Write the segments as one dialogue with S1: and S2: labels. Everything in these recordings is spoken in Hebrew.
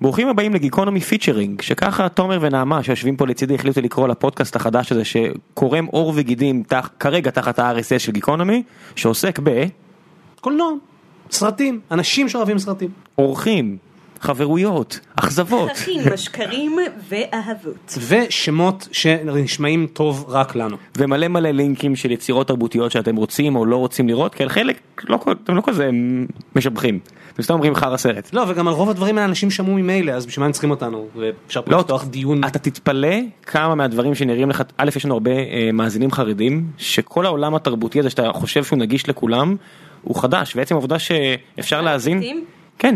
S1: ברוכים הבאים לגיקונומי פיצ'רינג, שככה תומר ונעמה שיושבים פה לצידי החליטו לקרוא לפודקאסט החדש הזה שקורם עור וגידים תח, כרגע תחת ה-RSS של גיקונומי, שעוסק
S2: קולנוע, סרטים, אנשים שאוהבים סרטים.
S1: באורחים, חברויות, אכזבות.
S3: פרחים, משקרים ואהבות.
S2: ושמות שנשמעים טוב רק לנו.
S1: ומלא מלא לינקים של יצירות תרבותיות שאתם רוצים או לא רוצים לראות, כי על חלק לא, כל- אתם לא כזה משבחים, אתם סתם אומרים חרא סרט.
S2: לא, וגם על רוב הדברים האלה אנשים שמעו ממילא, אז בשביל מה הם צריכים אותנו? ואפשר פה
S1: לא,
S2: לפתוח דיון.
S1: אתה תתפלא כמה מהדברים שנראים לך, א' יש לנו הרבה אה, מאזינים חרדים, שכל העולם התרבותי הזה שאתה חושב שהוא נגיש לכולם, הוא חדש, ועצם העובדה שאפשר להאזין,
S3: פרטים?
S1: כן,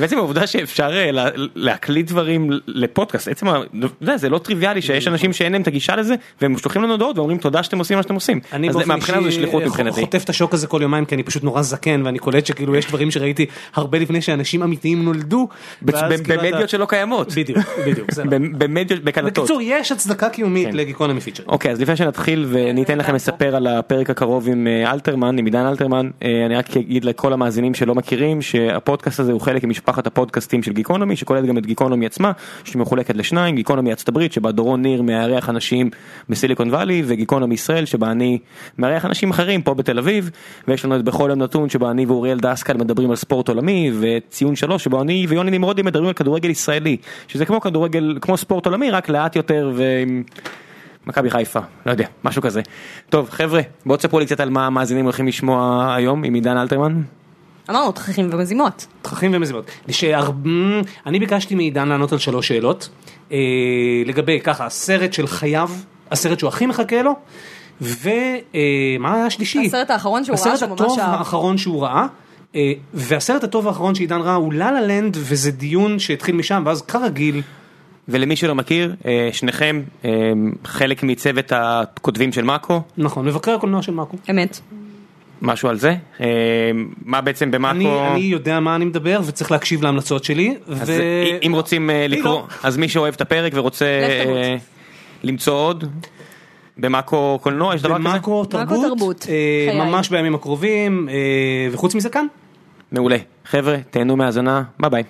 S1: בעצם העובדה שאפשר אה, לה- להקליט דברים לפודקאסט, עצם, ה- אתה יודע, זה לא טריוויאלי שיש אנשים שאין להם את הגישה לזה, והם שולחים לנו הודעות ואומרים תודה שאתם עושים מה שאתם עושים,
S2: אני
S1: אז
S2: באופן
S1: מהבחינה הזו יש שליחות
S2: אישי
S1: מבחינתי.
S2: חוטף את השוק הזה כל יומיים כי אני פשוט נורא זקן ואני קולט שכאילו יש דברים שראיתי הרבה לפני שאנשים אמיתיים נולדו.
S1: בצ-
S2: ואז
S1: ב-
S2: כאילו
S1: במדיות
S2: אתה-
S1: שלא קיימות.
S2: בדיוק, בדיוק. זה לא.
S1: במ- במדיות, בקלטות.
S2: בקיצור, יש הצדקה קיומית
S1: כן.
S2: לגיקונומי פיצ'ר.
S1: אוקיי אז לפני שנתחיל ואני אתן לכם לספר על הפרק הקרוב עם אה, אלתרמן עם עידן אלתרמן אה, אני רק אגיד לכל המאזינים שלא מכירים שהפודקאסט הזה הוא חלק ממשפחת הפודקאסטים של גיקונומי שכוללת גם את גיקונומי עצמה שמחולקת לשניים גיקונומי ארצות הברית שבה דורון ניר מארח אנשים בסיליקון וואלי וגיקונומי ישראל שבה אני מארח אנשים אחרים פה בתל אביב ויש לנו את בכל יום נתון שבה אני ואוריאל דסקל מדברים על ספורט עולמי וציון שלוש שבו אני ויוני נמרודי מדברים על כדורגל ישראלי שזה כמו כדורגל כמו ספורט עולמי רק לאט יותר ועם מכבי חיפה, לא יודע, משהו כזה. טוב, חבר'ה, בואו תספרו לי קצת על מה המאזינים הולכים לשמוע היום עם עידן אלתרמן.
S3: אמרנו תככים ומזימות.
S2: תככים ומזימות. שהר... אני ביקשתי מעידן לענות על שלוש שאלות אה, לגבי ככה הסרט של חייו, הסרט שהוא הכי מחכה לו, ומה אה, היה השלישי?
S3: הסרט האחרון שהוא ראה שהוא
S2: הסרט
S3: ממש
S2: הטוב
S3: אהב.
S2: האחרון שהוא ראה. אה, והסרט הטוב האחרון שעידן ראה הוא לה לה לנד וזה דיון שהתחיל משם ואז כרגיל
S1: ולמי שלא מכיר, אה, שניכם אה, חלק מצוות הכותבים של מאקו,
S2: נכון מבקר הקולנוע של מאקו.
S3: אמת.
S1: משהו על זה. אה, מה בעצם במאקו,
S2: אני, אני יודע מה אני מדבר וצריך להקשיב להמלצות שלי.
S1: אז אה, אם רוצים אה,
S2: אני
S1: לקרוא,
S2: לא.
S1: אז מי שאוהב את הפרק ורוצה
S3: לך תרוץ.
S1: אה, למצוא עוד, במאקו קולנוע יש דבר כזה?
S2: במאקו תרבות,
S3: תרבות,
S2: אה,
S3: חיי.
S2: ממש בימים הקרובים אה, וחוץ מזה כאן.
S1: מעולה. חבר'ה, תהנו מהאזנה, ביי ביי.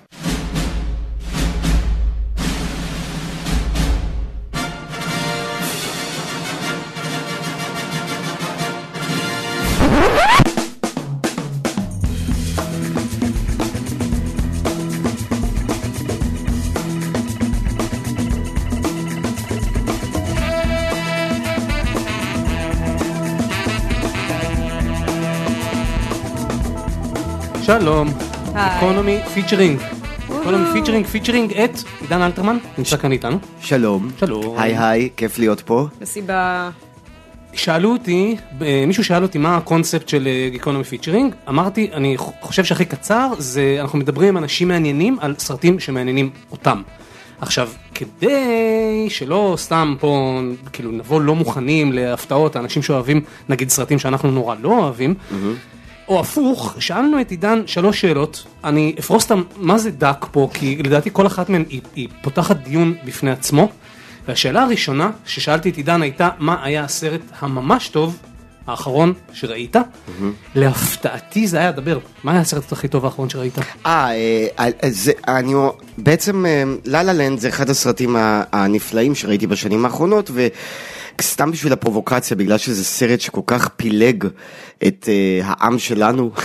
S2: שלום,
S3: היי.
S2: איקונומי פיצ'רינג. איקונומי פיצ'רינג, פיצ'רינג את עידן אלתרמן, נמצא כאן איתנו.
S4: שלום.
S2: שלום.
S4: היי היי, כיף להיות פה.
S3: מסיבה...
S2: שאלו אותי, אה, מישהו שאל אותי מה הקונספט של אה, איקונומי פיצ'רינג, אמרתי, אני ח- חושב שהכי קצר זה אנחנו מדברים עם אנשים מעניינים על סרטים שמעניינים אותם. עכשיו, כדי שלא סתם פה, כאילו נבוא לא מוכנים להפתעות, אנשים שאוהבים נגיד סרטים שאנחנו נורא לא אוהבים, או הפוך, שאלנו את עידן שלוש שאלות, אני אפרוס אותם מה זה דק פה, כי לדעתי כל אחת מהן היא, היא פותחת דיון בפני עצמו. והשאלה הראשונה ששאלתי את עידן הייתה, מה היה הסרט הממש טוב, האחרון שראית? להפתעתי זה היה דבר, מה היה הסרט הכי טוב האחרון שראית?
S4: אה, אה, אה, זה, אני, בעצם ללה לנד זה אחד הסרטים ה- הנפלאים שראיתי בשנים האחרונות, וסתם בשביל הפרובוקציה, בגלל שזה סרט שכל כך פילג את אה, העם שלנו,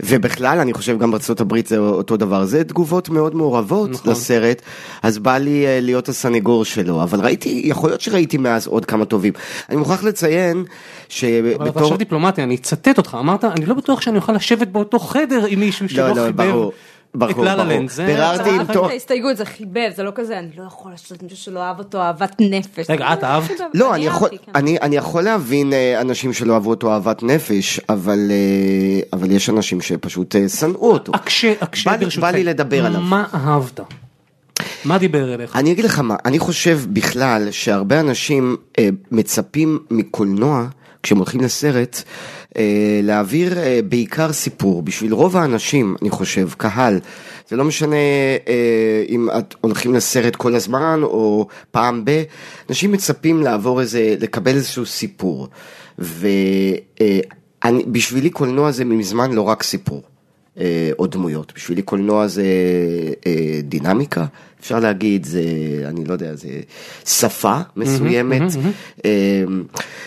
S4: ובכלל, אני חושב גם בארצות הברית זה אותו דבר, זה תגובות מאוד מעורבות
S2: נכון.
S4: לסרט, אז בא לי אה, להיות הסנגור שלו, אבל ראיתי, יכול להיות שראיתי מאז עוד כמה טובים. אני מוכרח לציין
S2: אבל אתה
S4: שבתור...
S2: עכשיו דיפלומטי, אני אצטט אותך, אמרת, אני לא בטוח שאני אוכל לשבת באותו חדר עם מישהו שלא
S4: לא, לא,
S2: חיבר
S4: ברור. ברור,
S2: את לה לה
S4: ברור.
S2: לנד. זה-
S4: ביררתי עם
S3: צלחת
S4: תום-
S3: את ההסתייגות, זה חיבב, זה לא כזה, אני לא יכול לעשות מישהו שלא אהב אותו אהבת נפש.
S2: רגע, את אהבת?
S4: לא, אני יכול,
S3: אהבתי, כן.
S4: אני, אני יכול להבין אה, אנשים שלא אהבו אותו אהבת נפש, אבל, אה, אבל יש אנשים שפשוט אה, שנאו אותו.
S2: אקשה, אקשה
S4: בא לי-
S2: ברשותכם.
S4: בא לי לדבר עליו.
S2: מה אהבת? מה דיבר אליך?
S4: אני אגיד לך מה, אני חושב בכלל שהרבה אנשים אה, מצפים מקולנוע, כשהם הולכים לסרט, אה, להעביר אה, בעיקר סיפור. בשביל רוב האנשים, אני חושב, קהל, זה לא משנה אה, אם את הולכים לסרט כל הזמן או פעם ב, אנשים מצפים לעבור איזה, לקבל איזשהו סיפור. אה, ובשבילי קולנוע זה מזמן לא רק סיפור. אה, או דמויות. בשבילי קולנוע זה אה, דיאלוג, דינמיקה, אפשר להגיד, זה, אני לא יודע, זה שפה מסוימת, אה,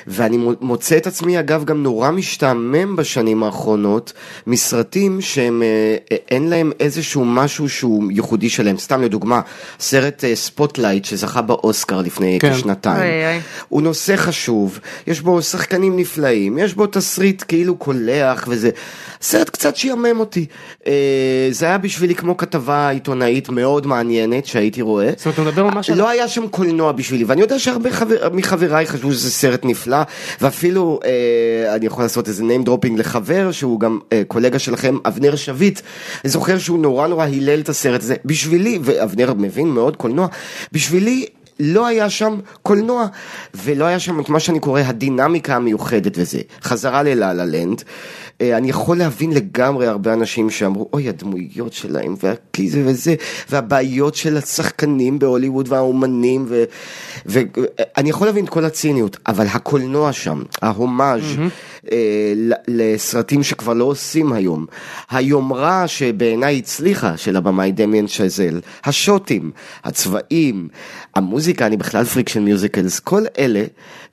S4: ואני מו- מוצא את עצמי, אגב, גם נורא משתעמם בשנים האחרונות, מסרטים שהם, אה, אה, אין להם איזשהו משהו שהוא ייחודי שלהם, סתם לדוגמה, סרט ספוטלייט שזכה באוסקר לפני
S2: כן.
S4: כשנתיים.
S5: אוי, אוי.
S4: הוא נושא חשוב, יש בו שחקנים נפלאים, יש בו תסריט כאילו קולח וזה. סרט קצת שיאמם אותי. אה, זה היה בשבילי כמו כתבה עיתונאית מאוד מעניינת שהייתי רואה.
S2: זאת אומרת, אתה מדבר ממש על-
S4: לא היה שם קולנוע בשבילי, ואני יודע שהרבה חבר... מחבריי חשבו שזה סרט נפלא, ואפילו אה, אני יכול לעשות איזה name dropping לחבר שהוא גם אה, קולגה שלכם, אבנר שביט, זוכר שהוא נורא נורא הלל את הסרט הזה, בשבילי, ואבנר מבין מאוד קולנוע, בשבילי לא היה שם קולנוע, ולא היה שם את מה שאני קורא הדינמיקה המיוחדת וזה. חזרה ללה-לה לנד, אה, אני יכול להבין לגמרי הרבה אנשים שאמרו, אוי, הדמויות שלהם, והכי זה וזה, והבעיות של השחקנים בהוליווד והאומנים, ואני ו... אה, אני יכול להבין את כל הציניות, אבל הקולנוע שם, ההומאז' אה, ל- לסרטים שכבר לא עושים היום, היומרה שבעיניי הצליחה, של הבמאי דמיאן שזל, השוטים, הצבעים, המוזיקה, אני בכלל פריק של מיוזיקלס, כל אלה,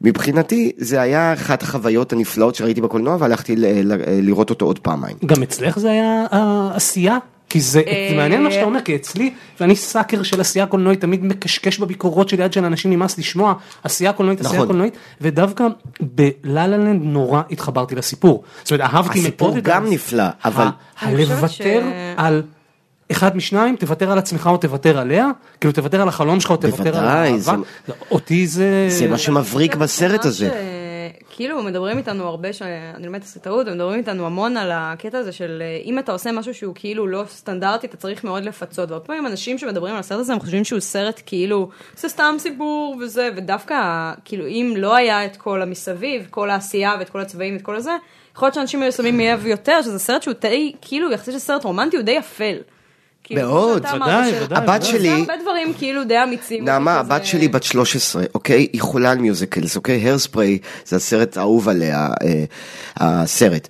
S4: מבחינתי זה היה אחת החוויות הנפלאות שראיתי בקולנוע והלכתי ל- ל- לראות אותו עוד פעמיים.
S2: גם אצלך זה היה העשייה? כי זה
S5: אה,
S2: זה מעניין מה שאתה אומר, כי אצלי, ואני סאקר של עשייה קולנועית, תמיד מקשקש בביקורות שלי עד שלאנשים נמאס לשמוע, עשייה קולנועית, עשייה
S4: נכון.
S2: קולנועית, ודווקא בלה-לה-לנד נורא התחברתי לסיפור. זאת אומרת, אהבתי
S4: הסיפור
S2: מאוד את
S4: גם
S2: ה-
S4: נפלא, אבל-
S2: ה-
S5: אני חושבת
S2: לוותר
S5: ש-
S2: על אחד משניים, תוותר על עצמך או תוותר עליה, כאילו תוותר על החלום שלך או תוותר על
S4: בוודאי, זה-
S2: האהבה. לא, אותי זה...
S4: זה מה שמבריק בסרט הזה.
S5: ש- אה, כאילו מדברים איתנו הרבה, ש- אני לא לומדת תסריטאות, ומדברים איתנו המון על הקטע הזה של אה, אם אתה עושה משהו שהוא כאילו לא סטנדרטי, אתה צריך מאוד לפצות. והרבה פעמים אנשים שמדברים על הסרט הזה, הם חושבים שהוא סרט כאילו, זה סתם סיפור וזה, ודווקא כאילו אם לא היה את כל המסביב, כל העשייה ואת כל הצבעים ואת כל הזה, יכול להיות שאנשים היו שמים לב יותר, שזה סרט שהוא די, כאילו יחסית לסרט רומנטי, הוא די אפל. כאילו, כמו
S4: מאוד,
S5: שאתה אמרת,
S2: ודאי,
S5: של-
S2: ודאי,
S4: הבת ודאי.
S5: הוא
S4: שלי-
S5: עושה הרבה דברים כאילו די אמיצים.
S4: נעמה,
S5: כזה-
S4: הבת שלי בת 13, אוקיי? היא חולה על מיוזיקלס, אוקיי? הרספריי זה הסרט האהוב עליה, אה, הסרט.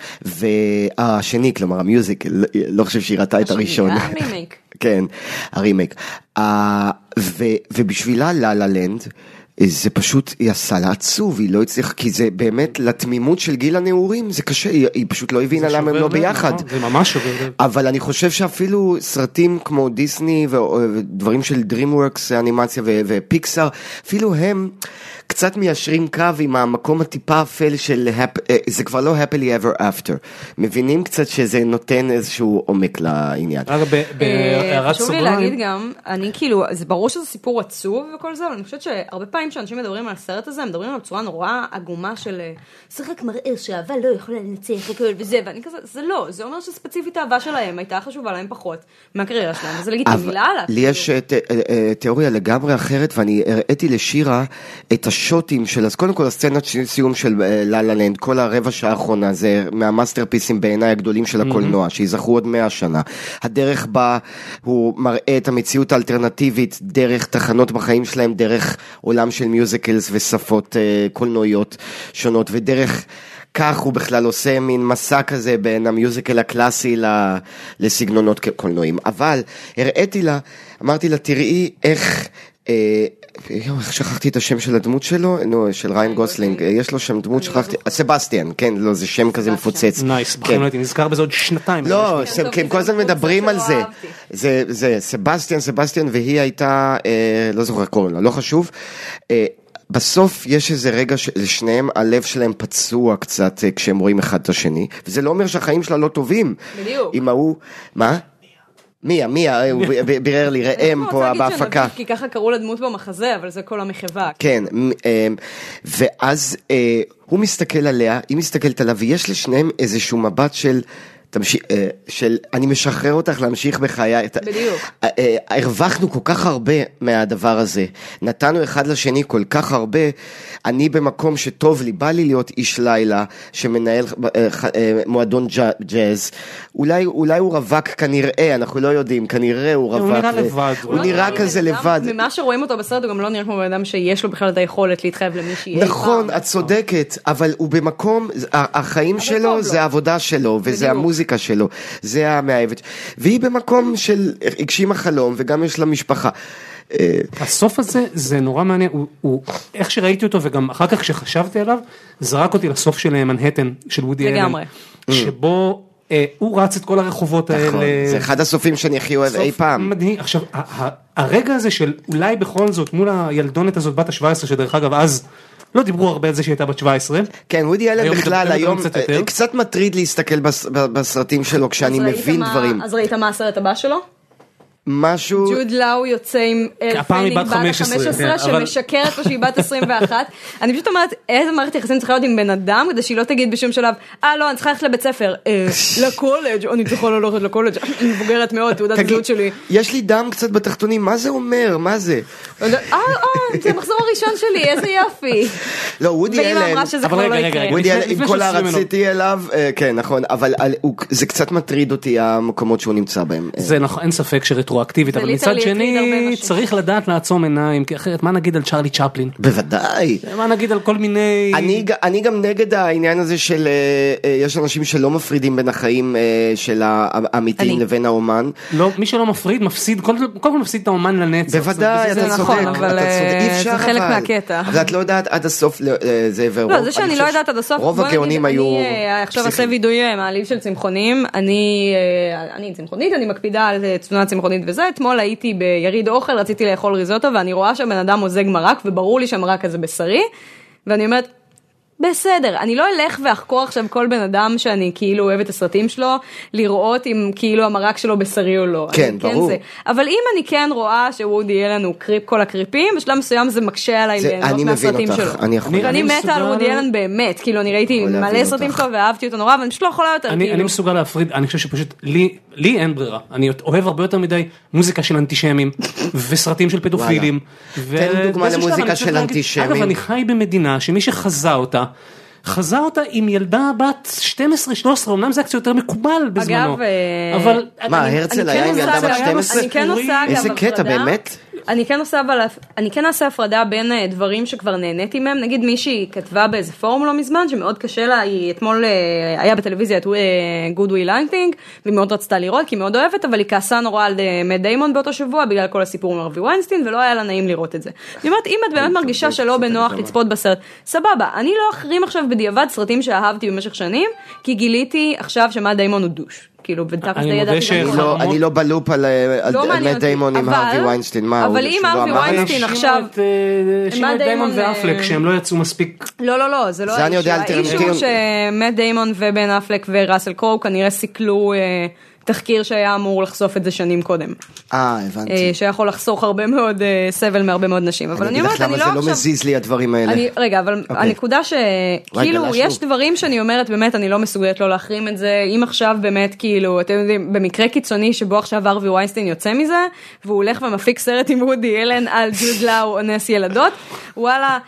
S4: והשני, כלומר המיוזיקל, לא חושב שהיא ראתה את הראשון.
S5: השני, אה, הרימייק.
S4: כן, הרימייק. אה, ו- ובשבילה לה לה לנד. אה, זה פשוט, היא עשה לה עצוב, היא לא הצליחה, כי זה באמת, לתמימות של גיל הנעורים, זה קשה, היא, היא פשוט לא הבינה למה הם
S2: שובר
S4: לא
S2: לב,
S4: ביחד.
S2: נכון, זה ממש שובר לב.
S4: אבל אני חושב שאפילו סרטים כמו דיסני ו- אה, ודברים של DreamWorks אנימציה ו- ופיקסאר, אפילו הם קצת מיישרים קו עם המקום הטיפה אפל של, הפ- אה, זה כבר לא happily ever after. מבינים קצת שזה נותן איזשהו עומק לעניין.
S2: רק ב-
S5: אה,
S2: בהערת
S5: חשוב לי
S2: סוגריים.
S5: להגיד גם, אני כאילו, זה ברור שזה סיפור עצוב וכל זה, אבל אני חושבת שהרבה פעמים כשאנשים מדברים על הסרט הזה, הם מדברים עליו בצורה נורא עגומה של אה, זה רק מראה שאהבה לא יכולה לנצח הכל וזה, ואני כזה, זה לא, זה אומר שספציפית האהבה שלהם הייתה חשובה להם פחות מהקריירה שלהם, וזה לגיטימי,
S4: אבל
S5: לאללה.
S4: לי יש אה, ת- אה, אה, תיאוריה לגמרי אחרת, ואני הראיתי לשירה את השוטים של, אז קודם כל הסצנת ש- סיום של אה, לה לה לנד, כל הרבע שעה האחרונה, זה מהמאסטרפיסים בעיניי הגדולים של הקולנוע, שייזכרו עוד מאה שנה. הדרך בה הוא מראה את המציאות האלטרנטיבית דרך תחנות בחיים שלהם, דרך עולם של מיוזיקלס ושפות אה, קולנועיות שונות, ודרך... כך הוא בכלל עושה מין מסע כזה בין המיוזיקל הקלאסי ל- לסגנונות קולנועים. אבל הראיתי לה, אמרתי לה, תראי איך... אה, יואו, איך שכחתי את השם של הדמות שלו? נו, של ריין גוסלינג, אה, יש לו שם דמות, שכחתי, סבסטיאן, כן, לא, זה שם כזה מפוצץ.
S2: נייס,
S4: כן.
S2: בחיים לא הייתי נזכר בזה עוד שנתיים.
S4: לא,
S5: כן,
S4: שהם-
S5: טוב,
S4: כי הם
S5: זה
S4: כל הזמן
S5: בחור
S4: מדברים
S5: שלא
S4: על זה.
S5: אהבתי.
S4: זה, זה סבסטיאן, סבסטיאן, והיא הייתה, אה, לא זוכר איך קוראים לה, לא חשוב. אה, בסוף יש איזה רגע שלשניהם הלב שלהם פצוע קצת אה, כשהם רואים אחד את השני, וזה לא אומר שהחיים שלה לא טובים.
S5: בדיוק.
S4: עם ההוא, מה? מיה, מיה, אה, הוא ב- ב- בירר לי, ראם
S5: אני לא
S4: פה
S5: רוצה להגיד שאני
S4: בהפקה.
S5: נביך, כי ככה קראו לדמות במחזה, אבל זה כל המחווה.
S4: כן, מ- אמ, ואז אה, הוא מסתכל עליה, היא מסתכלת עליו, ויש לשניהם איזשהו מבט של... תמשיך, אה, של אני משחרר אותך להמשיך בחיי. את-
S5: בדיוק.
S4: אה, אה, הרווחנו כל כך הרבה מהדבר הזה. נתנו אחד לשני כל כך הרבה. אני במקום שטוב לי, בא לי להיות איש לילה שמנהל אה, ח- אה, מועדון ג'אז- ג'אז. אולי, אולי הוא רווק כנראה, אנחנו לא יודעים, כנראה הוא רווק.
S2: הוא לא- נראה
S4: ו-
S2: לבד,
S4: הוא נראה כזה
S5: לא, בן אדם-
S4: לבד.
S5: ממה שרואים אותו בסרט, הוא גם לא נראה כמו בן אדם שיש לו בכלל את היכולת להתחייב למישהי. אי
S4: נכון,
S5: פעם. לא.
S4: את צודקת, אבל הוא במקום, ה- החיים
S5: טוב
S4: שלו
S5: לו.
S4: זה העבודה שלו, וזה
S5: בדיוק.
S4: המוזיקה שלו, זה המאהבת. והיא במקום של הגשימה חלום וגם יש לה משפחה. אה,
S2: הסוף הזה זה נורא מעניין, הוא, הוא איך שראיתי אותו וגם אחר כך כשחשבתי עליו, זרק אותי לסוף של אה, מנהטן, של וודי אלן.
S5: לגמרי.
S2: שבו אה, הוא רץ את כל הרחובות האלה.
S4: Mm. נכון, זה אחד הסופים שאני הכי אוהב
S2: סוף
S4: אי פעם.
S2: מדהים. עכשיו, ה- ה- הרגע הזה של אולי בכל זאת מול הילדונת הזאת בת ה-17, שדרך אגב אז לא דיברו הרבה על זה שהיא הייתה בת 17.
S4: כן, וודי אלן
S2: היום
S4: בכלל
S2: מדברים
S4: היום
S2: קצת
S4: אה,
S2: יותר.
S4: קצת מטריד להסתכל בס- ב- בסרטים שלו כשאני
S5: אז ראית
S4: מבין
S5: מה-
S4: דברים.
S5: אז ראית מה הסרט הבא שלו?
S4: משהו...
S5: ג'וד לאו יוצא עם אל
S2: הפעם היא
S5: פנינג
S2: בת
S5: בת
S2: 15,
S5: ה-15
S2: כן, אבל-
S5: שמשקרת לו שהיא בת 21. אני פשוט אומרת איזה מערכת יחסים צריכה להיות עם בן אדם כדי שהיא לא תגיד בשום שלב אה לא אני צריכה ללכת לבית ספר "אה, לקולג' אני צריכה לא ללכת לקולג' אני מבוגרת מאוד תעודת
S4: תגיד,
S5: הזהות שלי.
S4: יש לי דם קצת בתחתונים, מה זה אומר? מה זה?
S5: אה אה זה המחזור הראשון שלי איזה יופי.
S4: לא, וודי
S5: ואמא
S4: אלן,
S5: אמרה שזה
S2: אבל
S5: כבר
S2: רגע,
S5: לא
S2: רגע,
S5: יקרה.
S2: רגע.
S4: וודי
S2: לפני-
S4: אלן, עם
S2: לפני
S4: כל
S2: שעושים ממנו.
S4: הרציתי אליו, אה, כן, נכון, אבל על- הוא- זה קצת מטריד אותי המקומות שהוא נמצא בהם. אה,
S2: זה נכון, אין ספק שרטרואקטיבית,
S5: זה
S2: אבל מצד
S5: literally הטריד הרבה
S2: שני
S5: נשים.
S2: צריך לדעת לעצום עיניים, כי אחרת מה נגיד על צ'רלי צ'פלין?
S4: בוודאי.
S2: מה נגיד על כל מיני...
S4: אני, ג- אני גם נגד העניין הזה של אה, אה, יש אנשים שלא מפרידים בין החיים אה, של האמיתיים
S5: אני.
S4: לבין האומן.
S2: לא, מי שלא מפריד מפסיד, קודם כל- קודם כל מפסיד את האומן לנצח.
S4: בוודאי,
S2: זה- זה-
S4: אתה
S5: זה
S4: צודק,
S5: נכון,
S4: אתה
S5: אבל,
S4: צודק,
S5: אה,
S4: אי אפשר
S5: זה חלק
S4: אבל.
S5: מהקטע.
S4: אבל את לא יודעת עד הסוף, לא, אה, זה ורוב.
S5: לא, זה שאני לא יודעת עד הסוף,
S4: רוב
S5: בוא נגיד,
S4: הגאונים היו
S5: אני אה, עכשיו אעשה
S4: פסיכים.
S5: וידוי אה, מעליב של צמחונים, אני אה, אני צמחונית, אני מקפידה על אה, תזונה צמחונית וזה, אתמול הייתי ביריד אוכל, רציתי לאכול ריזוטו, ואני רואה שהבן אדם מוזג מרק, וברור לי שהמרק הזה בשרי, ואני אומרת, בסדר, אני לא אלך ואחקור עכשיו כל בן אדם שאני כאילו אוהב את הסרטים שלו, לראות אם כאילו המרק שלו בשרי או לא.
S4: כן,
S5: אני
S4: ברור.
S5: זה. אבל אם אני כן רואה שוודי אלן הוא קריפ כל הקריפים, בשלב מסוים זה מקשה עליי
S4: זה- אני
S5: ליהנות
S4: מבין
S5: מהסרטים שלו.
S4: אותך, אני יכול...
S5: ואני
S2: אני
S5: מתה
S2: מסוגל-
S5: על וודי אלן באמת, כאילו אני ראיתי
S4: יכול להבין
S5: מלא סרטים
S4: אותך.
S5: שלו ואהבתי אותו נורא, אבל אני פשוט לא יכולה יותר,
S2: אני, אני
S5: כאילו.
S2: מסוגל להפריד, אני חושב שפשוט לי, לי אין ברירה, אני אוהב הרבה יותר מדי מוזיקה של אנטישמים וסרטים של פדופילים. ו-
S4: תן דוגמה
S2: באיזשהו שלב
S4: למוזיקה
S2: אני צריך
S4: של
S2: להגיד-
S4: אנטישמים.
S2: אגב, אני חי במדינה שמי שחזה אותה, חזה אותה עם ילדה בת 12-13, אמנם זה היה קצת יותר מקובל בזמנו.
S5: אה,
S2: אבל...
S4: מה,
S2: אני-
S4: הרצל
S2: אני כן
S4: היה עם
S2: עושה-
S4: ילדה בת
S2: היה לו
S4: 12?
S5: אני כן עושה אגב
S4: איזה קטע,
S5: הפרדה.
S4: באמת?
S5: אני כן עושה אבל, אני כן אעשה הפרדה בין אה, דברים שכבר נהניתי מהם, נגיד מישהי כתבה באיזה פורום לא מזמן שמאוד קשה לה, היא אתמול אה, היה בטלוויזיה את אה, גוד וויל אנטינג, והיא מאוד רצתה לראות כי היא מאוד אוהבת, אבל היא כעסה נורא על אה, מאט דיימון באותו שבוע בגלל כל הסיפור עם ארווי ווינסטין ולא היה לה נעים לראות את זה. אני אומרת אם את באמת מרגישה שלא בנוח לצפות בסרט, סבבה, אני לא אחרים עכשיו בדיעבד סרטים שאהבתי במשך שנים, כי גיליתי עכשיו שמאט דיימון הוא דוש. כאילו, ותכלס
S2: אני
S5: די
S2: מודה
S5: ידעתי גם
S2: ש-
S5: קודם.
S4: אני לא- אני לא בלופ על אה, על-
S5: לא
S4: על
S5: מעניין
S4: מאט
S5: אותי,
S4: דיימון עם
S5: אבל-
S4: הארווי ווינסטין, מה,
S5: אבל
S4: הוא-
S5: אם
S4: שלא
S5: הארווי
S4: אמר?
S5: ווינסטין-
S2: האשימו
S5: עכשיו-
S2: את, אה, האשימו את
S5: מאט
S2: דיימון
S5: דיימון,
S2: ואפלק
S5: אה,
S2: שהם לא יצאו מספיק
S5: לא, לא, לא, זה לא
S4: זה אני יודע על
S5: האישו
S4: טרנטינו.
S5: הוא שמט דיימון ובן אפלק וראסל קרואו כנראה סיכלו אה, תחקיר שהיה אמור לחשוף את זה שנים קודם.
S4: אה,
S5: אה,
S4: הבנתי.
S5: שיכול לחסוך הרבה מאוד אה, סבל מהרבה מאוד נשים. אבל אני
S4: אני אגיד
S5: אומרת,
S4: לך
S5: אני
S4: למה
S5: לא
S4: זה לא
S5: עכשיו...
S4: מזיז לי הדברים האלה.
S5: אני, רגע, אבל okay.
S4: אוקיי.
S5: הנקודה שכאילו
S4: גלשנו.
S5: יש דברים שאני אומרת באמת אני לא מסוגלת לא להחרים את זה אם עכשיו באמת כאילו אתם יודעים במקרה קיצוני שבו עכשיו ארווי ויינסטין יוצא מזה והוא הולך ומפיק סרט עם וודי אלן על ג'וד לאו אונס ילדות וואלה.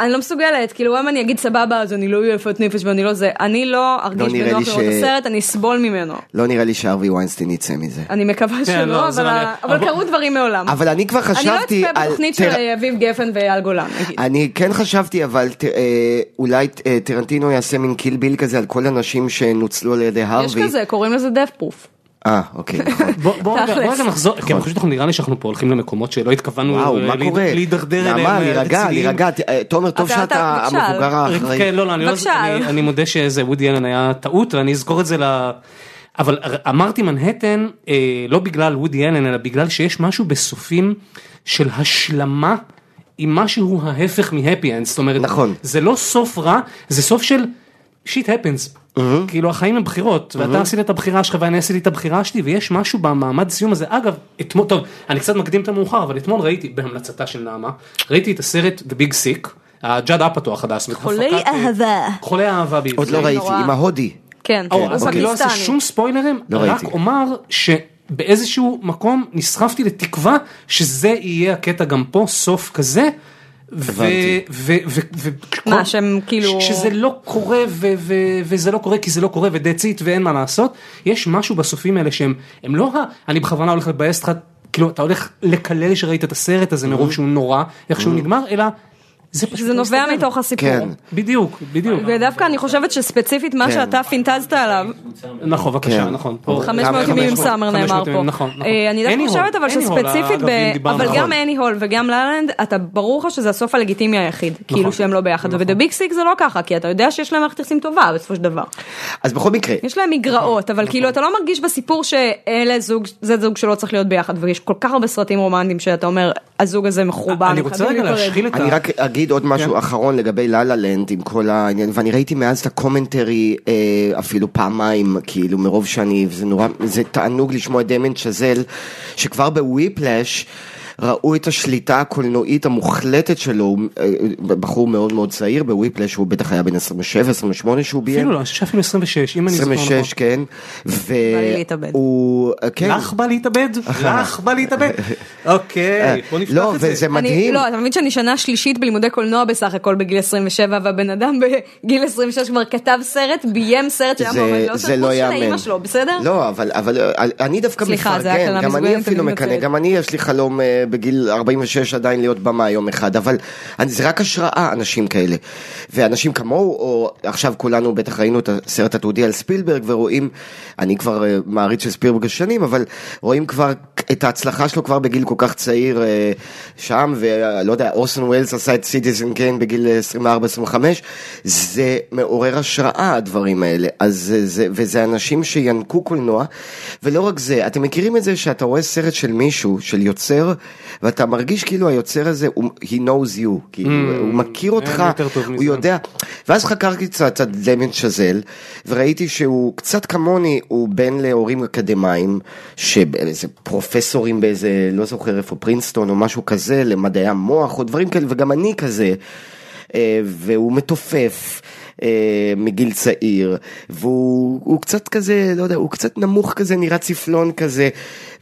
S5: אני לא מסוגלת, כאילו אם אני אגיד סבבה אז אני לא אהיה יפת נפש ואני לא זה, אני לא ארגיש
S4: נראה
S5: בנוח
S4: לי
S5: לראות את
S4: ש-
S5: הסרט, אני אסבול ממנו.
S4: לא נראה לי שהארווי ווינסטין יצא מזה.
S5: אני מקווה
S2: לא,
S5: שלא,
S2: זה
S5: אבל
S2: לא
S5: ה-
S2: נראה.
S5: אבל
S2: אבל-
S5: קרו דברים מעולם.
S4: אבל אני כבר
S5: אני לא
S4: חשבתי
S5: אצפה
S4: על...
S5: בתוכנית של
S4: תראה,
S5: אה, אביב גפן ואייל גולן, נגיד.
S4: אני כן חשבתי אבל ת- אה, אולי אה, טרנטינו יעשה מין קיל ביל כזה על כל הנשים שנוצלו על ידי
S5: יש
S4: הארווי.
S5: כזה, קוראים לזה דף פרוף.
S4: אה, אוקיי, נכון.
S2: בוא- בוא רגע- בוא
S5: תכלס.
S2: רגע נחזור, כי פשוט אנחנו נראה לי שאנחנו פה הולכים למקומות שלא התכוונו
S4: וואו,
S2: אה,
S4: מה
S2: להיד-
S4: קורה?
S2: להידרדר אליהם.
S4: נעמה,
S2: אה,
S4: להירגע,
S2: רציניים.
S4: להירגע. ת- אה, תומר, טוב
S5: אתה-
S4: שאתה
S5: אתה- בבקשה.
S4: המבוגר האחראי.
S2: כן, לא, לא, אני לא-
S5: בבקשה.
S2: אני- אני מודה שזה וודי אלן היה טעות ואני אזכור את זה ל... אבל אמרתי מנהטן אה, לא בגלל וודי אלן אלא בגלל שיש משהו בסופים של השלמה עם משהו ההפך מהפי אנד, זאת אומרת,
S4: נכון.
S2: זה לא סוף רע, זה סוף של שיט הפנס. כאילו החיים הם בחירות, ואתה עשית את הבחירה שלך ואני עשיתי את הבחירה שלי, ויש משהו במעמד סיום הזה. אגב, אתמול, טוב, אני קצת מקדים את המאוחר, אבל אתמול ראיתי, בהמלצתה של נעמה, ראיתי את הסרט The Big Sick, הג'אד אפאטו החדש.
S5: חולי
S2: הפקת, אה,
S5: אהבה.
S2: חולי אהבה בעברית.
S4: עוד לא ראיתי,
S5: נורא.
S4: עם ההודי.
S5: כן,
S2: או, אז אני לא אעשה
S5: פקיסטני.
S2: שום ספוילרים,
S4: לא
S2: רק
S4: ראיתי.
S2: אומר שבאיזשהו מקום נסחפתי לתקווה שזה יהיה הקטע גם פה, סוף כזה. ו-
S4: הבנתי.
S2: ו- ו- ו-
S5: מה,
S2: כל-
S5: שהם כאילו-
S2: ש- שזה לא קורה ו- ו- וזה לא קורה כי זה לא קורה ו-that's it ואין מה לעשות יש משהו בסופים האלה שהם הם לא ה... אני בכוונה הולך לבאס
S4: Mhm.
S2: אותך כאילו אתה הולך לקלל שראית את הסרט הזה מרוב שהוא נורא איך שהוא נגמר אלא זה פשוט
S5: זה
S2: לא
S5: נובע
S2: מסתדר.
S5: מתוך הסיפור.
S4: כן.
S2: בדיוק, בדיוק.
S5: ודווקא אני חושבת שספציפית מה
S4: כן.
S5: שאתה פינטזת עליו,
S2: נכון, בבקשה,
S4: כן.
S2: נכון. פה-
S5: 500 ימים עם סאמר
S2: 500
S5: נאמר
S2: ימים,
S5: פה.
S2: נכון, נכון.
S5: אה, אני דווקא
S2: Any
S5: חושבת
S2: hole,
S5: אבל
S2: any hole,
S5: שספציפית,
S2: אגב,
S5: ב-
S2: אם דיברנו,
S5: אבל
S2: נכון.
S5: גם אני הול וגם ללנד, אתה ברור לך שזה הסוף הלגיטימי היחיד,
S2: נכון.
S5: כאילו שהם לא ביחד, ובביג סיק זה לא ככה, כי אתה יודע שיש להם מערכת יחסים טובה בסופו של דבר.
S4: אז בכל מקרה,
S5: יש להם מגרעות,
S2: נכון.
S5: אבל כאילו אתה לא מרגיש בסיפור שאלה זוג, זה זוג שלא צריך להיות ביחד, ויש כל כך הרבה סרטים רומנטיים שאתה אומר, הזוג הזה מחורבן,
S2: אני
S5: הם
S2: רוצה
S5: חייבים
S2: רגע
S5: להיפרד."
S2: להשחיל את ה...
S4: אני רק אגיד עוד משהו אחרון לגבי לה לה לנד עם כל העניין, ואני ראיתי מאז את הקומנטרי אה, אפילו פעמיים, כאילו מרוב שאני, וזה נורא, זה תענוג לשמוע את דמיין צ'זל, שכבר בוויפלאש ראו את השליטה הקולנועית המוחלטת שלו, הוא אה, בחור מאוד מאוד צעיר, בוויפלאש הוא בטח היה בן 27, 28 שהוא ביים,
S2: אפילו לא, אני חושב שאפילו 26, אם אני זוכר נכון.
S4: 26 כן,
S5: להתאבד.
S4: והוא, כן,
S2: לך בא להתאבד? לך בא להתאבד? אוקיי, בוא נפתח
S4: לא,
S2: את זה.
S4: וזה
S5: אני,
S4: מדהים,
S5: לא, אתה מבין שאני שנה שלישית בלימודי קולנוע בסך הכל בגיל 27, והבן אדם בגיל 26 כבר כתב סרט, ביים סרט שהיה מועמד
S4: זה,
S5: לאוסקר,
S4: זה לא
S5: חוץ
S4: ייאמן.
S5: שלאמא שלו, בסדר?
S4: לא, אבל, אבל אה, אני דווקא
S5: סליחה, זה היה
S4: מפרגן,
S5: הקללה
S4: גם אני
S5: מסוגלת,
S4: אפילו
S5: אני
S4: מקנא,
S5: מתנצלת.
S4: גם אני יש לי חלום אה, בגיל 46 עדיין להיות במה יום אחד, אבל אני- זה רק השראה, אנשים כאלה. ואנשים כמוהו, או עכשיו כולנו בטח ראינו את הסרט התיעודי על ספילברג ורואים, אני כבר אה, מעריץ של ספילברג שנים, אבל רואים כבר את ההצלחה שלו כבר בגיל כל כך צעיר אה, שם, ולא יודע, אוסן ווילס עשה את סיטיזן קיין בגיל אה, 24-25, זה מעורר השראה הדברים האלה, אז זה, זה, וזה אנשים שינקו קולנוע, ולא רק זה, אתם מכירים את זה שאתה רואה סרט של מישהו, של יוצר, ואתה מרגיש כאילו היוצר הזה, הוא, he knows you, כאילו, mm, הוא מכיר אותך,
S2: יותר טוב
S4: הוא
S2: מזה.
S4: יודע. יודע, ואז חקרתי קצת את דמיין שזל, וראיתי שהוא קצת כמוני, הוא בן להורים אקדמאים, שאיזה פרופסורים באיזה, לא זוכר איפה, פרינסטון או משהו כזה, למדעי המוח או דברים כאלה, וגם אני כזה, אה, והוא מתופף. אה, מגיל צעיר והוא הוא קצת כזה לא יודע הוא קצת נמוך כזה נראה צפלון כזה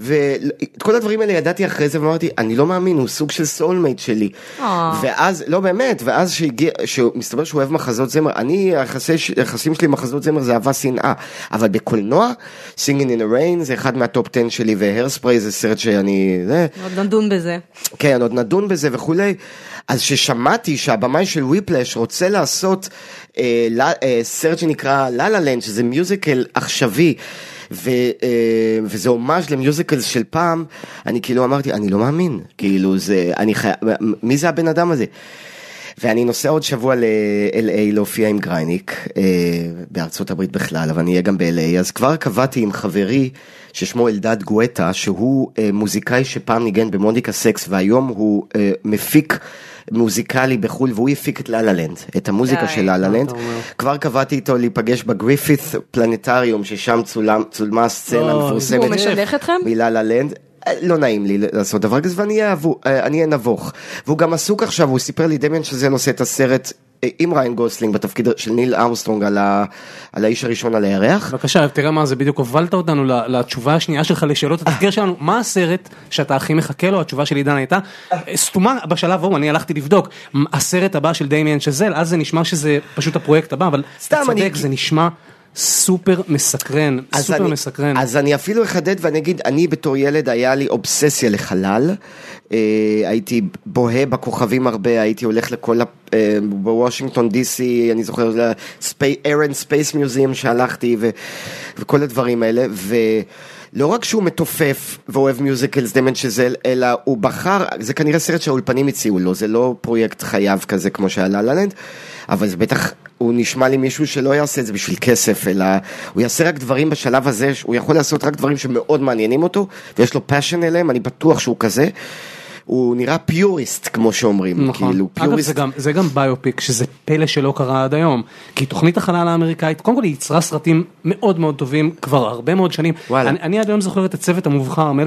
S4: ואת כל הדברים האלה ידעתי אחרי זה ואמרתי אני לא מאמין הוא סוג של סולמייט שלי
S5: אה.
S4: ואז, לא באמת, ואז שהגיע, שמסתבר שהוא אוהב מחזות זמר, אני, היחסי ש- היחסים שלי עם מחזות זמר זה אהבה שנאה, אבל בקולנוע, Singing in the Rain זה אחד מהטופ 10 שלי, והרספרי זה סרט שאני, זה,
S5: עוד נדון בזה.
S4: כן, עוד נדון בזה וכולי. אז ששמעתי שהבמאי של וויפלאש רוצה לעשות אה, לה- אה, סרט שנקרא לה לה לנד, שזה מיוזיקל עכשווי, ו, אה, וזה הומאז' למיוזיקל של פעם, אני כאילו אמרתי, אני לא מאמין, כאילו זה, אני חייב, מי זה הבן אדם הזה? ואני נוסע עוד שבוע ל-LA להופיע עם גרייניק, אה, בארצות הברית בכלל, אבל אני אהיה גם ב-LA, אז כבר קבעתי עם חברי ששמו אלדד גואטה, שהוא אה, מוזיקאי שפעם ניגן במוניקה סקס, והיום הוא אה, מפיק מוזיקלי בחו"ל, והוא הפיק את לה לה לנד, את המוזיקה
S5: די,
S4: של לה לה לנד.
S2: אתה אומר?
S4: כבר קבעתי איתו להיפגש בגריפית פלנטריום, ששם צולם, צולמה הסצנה
S2: אוי,
S4: המפורסמת.
S5: הוא משדך אתכם?
S4: מילה ללנד. לא נעים לי לעשות דבר כזה ואני אהיה אבו- אה, אני אהיה נבוך. והוא גם עסוק עכשיו, הוא סיפר לי דמיין שזה נושא את הסרט אה, עם ריין גוסלינג בתפקיד של ניל ארמסטרונג על, ה... על האיש הראשון על הירח.
S2: בבקשה, תראה מה זה, בדיוק הובלת אותנו ל- לתשובה השנייה שלך לשאלות
S4: אה.
S2: התחקיר שלנו, מה הסרט שאתה הכי מחכה לו? התשובה של עידן הייתה אה, סתומה בשלב ההוא, אני הלכתי לבדוק, מ- הסרט הבא של דמיאן שזל, אז זה נשמע שזה פשוט הפרויקט הבא, אבל
S4: סתם,
S2: אתה צודק,
S4: אני-
S2: זה נשמע סופר מסקרן,
S4: אז
S2: סופר
S4: אני-
S2: מסקרן.
S4: אז אני אפילו אחדד ואני אגיד, אני בתור ילד היה לי אובססיה לחלל. אה, הייתי בוהה בכוכבים הרבה, הייתי הולך לכל, ה- אה, בוושינגטון די סי, אני זוכר, ארן ספייס מיוזיאם שהלכתי ו- וכל הדברים האלה. ו... לא רק שהוא מתופף ואוהב מיוזיקלס דמן שזל, אלא הוא בחר, זה כנראה סרט שהאולפנים הציעו לו, זה לא פרויקט חייו כזה כמו שהיה ללנד, אבל זה בטח, הוא נשמע לי מישהו שלא יעשה את זה בשביל כסף, אלא הוא יעשה רק דברים בשלב הזה, הוא יכול לעשות רק דברים שמאוד מעניינים אותו, ויש לו פאשן אליהם, אני בטוח שהוא כזה. הוא נראה פיוריסט, כמו שאומרים, כאילו,
S2: נכון. אגב, זה
S4: פיוריסט.
S2: גם, זה גם ביופיק, שזה פלא שלא קרה עד היום. כי תוכנית החלל האמריקאית, קודם כל היא יצרה סרטים מאוד מאוד טובים כבר הרבה מאוד שנים.
S4: וואלה.
S2: אני, אני עד היום זוכר את הצוות המובחר מ-1983.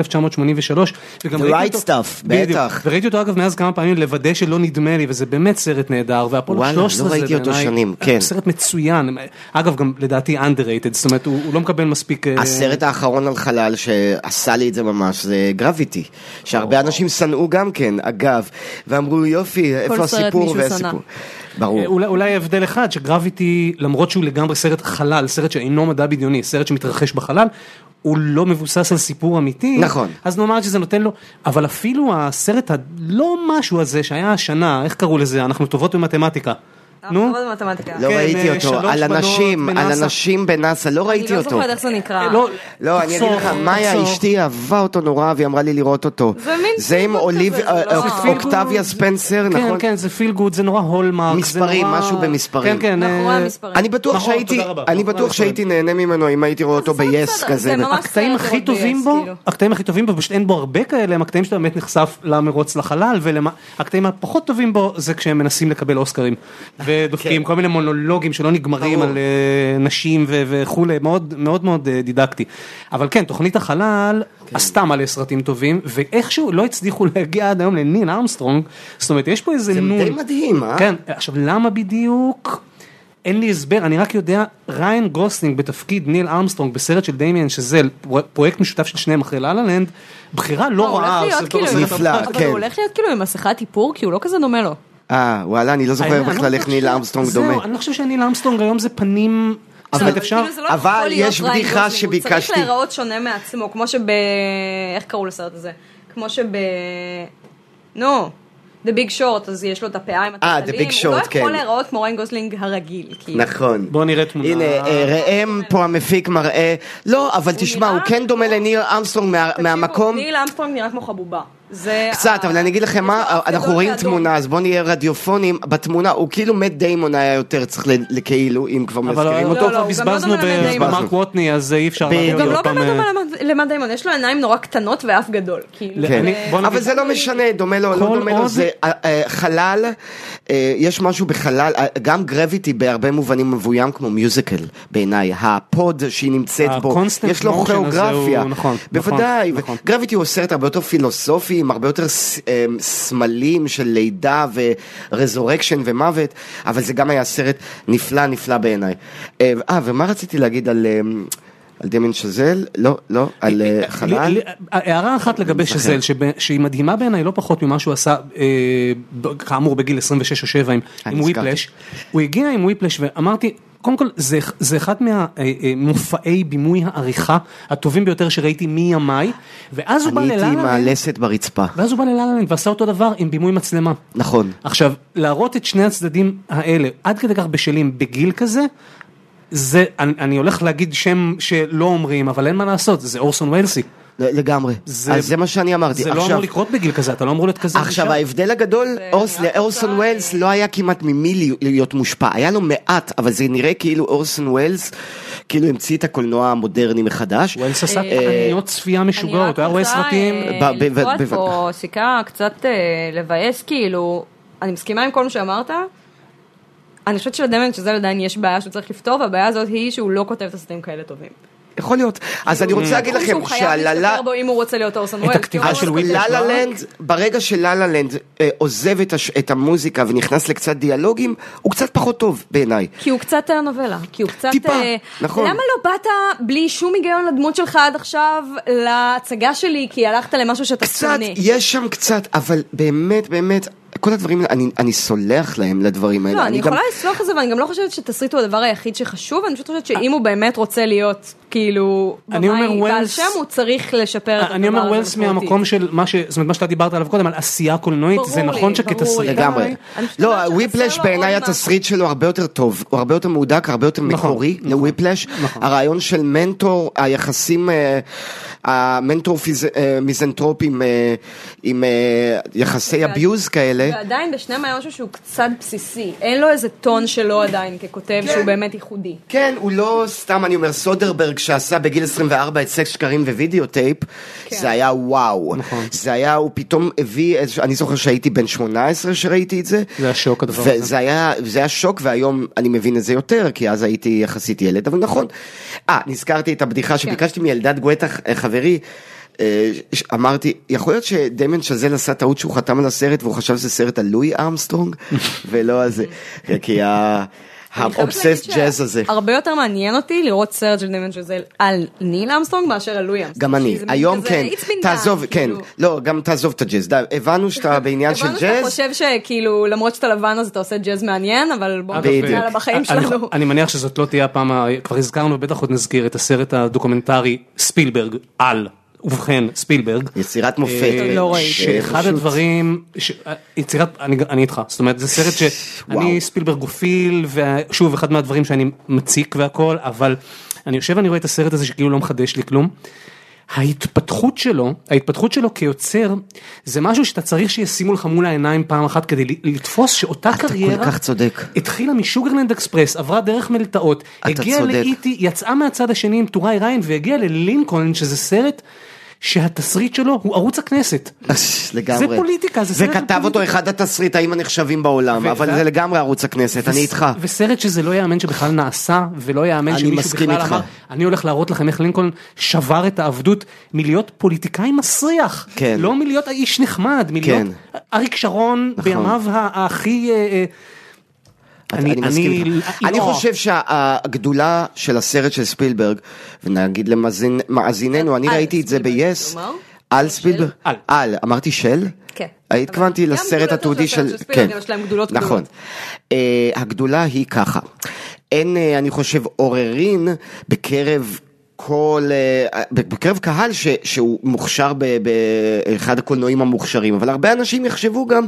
S2: The
S4: The Right Stuff, בטח.
S2: וראיתי אותו אגב מאז כמה פעמים לוודא שלא נדמה לי, וזה באמת סרט נהדר, והפולו
S4: וואלה,
S2: 13
S4: לא
S2: זה
S4: ראיתי אותו
S2: בעיניי-
S4: שנים,
S2: הוא
S4: כן.
S2: סרט מצוין. אגב, גם לדעתי underrated, זאת אומרת, הוא, הוא לא מקבל מספיק... אה,
S4: הסרט האחרון על חלל שעשה לי את זה ממש זה גרביטי, שהרבה אנשים שנאו שנאו גם כן, אגב, ואמרו יופי, איפה
S5: סרט
S4: הסיפור
S5: מישהו
S4: והסיפור. ברור.
S2: אה, אולי, אולי הבדל אחד שגרביטי למרות שהוא לגמרי סרט חלל סרט שאינו מדע בדיוני סרט שמתרחש בחלל הוא לא מבוסס על סיפור אמיתי
S4: נכון.
S2: אז נאמר שזה נותן לו אבל אפילו הסרט הלא משהו הזה שהיה השנה איך קראו לזה אנחנו טובות במתמטיקה. נו
S5: טוב, מתמטיקה. כאילו,
S4: לא
S2: כן,
S4: ראיתי
S2: אה,
S4: אותו,
S2: שלוש
S4: על
S2: בנות
S4: אנשים, על
S2: בנאסא.
S4: אנשים בנאסא, לא
S5: אני
S4: ראיתי
S5: לא
S4: אותו.
S5: זוכרת איך זה נקרא.
S2: לא,
S4: לא, אני אגיד
S2: תחסוך,
S4: לך, מאיה
S2: תחסוך.
S4: אשתי אהבה אותו נורא והיא אמרה לי לראות אותו.
S5: זה מין
S4: זה עם
S5: פילגוד
S4: אוליב,
S5: כזה,
S4: אה,
S5: זה לא-
S4: אוק-
S5: זה
S2: פילגוד.
S4: אוקטביה ספנסר,
S2: כן
S4: נכון?
S2: כן זה פיל גוד זה נורא הולמרק. זה
S4: מספרים,
S2: נורא-
S4: משהו במספרים.
S2: כן כן.
S5: מאחורי
S2: אה,
S5: המספרים.
S4: אני בטוח
S2: נכון,
S4: שהייתי,
S2: תודה רבה.
S4: אני
S2: נכון,
S4: בטוח
S2: נכון.
S4: שהייתי נהנה ממנו אם הייתי רואה אותו
S5: זה
S4: ב-yes
S5: בסדר,
S4: כזה.
S5: זה ממש-
S2: הקטעים
S5: סרט
S2: הכי
S5: לראות
S2: טובים
S5: ב-yes,
S2: בו,
S5: כאילו.
S2: הקטעים הכי טובים בו, פשוט אין בו הרבה כאלה, הם הקטעים שאתה באמת נחשף למרוץ לחלל, והקטעים הפחות טובים בו זה כשהם מנסים לקבל אוסקרים. ודופקים כל מיני מונולוגים שלא נגמרים
S4: כן. ברור.
S2: על אה, נשים ו- וכולי, מאוד מאוד מאוד אה, דידקטי. אבל כן, תוכנית החלל
S4: כן.
S2: עשתה מלא סרטים טובים, ואיכשהו לא הצליחו להגיע עד היום לנין ארמסטרונג, זאת אומרת יש פה איזה
S4: זה
S2: נון.
S4: די מדהים, אה?
S2: כן, עכשיו למה בדיוק? אין לי הסבר, אני רק יודע, ריין גוסלינג בתפקיד ניל ארמסטרונג בסרט של דמיאן שזל, פרו- פרויקט משותף של שניהם אחרי לה לה לנד, בחירה
S5: לא,
S2: לא
S5: הוא
S2: רעה.
S5: הולך להיות
S2: זה
S5: כאילו
S2: לא-
S5: עם-
S2: זה
S4: נפלא,
S2: דבר-
S5: אבל
S4: כן.
S5: הוא הולך להיות כאילו עם מסכת איפור, כי הוא לא כזה דומה לו.
S4: אה, וואלה, אני לא זוכר
S2: אני- אני
S4: בכלל
S2: לא
S4: איך
S2: חושב-
S4: ניל ארמסטרונג
S2: זהו,
S4: דומה.
S2: אני לא חושב שניל ארמסטרונג היום זה פנים, זאת אומרת
S5: אבל
S2: אפשר,
S5: כאילו זה לא יכול
S4: אבל
S5: להיות
S4: יש
S5: ריין
S4: בדיחה
S5: גוסלינג, הוא
S4: שביקשתי.
S5: צריך להיראות שונה מעצמו, כמו שב... איך קראו לסרט הזה? כמו שב... נו. The Big Short, אז יש לו את הפעיים
S4: אה, The
S5: התחתנים,
S4: Big
S5: הוא לא
S4: Short,
S5: יכול
S4: כן.
S5: להיראות כמו ריין גוסלינג הרגיל, כאילו.
S4: נכון.
S2: בוא נראה תמונה.
S4: הנה, אה, ראם פה המפיק מראה, לא, אבל תשמע, הוא
S5: נראה
S4: כן דומה
S5: כמו-
S4: לניר אמסטרונג מה-
S5: תקשיבו,
S4: מהמקום.
S5: ניל אמסטרונג נראה כמו חבובה. זה
S4: קצת,
S5: ה-
S4: אבל אני אגיד לכם
S5: יש לו
S4: מה, אה,
S5: אף
S4: אנחנו
S5: גדול
S4: רואים
S5: ואדום.
S4: תמונה, אז בואו נהיה רדיופונים, בתמונה, הוא כאילו מת דיימון היה יותר צריך ל- לכאילו, אם כבר
S2: אבל אה,
S4: מזכירים
S2: אותו
S4: אותו.
S5: לא,
S2: כבר
S5: הוא גם לא
S2: בזבזנו
S5: דומה לדיימון.
S2: במרק ווטני, אז אי אפשר
S4: בדיוק.
S2: להביא
S5: הוא
S2: עוד
S5: גם לא
S2: פעם,
S5: באמת
S2: אה,
S5: דומה למד- למד דיימון, יש לו עיניים נורא קטנות ואף גדול. כאילו.
S4: כן.
S2: אני- בוא נגיד-
S4: אבל זה לא משנה, דומה לו, לא
S2: כל
S4: דומה לו,
S2: עוד-
S4: זה אה, אה, חלל, אה, יש משהו בחלל, אה, גם גרביטי בהרבה מובנים מבוים כמו מיוזיקל בעיניי, הפוד שהיא נמצאת בו,
S2: ה-constant
S4: יש לו
S2: motion הזה הוא-
S4: כיאוגרפיה,
S2: נכון,
S4: בוודאי,
S2: נכון, נכון.
S4: גרביטי הוא סרט הרבה יותר פילוסופי, עם הרבה יותר ס- אה, סמלים של לידה ורזורקשן ומוות, אבל זה גם היה סרט נפלא נפלא בעיניי. אה, אה, ומה רציתי להגיד על... אה, על דמיין שזל? לא, לא, על אה, חלל?
S2: לי- לי- הערה אחת לגבי שזל, שב- שהיא מדהימה בעיניי לא פחות ממה שהוא עשה, אה, ב- כאמור בגיל 26 או 7 עם-
S4: אה,
S2: עם
S4: נזכרתי.
S2: וויפלש, הוא הגיע עם וויפלש ואמרתי, קודם כל זה, זה אחד מהמופעי בימוי העריכה הטובים ביותר שראיתי מימיי, ואז הוא בא
S4: אני הייתי עם
S2: ללאלנד,
S4: הלסת ברצפה.
S2: ואז הוא בא ללאלנד ועשה אותו דבר עם בימוי מצלמה.
S4: נכון.
S2: עכשיו, להראות את שני הצדדים האלה עד כדי כך בשלים בגיל כזה, זה, אני, אני הולך להגיד שם שלא אומרים, אבל אין מה לעשות, זה אורסון ויילסי.
S4: לגמרי.
S2: זה-
S4: אז זה מה שאני אמרתי.
S2: זה לא
S4: עכשיו-
S2: אמור לקרות בגיל כזה, אתה לא אמור להיות כזה.
S4: עכשיו
S2: ישר.
S4: ההבדל הגדול, אורס-
S5: נראה
S4: לאורסון
S5: תוצאה,
S4: ווילס לא היה כמעט ממי לי- להיות מושפע, היה לו מעט, אבל זה נראה כאילו אורסון ווילס, כאילו המציא את הקולנוע המודרני מחדש. אה,
S2: ווילס עשה
S5: אה,
S2: תחניות צפייה משוגעות, הוא היה רואה סרטים.
S5: אני
S4: ב- ב-
S5: רק רוצה אה,
S4: ב- ב-
S5: לקרוא פה סיכה קצת אה, לבאס, כאילו, אני מסכימה עם כל מה שאמרת. אני חושבת שלדמיין שזל עדיין יש בעיה שהוא צריך לפתור, והבעיה הזאת היא שהוא לא כותב את הסרטים כאלה טובים.
S4: יכול להיות. אז אני רוצה להגיד לכם
S5: שהוא חייב
S4: שהללה...
S5: להשתפר בו אם הוא רוצה להיות אורסון
S2: את
S5: וולס.
S2: הכתיבה
S5: כי הוא
S4: אז
S2: Mm. של
S5: לא
S2: וויטני
S5: כותב.
S4: ללה
S2: שמרק?
S4: לנד, ברגע שללה לנד אה, עוזב את הש- את המוזיקה ונכנס לקצת דיאלוגים, הוא קצת פחות טוב בעיניי.
S5: כי הוא קצת אה, נובלה, כי הוא קצת...
S4: טיפה,
S5: אה,
S4: נכון.
S5: למה לא באת בלי שום היגיון לדמות שלך עד עכשיו להצגה שלי, כי הלכת למשהו שאתה
S4: קצת,
S5: שונא.
S4: יש שם קצת, אבל באמת, באמת, כל הדברים, אני, אני סולח להם לדברים האלה.
S5: לא, אני
S4: גם-
S5: יכולה לסלוח את זה, ואני גם לא חושבת שתסריט הוא הדבר היחיד שחשוב, אני פשוט חושבת
S4: אה,
S5: שאם הוא באמת רוצה להיות, כאילו,
S2: אני אומר,
S5: במאי בעל
S2: ווילס-
S5: שם, הוא צריך לשפר את
S4: אה,
S5: הדבר הזה.
S2: אני אומר ווילס
S5: משמעותית.
S2: מהמקום של מה ש... זאת אומרת, מה שאתה דיברת עליו קודם, על עשייה קולנועית,
S5: ברור
S2: זה
S5: לי,
S2: נכון
S5: ברור לי.
S2: שכתסריטאי...
S4: לגמרי.
S5: אני פשוט
S4: לא,
S5: אומרת שחסר
S4: וויפלש
S5: לו
S4: בעיניי
S5: עוד משהו.
S4: התסריט שלו הרבה יותר טוב, הוא הרבה יותר מהודק, הרבה יותר
S2: נכון,
S4: מקורי
S2: נכון,
S4: לוויפלש. הרעיון של מנטור, היחסים, אה, המנטור פיז- אה, מיזנטרופ עם, אה, עם אה, יחסי
S5: ועד-
S4: אביוז כאלה.
S5: ועדיין בשניהם היה משהו שהוא קצת בסיסי, אין לו איזה טון שלו עדיין ככותב שהוא באמת ייחודי.
S4: כן, הוא לא סתם, אני אומר, סודרברג שעשה בגיל 24 את סקס שקרים ווידאו טייפ,
S5: כן.
S4: זה היה וואו.
S2: נכון.
S4: זה היה, הוא פתאום הביא, איזשהו- אני זוכר שהייתי בן 18 שראיתי את זה.
S2: זה היה שוק, הדבר הזה.
S4: וזה היה, זה היה שוק, והיום אני מבין את זה יותר, כי אז הייתי יחסית ילד, אבל נכון. אה, נזכרתי את
S5: כן.
S4: הבדיחה שביקשתי מילדד גואטה, אה, חברי. אה, ש- אמרתי, יכול להיות שדמיין שזל עשה טעות שהוא חתם על הסרט והוא חשב שזה סרט על לואי ארמסטרונג ולא על זה, כי ה...
S5: אני חייבת להגיד
S4: האובססט ג'אז הזה.
S5: שהרבה יותר מעניין אותי לראות סרט של דמיון שזל על ניל אמסטרונג מאשר על לואי אמסטרונג.
S4: גם אני,
S5: כי כאילו, זה מין
S4: היום
S5: כזה,
S4: כן,
S5: "It's been done",
S4: תעזוב, כן,
S5: כאילו.
S4: לא, גם תעזוב את הג'אז, די, הבנו שאתה בעניין של
S5: הבנו שאתה
S4: ג'אז,
S5: חושב שכאילו למרות שאתה לבן אז אתה עושה ג'אז מעניין אבל בוא
S4: בדיוק. אה,
S5: נדבר על בחיים
S2: אני-
S5: שלנו.
S2: אני מניח שזאת לא תהיה הפעם, ה- כבר הזכרנו, ובטח עוד נזכיר את הסרט הדוקומנטרי ספילברג על, ובכן ספילברג.
S4: יצירת מופת,
S2: אה,
S5: לא ראיתי.
S2: שאחד
S4: פשוט-
S2: הדברים, ש- אה, יצירת, אני אני איתך, זאת אומרת זה סרט
S4: וואו.
S2: שאני ספילברגופיל, ושוב אחד מהדברים שאני מציק והכל, אבל אני יושב ואני רואה את הסרט הזה שכאילו לא מחדש לי כלום. ההתפתחות שלו, ההתפתחות שלו כיוצר, זה משהו שאתה צריך שישימו לך מול העיניים פעם אחת כדי ל- לתפוס שאותה
S4: אתה כל
S2: קריירה,
S4: כך צודק.
S2: התחילה משוגרלנד אקספרס, עברה דרך מלטעות,
S4: אתה
S2: הגיעה
S4: צודק.
S2: לאיטי, יצאה מהצד השני עם טוראי ריין והגיעה ללינקולן שזה סרט שהתסריט שלו הוא ערוץ הכנסת.
S4: אש, לגמרי.
S2: פוליטיקה, זה סרט של
S4: וכתב אותו
S2: פוליטיקה.
S4: אחד התסריטאים הנחשבים בעולם,
S2: ו-
S4: אבל
S2: ו-
S4: זה לגמרי ערוץ הכנסת, אני איתך.
S2: וסרט שזה לא ייאמן שבכלל נעשה ולא ייאמן
S4: אני
S2: שמישהו
S4: מסכים
S2: בכלל
S4: איתך.
S2: אמר אני הולך להראות לכם איך לינקולן שבר את העבדות מלהיות פוליטיקאי מסריח
S4: כן.
S2: לא מלהיות האיש נחמד מלהיות אריק שרון
S4: נכון.
S2: בימיו ה- הכי. אה, אה,
S4: אני, אני מסכים איתך.
S2: לא.
S4: אני חושב שהגדולה של הסרט של ספילברג, ונגיד למאזיננו, אני
S5: על
S4: ראיתי את זה
S5: ספילברג, לא,
S4: ב-yes,
S5: כלומר?
S4: על ספילברג,
S2: על.
S4: על, אמרתי של?
S5: כן.
S4: התכוונתי
S5: אבל גם
S4: לסרט
S5: גדולות
S4: התיעודי
S5: של הסרט
S4: של,
S5: של ספילברג, יש להם גדולות
S4: נכון.
S5: גדולות.
S4: אה, הגדולה היא ככה, אין, אה, אני חושב, עוררין בקרב... כל, אה, בקרב קהל ש, שהוא מוכשר ב- באחד הקולנועים המוכשרים, אבל הרבה אנשים יחשבו גם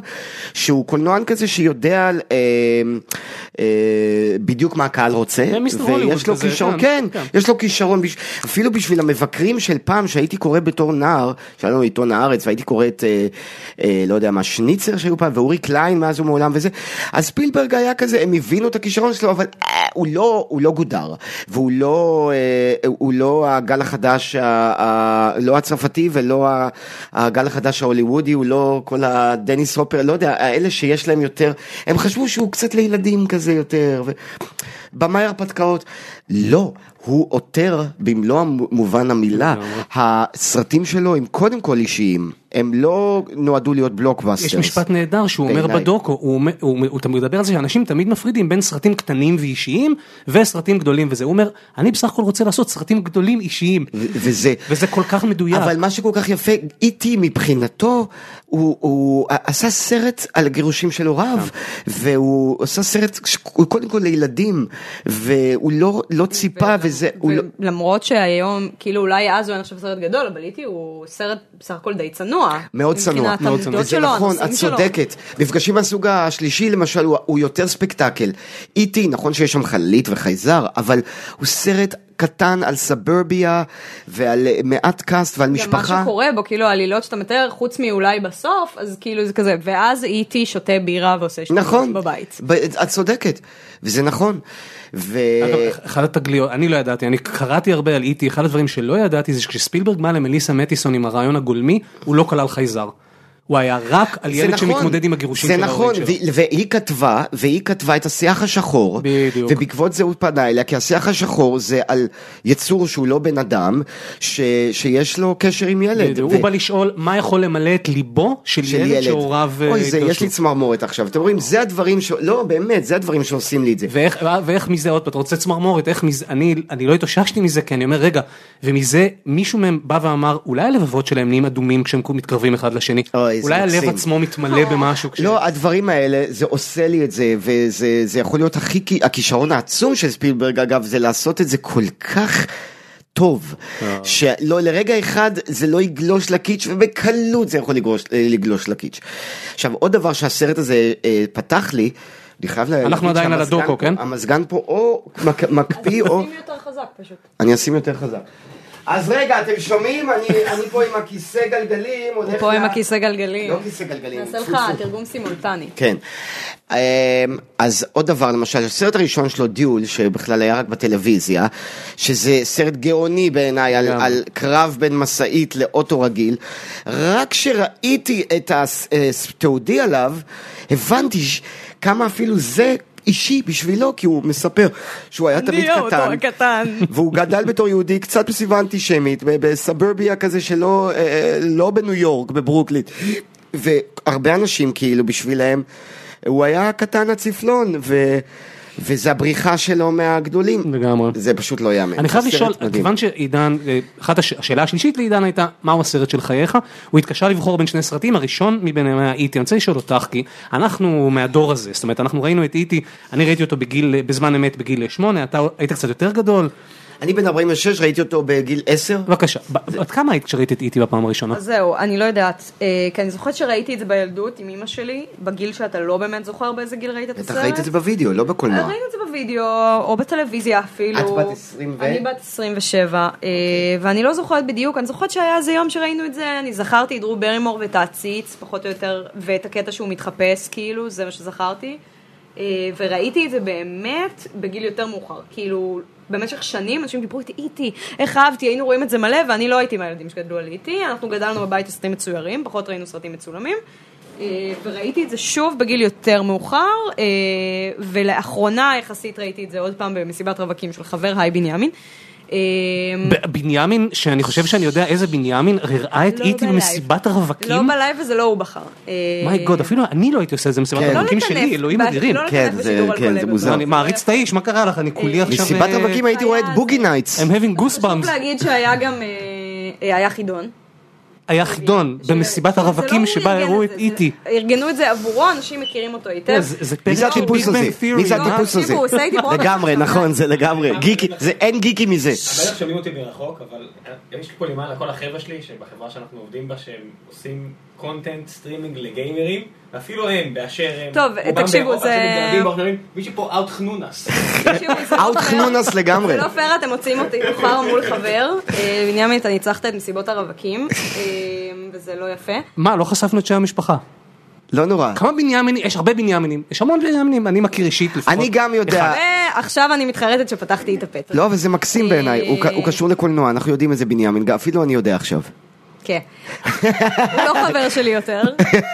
S4: שהוא קולנוען כזה שיודע על, אה, אה, בדיוק מה הקהל רוצה,
S2: זה מיסטר הוליווד
S4: ויש לו
S2: כזה,
S4: כישרון,
S2: כן,
S4: כן,
S2: כן.
S4: יש לו כישרון, בש- אפילו בשביל המבקרים של פעם שהייתי קורא בתור נער, שהיה לנו עיתון הארץ והייתי קורא את, אה, אה, לא יודע מה, שניצר שהיו פעם, ואורי קליין מאז ומעולם וזה, אז ספילברג היה כזה, הם הבינו את הכישרון שלו, אבל אה, הוא לא, הוא לא גודר, והוא לא, אה, הוא לא הגל החדש, ה, ה, לא הצרפתי ולא ה- הגל החדש ההוליוודי, הוא לא כל הדניס הופר, לא יודע, האלה שיש להם יותר, הם חשבו שהוא קצת לילדים כזה יותר. ו... במאי הרפתקאות. לא, הוא עותר במלוא מובן המילה. הסרטים שלו הם קודם כל אישיים, הם לא נועדו להיות בלוקבאסטרס.
S2: יש משפט נהדר שהוא אומר
S4: בעיניי.
S2: בדוקו, הוא, אומר- הוא, הוא, הוא מדבר על זה שאנשים תמיד מפרידים בין סרטים קטנים ואישיים וסרטים גדולים וזה, הוא אומר אני בסך הכל רוצה לעשות סרטים גדולים אישיים
S4: ו- וזה...
S2: וזה כל כך מדויק.
S4: אבל מה שכל כך יפה, איטי מבחינתו, הוא, הוא עשה סרט על הגירושים של הוריו, והוא עשה סרט שהוא קודם כל לילדים, והוא לא, לא ציפה, וזה, הוא לא...
S5: למרות שהיום כאילו אולי אז הוא היה נחשב סרט גדול אבל איתי הוא סרט בסך הכל די צנוע.
S4: מאוד צנוע,
S5: מבחינת העמדות
S4: וזה
S5: שלו,
S4: נכון, את
S5: הנושאים שלו.
S4: צודקת. מפגשים מהסוג השלישי למשל הוא, הוא יותר ספקטקל. איטי, נכון שיש שם חללית וחייזר, אבל הוא סרט קטן על סברביה ועל אה, מעט קאסט ועל
S5: גם מה
S4: משפחה.
S5: שקורה בו כאילו העלילות שאתה מתאר חוץ מאולי בסוף אז כאילו זה כזה ואז איתי שותה בירה ועושה
S4: נכון,
S5: שטויות כאילו, בבית.
S4: ב- את צודקת, וזה נכון. ו...
S2: אגב, אחד התגליות, אני לא ידעתי, אני קראתי הרבה על איטי, אחד הדברים שלא ידעתי זה שכשספילברג בא למליסה מטיסון עם הרעיון הגולמי, הוא לא כלל חייזר. הוא היה רק על
S4: זה
S2: ילד
S4: נכון,
S2: שמתמודד עם הגירושים
S4: זה
S2: של
S4: נכון,
S2: ההורים שלו.
S4: ו- והיא כתבה, והיא כתבה את השיח השחור,
S2: בדיוק.
S4: ובעקבות זה הוא פנה אליה, כי השיח השחור זה על יצור שהוא לא בן אדם, ש- שיש לו קשר עם ילד.
S2: בדיוק.
S4: ו-
S2: הוא בא לשאול מה יכול למלא את ליבו של
S4: של
S2: ילד שהוריו אה,
S4: אוי, זה, יש
S2: התגרשו.
S4: לי צמרמורת עכשיו. אתם רואים, זה הדברים ש... לא, באמת, זה הדברים שעושים לי את זה.
S2: ואיך, ואיך מזה עוד פעם, אתה רוצה צמרמורת, איך מזה, אני, אני לא התאוששתי מזה, כי אני אומר, רגע, ומזה מישהו מהם בא ואמר, אולי הלבבות שלהם נהיים אדומים כשהם מתקרבים אחד לשני,
S4: אוי, זה
S2: אולי הלב
S4: מקסים.
S2: עצמו מתמלא במשהו, כש...
S4: לא, הדברים האלה, זה עושה לי את זה, וזה זה יכול להיות הכי, כי- הכישרון העצום של ספילברג אגב, זה לעשות את זה כל כך טוב,
S2: אה.
S4: שלא לרגע אחד זה לא יגלוש לקיץ', ובקלות זה יכול לגלוש, לגלוש לקיץ'. עכשיו, עוד דבר שהסרט הזה אה, פתח לי, אני חייב להגיד
S2: אנחנו עדיין על
S4: שהמזגן
S2: הדוקו,
S4: פה-
S2: כן?
S4: המזגן פה או מק, מקפיא או...
S5: שים יותר חזק פשוט.
S4: אני אשים יותר חזק. אז רגע, אתם שומעים? אני, אני פה עם הכיסא גלגלים. הולך
S5: פה עם
S4: ל-
S5: הכיסא גלגלים.
S4: לא כיסא גלגלים.
S5: נעשה לך
S4: פו, פו.
S5: תרגום סימולטני.
S4: כן. אמ, אז עוד דבר, למשל, הסרט הראשון שלו, דיול, שבכלל היה רק בטלוויזיה, שזה סרט גאוני בעיניי, על, על קרב בין משאית לאוטו רגיל, רק כשראיתי את התיעודי עליו, הבנתי ש- כמה אפילו זה אישי בשבילו, כי הוא מספר שהוא היה תמיד
S5: האוטו
S4: קטן.
S5: הקטן.
S4: והוא גדל בתור יהודי קצת בסביבה אנטישמית, ב- בסברביה כזה שלא אה, לא בניו יורק, בברוקלין. והרבה אנשים כאילו בשבילהם, הוא היה קטן הצפלון, ו... וזה הבריחה שלו מהגדולים.
S2: לגמרי.
S4: זה פשוט לא ייאמן.
S2: אני חייב
S4: סרט
S2: לשאול,
S4: מדהים.
S2: כיוון שעידן, אה, אחת הש... השאלה השלישית לעידן הייתה, מהו הסרט של חייך? הוא התקשה לבחור בין שני סרטים, הראשון מביניהם היה איטי, אני רוצה לשאול אותך, כי אנחנו מהדור הזה, זאת אומרת, אנחנו ראינו את איטי, אני ראיתי אותו בגיל, בזמן אמת בגיל שמונה, אתה היית קצת יותר גדול,
S4: אני בן 46, ראיתי אותו בגיל 10.
S2: בבקשה, ב- עד כמה היית כשראית את איטי בפעם הראשונה?
S5: אז זהו, אני לא יודעת, אה, כי אני זוכרת שראיתי את זה בילדות עם אימא שלי, בגיל שאתה לא באמת זוכר באיזה גיל ראית את הסרט.
S4: בטח ראית את זה בווידאו, לא
S5: אה,
S4: בקולנוע.
S5: ראינו את זה בווידאו, או בטלוויזיה אפילו.
S4: את בת 20 ו- אוקיי.
S5: אני בת 27, אה, ואני לא זוכרת בדיוק, אני זוכרת שהיה איזה יום שראינו את זה, אני זכרתי את דרו ברימור ואת העציץ, פחות או יותר, ואת הקטע שהוא מתחפש, כאילו, זה מה שזכרתי. אה, וראיתי את זה באמת בגיל יותר מאוחר, כאילו... במשך שנים אנשים דיברו איתי, איתי, איך אהבתי, היינו רואים את זה מלא, ואני לא הייתי מהילדים שגדלו על איתי, אנחנו גדלנו בבית על סרטים מצוירים, פחות ראינו סרטים מצולמים, אה, וראיתי את זה שוב בגיל יותר מאוחר, אה, ולאחרונה יחסית ראיתי את זה עוד פעם במסיבת רווקים של חבר היי בנימין. אה,
S2: ב- בנימין, שאני חושב שאני יודע איזה בנימין, הראה את
S5: לא
S2: איטי
S5: בלייב.
S2: במסיבת
S5: לא
S2: הרווקים?
S5: בלייב וזה לא הוא בחר. אה,
S2: מיי גוד, אפילו אני לא הייתי עושה את זה במסיבת
S4: כן. לא
S2: הרווקים
S5: לטנף,
S2: שלי, אלוהים
S5: בש-
S2: אדירים.
S5: לא
S4: כן,
S5: לטנף
S4: זה-
S5: בשידור על
S4: כן, זה
S5: גולה,
S4: מוזר.
S5: בבקשה.
S2: אני מעריץ את האיש, מה קרה לך? אני כולי עכשיו...
S4: מסיבת
S2: אה,
S4: רווקים הייתי רואה את בוגי נייטס.
S2: I'm having
S5: חשוב
S2: goosebumps.
S5: להגיד שהיה גם, אה, אה, היה חידון.
S2: היה חידון במסיבת
S5: זה לא
S2: הרווקים
S5: הוא
S2: שבה
S5: ארגן
S2: הראו את
S5: זה, זה-
S2: איטי. אה,
S5: ארגנו את זה עבורו, אנשים מכירים אותו היטב.
S2: זה- זה פרק
S4: מי זה
S2: של
S4: הטיפוס
S2: Big Bang
S4: הזה?
S2: Theory,
S4: מי זה
S2: מה?
S4: הטיפוס
S5: תקשיבו,
S4: הזה?
S5: הוא עושה איתי פרודקט.
S4: לגמרי, נכון, זה לגמרי. גיקי, זה אין גיקי מזה.
S1: בטח שומעים אותי מרחוק, אבל יש לי פה למעלה כל החבר'ה שלי, שבחברה שאנחנו עובדים בה, שהם עושים קונטנט סטרימינג לגיימרים, ואפילו הם, באשר הם.
S5: טוב,
S1: רובם
S5: תקשיבו,
S1: באירופה,
S5: זה-
S1: שמתגרדים באופנועים, מישהו פה אאוט חנונס.
S5: תקשיבו, זה לא
S4: אאוט
S5: פייר.
S4: חנונס לגמרי.
S5: זה לא פייר, אתם מוצאים אותי מאוחר מול חבר. אה, בנימין, אתה ניצחת את מסיבות הרווקים, אה, וזה לא יפה.
S2: מה, לא חשפנו את שם המשפחה.
S4: לא נורא.
S2: כמה בנימינים, יש הרבה בנימינים, יש המון בנימינים, אני מכיר אישית לפחות.
S4: אני גם יודע.
S5: ועכשיו אני מתחרטת שפתחתי את הפה.
S4: לא, אבל זה מקסים
S2: אה.
S4: בעיניי. הוא ק- הוא קשור לקולנוע, אנחנו יודעים את זה בנימין, גם- אפילו אני יודע עכשיו.
S5: כן. הוא לא חבר שלי יותר,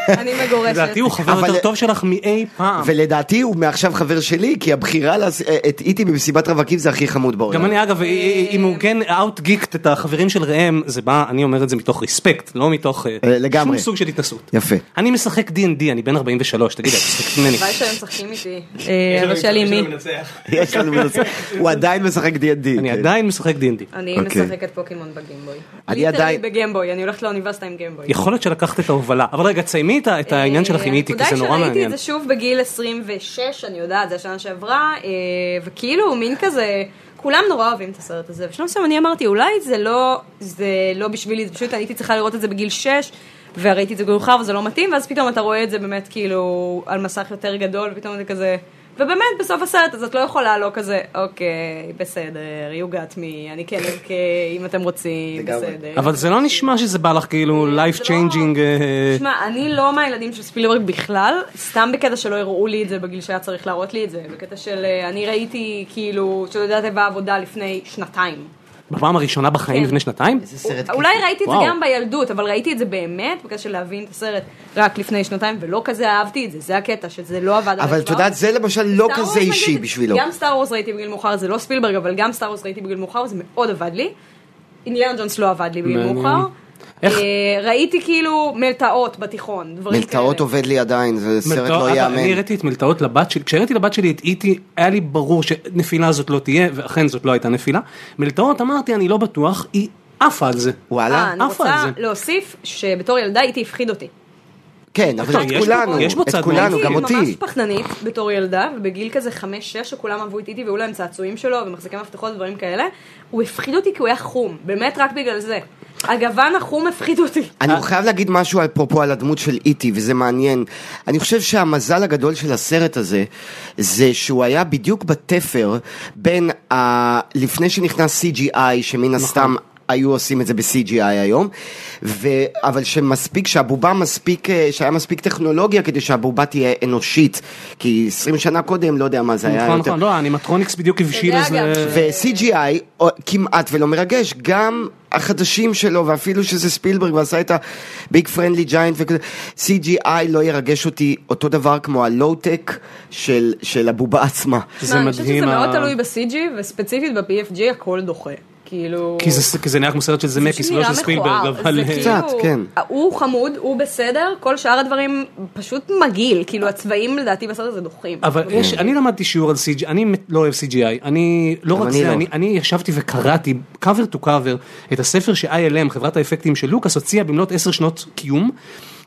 S5: אני מגורשת.
S2: לדעתי הוא חבר
S4: אבל-
S2: יותר טוב שלך מאי פעם.
S4: ולדעתי הוא מעכשיו חבר שלי, כי הבחירה לעש- את איטי במסיבת רווקים זה הכי חמוד בעולם.
S2: גם אני אגב, אם הוא כן אאוט גיקט את החברים של ראם, זה בא, אני אומר את זה מתוך רספקט, לא מתוך אה,
S4: אה, לגמרי.
S2: שום סוג של התנסות.
S4: יפה.
S2: אני משחק D&D, אני בן 43, תגיד, את משחקת ממני.
S5: הלוואי שהם משחקים איתי. אה, אבל שאלי מי.
S4: יש לנו מנצח. הוא עדיין משחק D&D.
S2: אני
S4: כן.
S2: עדיין משחק D&D.
S5: אני
S4: אוקיי.
S5: משחקת פוקימון בגיימבוי.
S4: אני
S5: ליטרלי
S4: עדיין-
S5: בגיימבוי, אני הולכת לאוניברסיטה עם גיימבוי.
S2: יכול להיות שלקחת את ההובלה, אבל רגע, תסיימי את ה- את העניין שלך עם איטי, כי זה נורא
S5: הנקודה היא אה, שראיתי
S2: מעניין.
S5: את זה שוב בגיל 26, אני יודעת, זה השנה שעברה, אה, וכאילו, מין כזה, כולם נורא אוהבים את הסרט הזה. בשלב מסוים אני אמרתי, אולי זה לא, זה לא בשבילי, זה פשוט הייתי צריכה לראות את זה בגיל 6. וראיתי את זה בגיל מאוחר וזה לא מתאים, ואז פתאום אתה רואה את זה באמת כאילו על מסך יותר גדול, ופתאום זה כזה... ובאמת, בסוף הסרט, אז את לא יכולה לא כזה, אוקיי, בסדר, you got me, אני כן אבכה אם אתם רוצים,
S4: לגמרי.
S5: בסדר.
S2: אבל זה לא נשמע שזה בא לך כאילו
S5: לא-
S2: life changing. אה,
S5: תשמע, אני לא מהילדים של ספילברג בכלל, סתם בקטע שלא הראו לי את זה בגיל שהיה צריך להראות לי את זה, בקטע של אה, אני ראיתי כאילו, שאתה יודע, תיבה עבודה לפני שנתיים.
S2: בפעם הראשונה בחיים
S5: כן.
S2: לפני שנתיים?
S4: איזה סרט
S5: אולי ראיתי את זה
S2: וואו.
S5: גם בילדות, אבל ראיתי את זה באמת, בקטע של להבין את הסרט רק לפני שנתיים, ולא כזה אהבתי את זה, זה הקטע, שזה לא עבד עליי
S4: אבל את
S5: כבר.
S4: יודעת, זה למשל
S5: סטאר
S4: לא
S5: וורס,
S4: כזה אישי
S5: נגיד,
S4: בשבילו.
S5: גם סטאר וורס ראיתי בגיל מאוחר, זה לא ספילברג, אבל גם סטאר וורס ראיתי בגיל מאוחר, זה מאוד עבד לי. אינדיאנה ג'ונס לא עבד לי בגיל
S2: מעניין.
S5: מאוחר.
S2: איך-
S5: אה, ראיתי כאילו מלטעות בתיכון, דברים כאלה.
S4: מלטעות עובד לי עדיין, זה סרט
S2: מלטעות,
S4: לא
S2: אבל
S4: ייאמן.
S2: אה, אני הראיתי את מלטעות לבת שלי, כשהראיתי לבת שלי את איטי, היה לי ברור שנפילה זאת לא תהיה, ואכן זאת לא הייתה נפילה. מלטעות אמרתי, אני לא בטוח, היא עפה על זה.
S5: אה,
S4: וואלה.
S5: אני
S2: עפה על
S5: רוצה
S2: זה.
S5: להוסיף שבתור ילדה איתי הפחיד אותי.
S4: כן, אבל
S2: אה, יש
S4: את
S2: בו-
S4: כולנו,
S2: יש בו
S4: את
S2: צד
S4: כולנו,
S2: מאוד
S4: גם
S5: הייתי ממש
S4: אותי.
S5: פחדנית בתור ילדה, ובגיל כזה חמש-שש שכולם אהבו את איתי והיו להם צעצועים שלו ומחזיקי מפתחות ודברים כאלה, הוא הפחיד אותי כי הוא היה חום, באמת רק בגלל זה. הגוון החום הפחיד אותי.
S2: אה?
S4: אני חייב להגיד משהו אפרופו על הדמות של איטי, וזה מעניין. אני חושב שהמזל הגדול של הסרט הזה, זה שהוא היה בדיוק בתפר בין ה... לפני שנכנס CGI,
S2: נכון.
S4: שמן הסתם... היו עושים את זה ב-CGI היום, ו... אבל שמספיק, שהבובה מספיק, אה, שהיה מספיק טכנולוגיה כדי שהבובה תהיה אנושית, כי 20 שנה קודם, לא יודע מה זה היה
S2: נכון,
S4: יותר.
S2: נכון, לא, האנימטרוניקס בדיוק הבשיל
S5: יודע,
S2: איזה...
S5: גם ש-
S4: ו-CGI או- כמעט ולא מרגש, גם החדשים שלו, ואפילו שזה ספילברג ועשה את ה-Big Friendly Giant וכזה, CGI לא ירגש אותי אותו דבר כמו הלואו-טק של, של הבובה עצמה.
S2: זה
S5: אני חושבת שזה
S2: מדהים,
S5: מאוד
S2: ה-
S5: תלוי ב-CG, וספציפית ב-PFG הכל דוחה. כאילו...
S2: כי זה- כי זה נראה כמו סרט של זמקיס, לא
S5: נראה
S2: של ספילברג,
S5: מכוער.
S2: אבל...
S5: זה
S2: אה,
S5: כאילו,
S4: קצת, כן.
S5: הוא חמוד, הוא בסדר, כל שאר הדברים פשוט מגעיל, כאילו הצבעים לדעתי בסרט הזה דוחים.
S2: אבל יש, אני למדתי שיעור על CGI, אני מת- לא אוהב CGI, אני לא
S4: גם
S2: רק
S4: אני
S2: זה,
S4: לא.
S2: אני, אני ישבתי וקראתי cover to cover את הספר ש-ILM, חברת האפקטים של לוקאס, הוציאה במלאת עשר שנות קיום.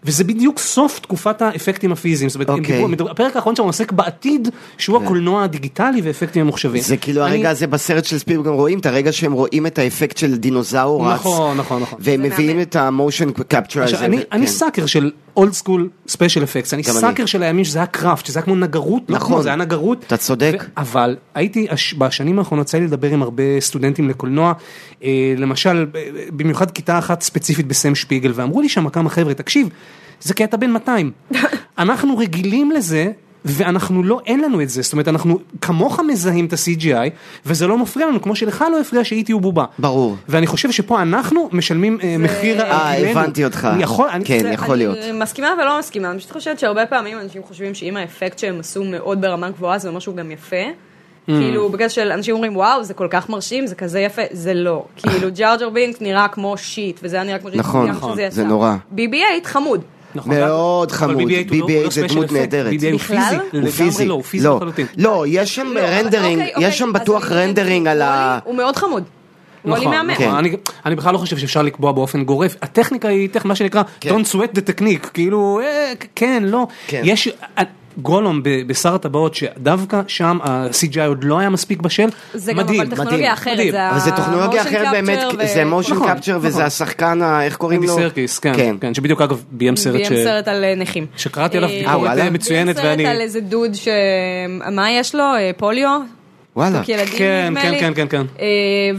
S2: וזה בדיוק סוף תקופת האפקטים הפיזיים, זאת אומרת, הם
S4: אוקיי. כן.
S2: דיברו- מדבר- הפרק האחרון שם עוסק בעתיד, שהוא הקולנוע הדיגיטלי ואפקטים ממוחשבים.
S4: זה כאילו
S2: אני-
S4: הרגע הזה בסרט של ספיר גם רואים את הרגע שהם רואים את האפקט של דינוזאור רץ.
S2: נכון, נכון, נכון.
S4: והם מביאים את המושן קפצ'ר הזה.
S2: עכשיו, אני,
S4: ו-
S2: אני
S4: כן.
S2: סאקר של אולד סקול ספיישל אפקטס, אני
S4: גם אני.
S2: סאקר של הימים שזה היה קראפט, שזה היה כמו נגרות, לא
S4: נכון.
S2: כמו, זה היה נגרות.
S4: אתה צודק.
S2: ו- אבל הייתי, הש- בשנים האחרונות יצא לי לדבר עם הרבה סטודנטים לקולנוע, אה, למשל, ב- במיוחד כיתה אחת ספציפית בסם שפיגל, ואמרו לי שם כמה חבר'ה, תקשיב, זה כי אתה בן 200. אנחנו רגילים לזה. ואנחנו לא, אין לנו את זה, זאת אומרת אנחנו כמוך מזהים את ה-CGI וזה לא מפריע לנו כמו שלך לא הפריע שאיטי הוא בובה.
S4: ברור.
S2: ואני חושב שפה אנחנו משלמים אה, מחיר על
S4: אה,
S2: גילנו.
S4: הבנתי אותך.
S2: יכול, אני,
S4: כן,
S2: זה-
S4: יכול להיות.
S5: אני מסכימה ולא מסכימה, אני פשוט חושבת שהרבה פעמים אנשים חושבים שאם האפקט שהם עשו מאוד ברמה גבוהה זה אומר שהוא גם יפה.
S2: Mm.
S5: כאילו בגלל של אנשים אומרים וואו זה כל כך מרשים זה כזה יפה זה לא כאילו ג'ארג'ר בינק נראה כמו שיט וזה היה נראה כמו שיט
S4: נכון,
S5: גם
S4: נכון,
S5: כשזה יצא.
S4: זה נורא.
S5: BB-8 חמוד.
S2: נכון,
S4: מאוד
S2: אבל
S4: חמוד,
S2: BB-8 הוא לא- הוא
S4: BB-8
S2: לא
S4: זה
S2: special
S4: דמות
S2: effect,
S4: נהדרת.
S2: BB-8 הוא
S5: בכלל?
S2: פיזי,
S4: הוא פיזי.
S2: לגמרי לא, הוא פיזי לחלוטין.
S4: לא, יש שם
S5: לא, אז
S4: רנדרינג,
S5: אוקיי, אוקיי,
S4: יש שם
S5: אז
S4: בטוח
S5: אני-
S4: רנדרינג על ה...
S5: וולי- הוא מאוד חמוד. הוא עלי
S2: נכון,
S5: מהמם.
S4: כן.
S2: נכון, אני- אני בכלל לא חושב שאפשר לקבוע באופן גורף, הטכניקה היא טכ- מה שנקרא
S4: כן.
S2: Don't sweat the technique, כאילו אה, כ- כן, לא,
S4: כן.
S2: יש אה, גולום ב- בשר הטבעות שדווקא שם ה-CGI עוד לא היה מספיק בשל,
S5: זה גם
S2: מדהים,
S5: אבל טכנולוגיה אחרת.
S2: מדהים.
S5: זה
S4: אבל זה טכנולוגיה
S5: ה- motion
S4: אחרת
S5: capture
S4: באמת,
S5: ו-
S4: זה מושן
S2: נכון,
S4: קפצ'ר
S2: נכון.
S4: וזה השחקן, ה- איך קוראים
S2: אנדי
S4: לו?
S2: סרקיס, כן, כן, שבדיוק אגב ביים סרט ש-
S5: ביים סרט על אה, נכים.
S2: שקראתי עליו
S5: אה,
S2: ביקורת
S4: וואלה?
S2: אה, מצוינת
S5: ביים
S2: ואני,
S5: סרט על איזה דוד ש... מה יש לו? אה, פוליו?
S4: וואלה.
S5: דוק ילדים
S2: כן,
S5: נדמה
S2: כן,
S5: לי.
S2: כן, כן, כן.
S5: אה,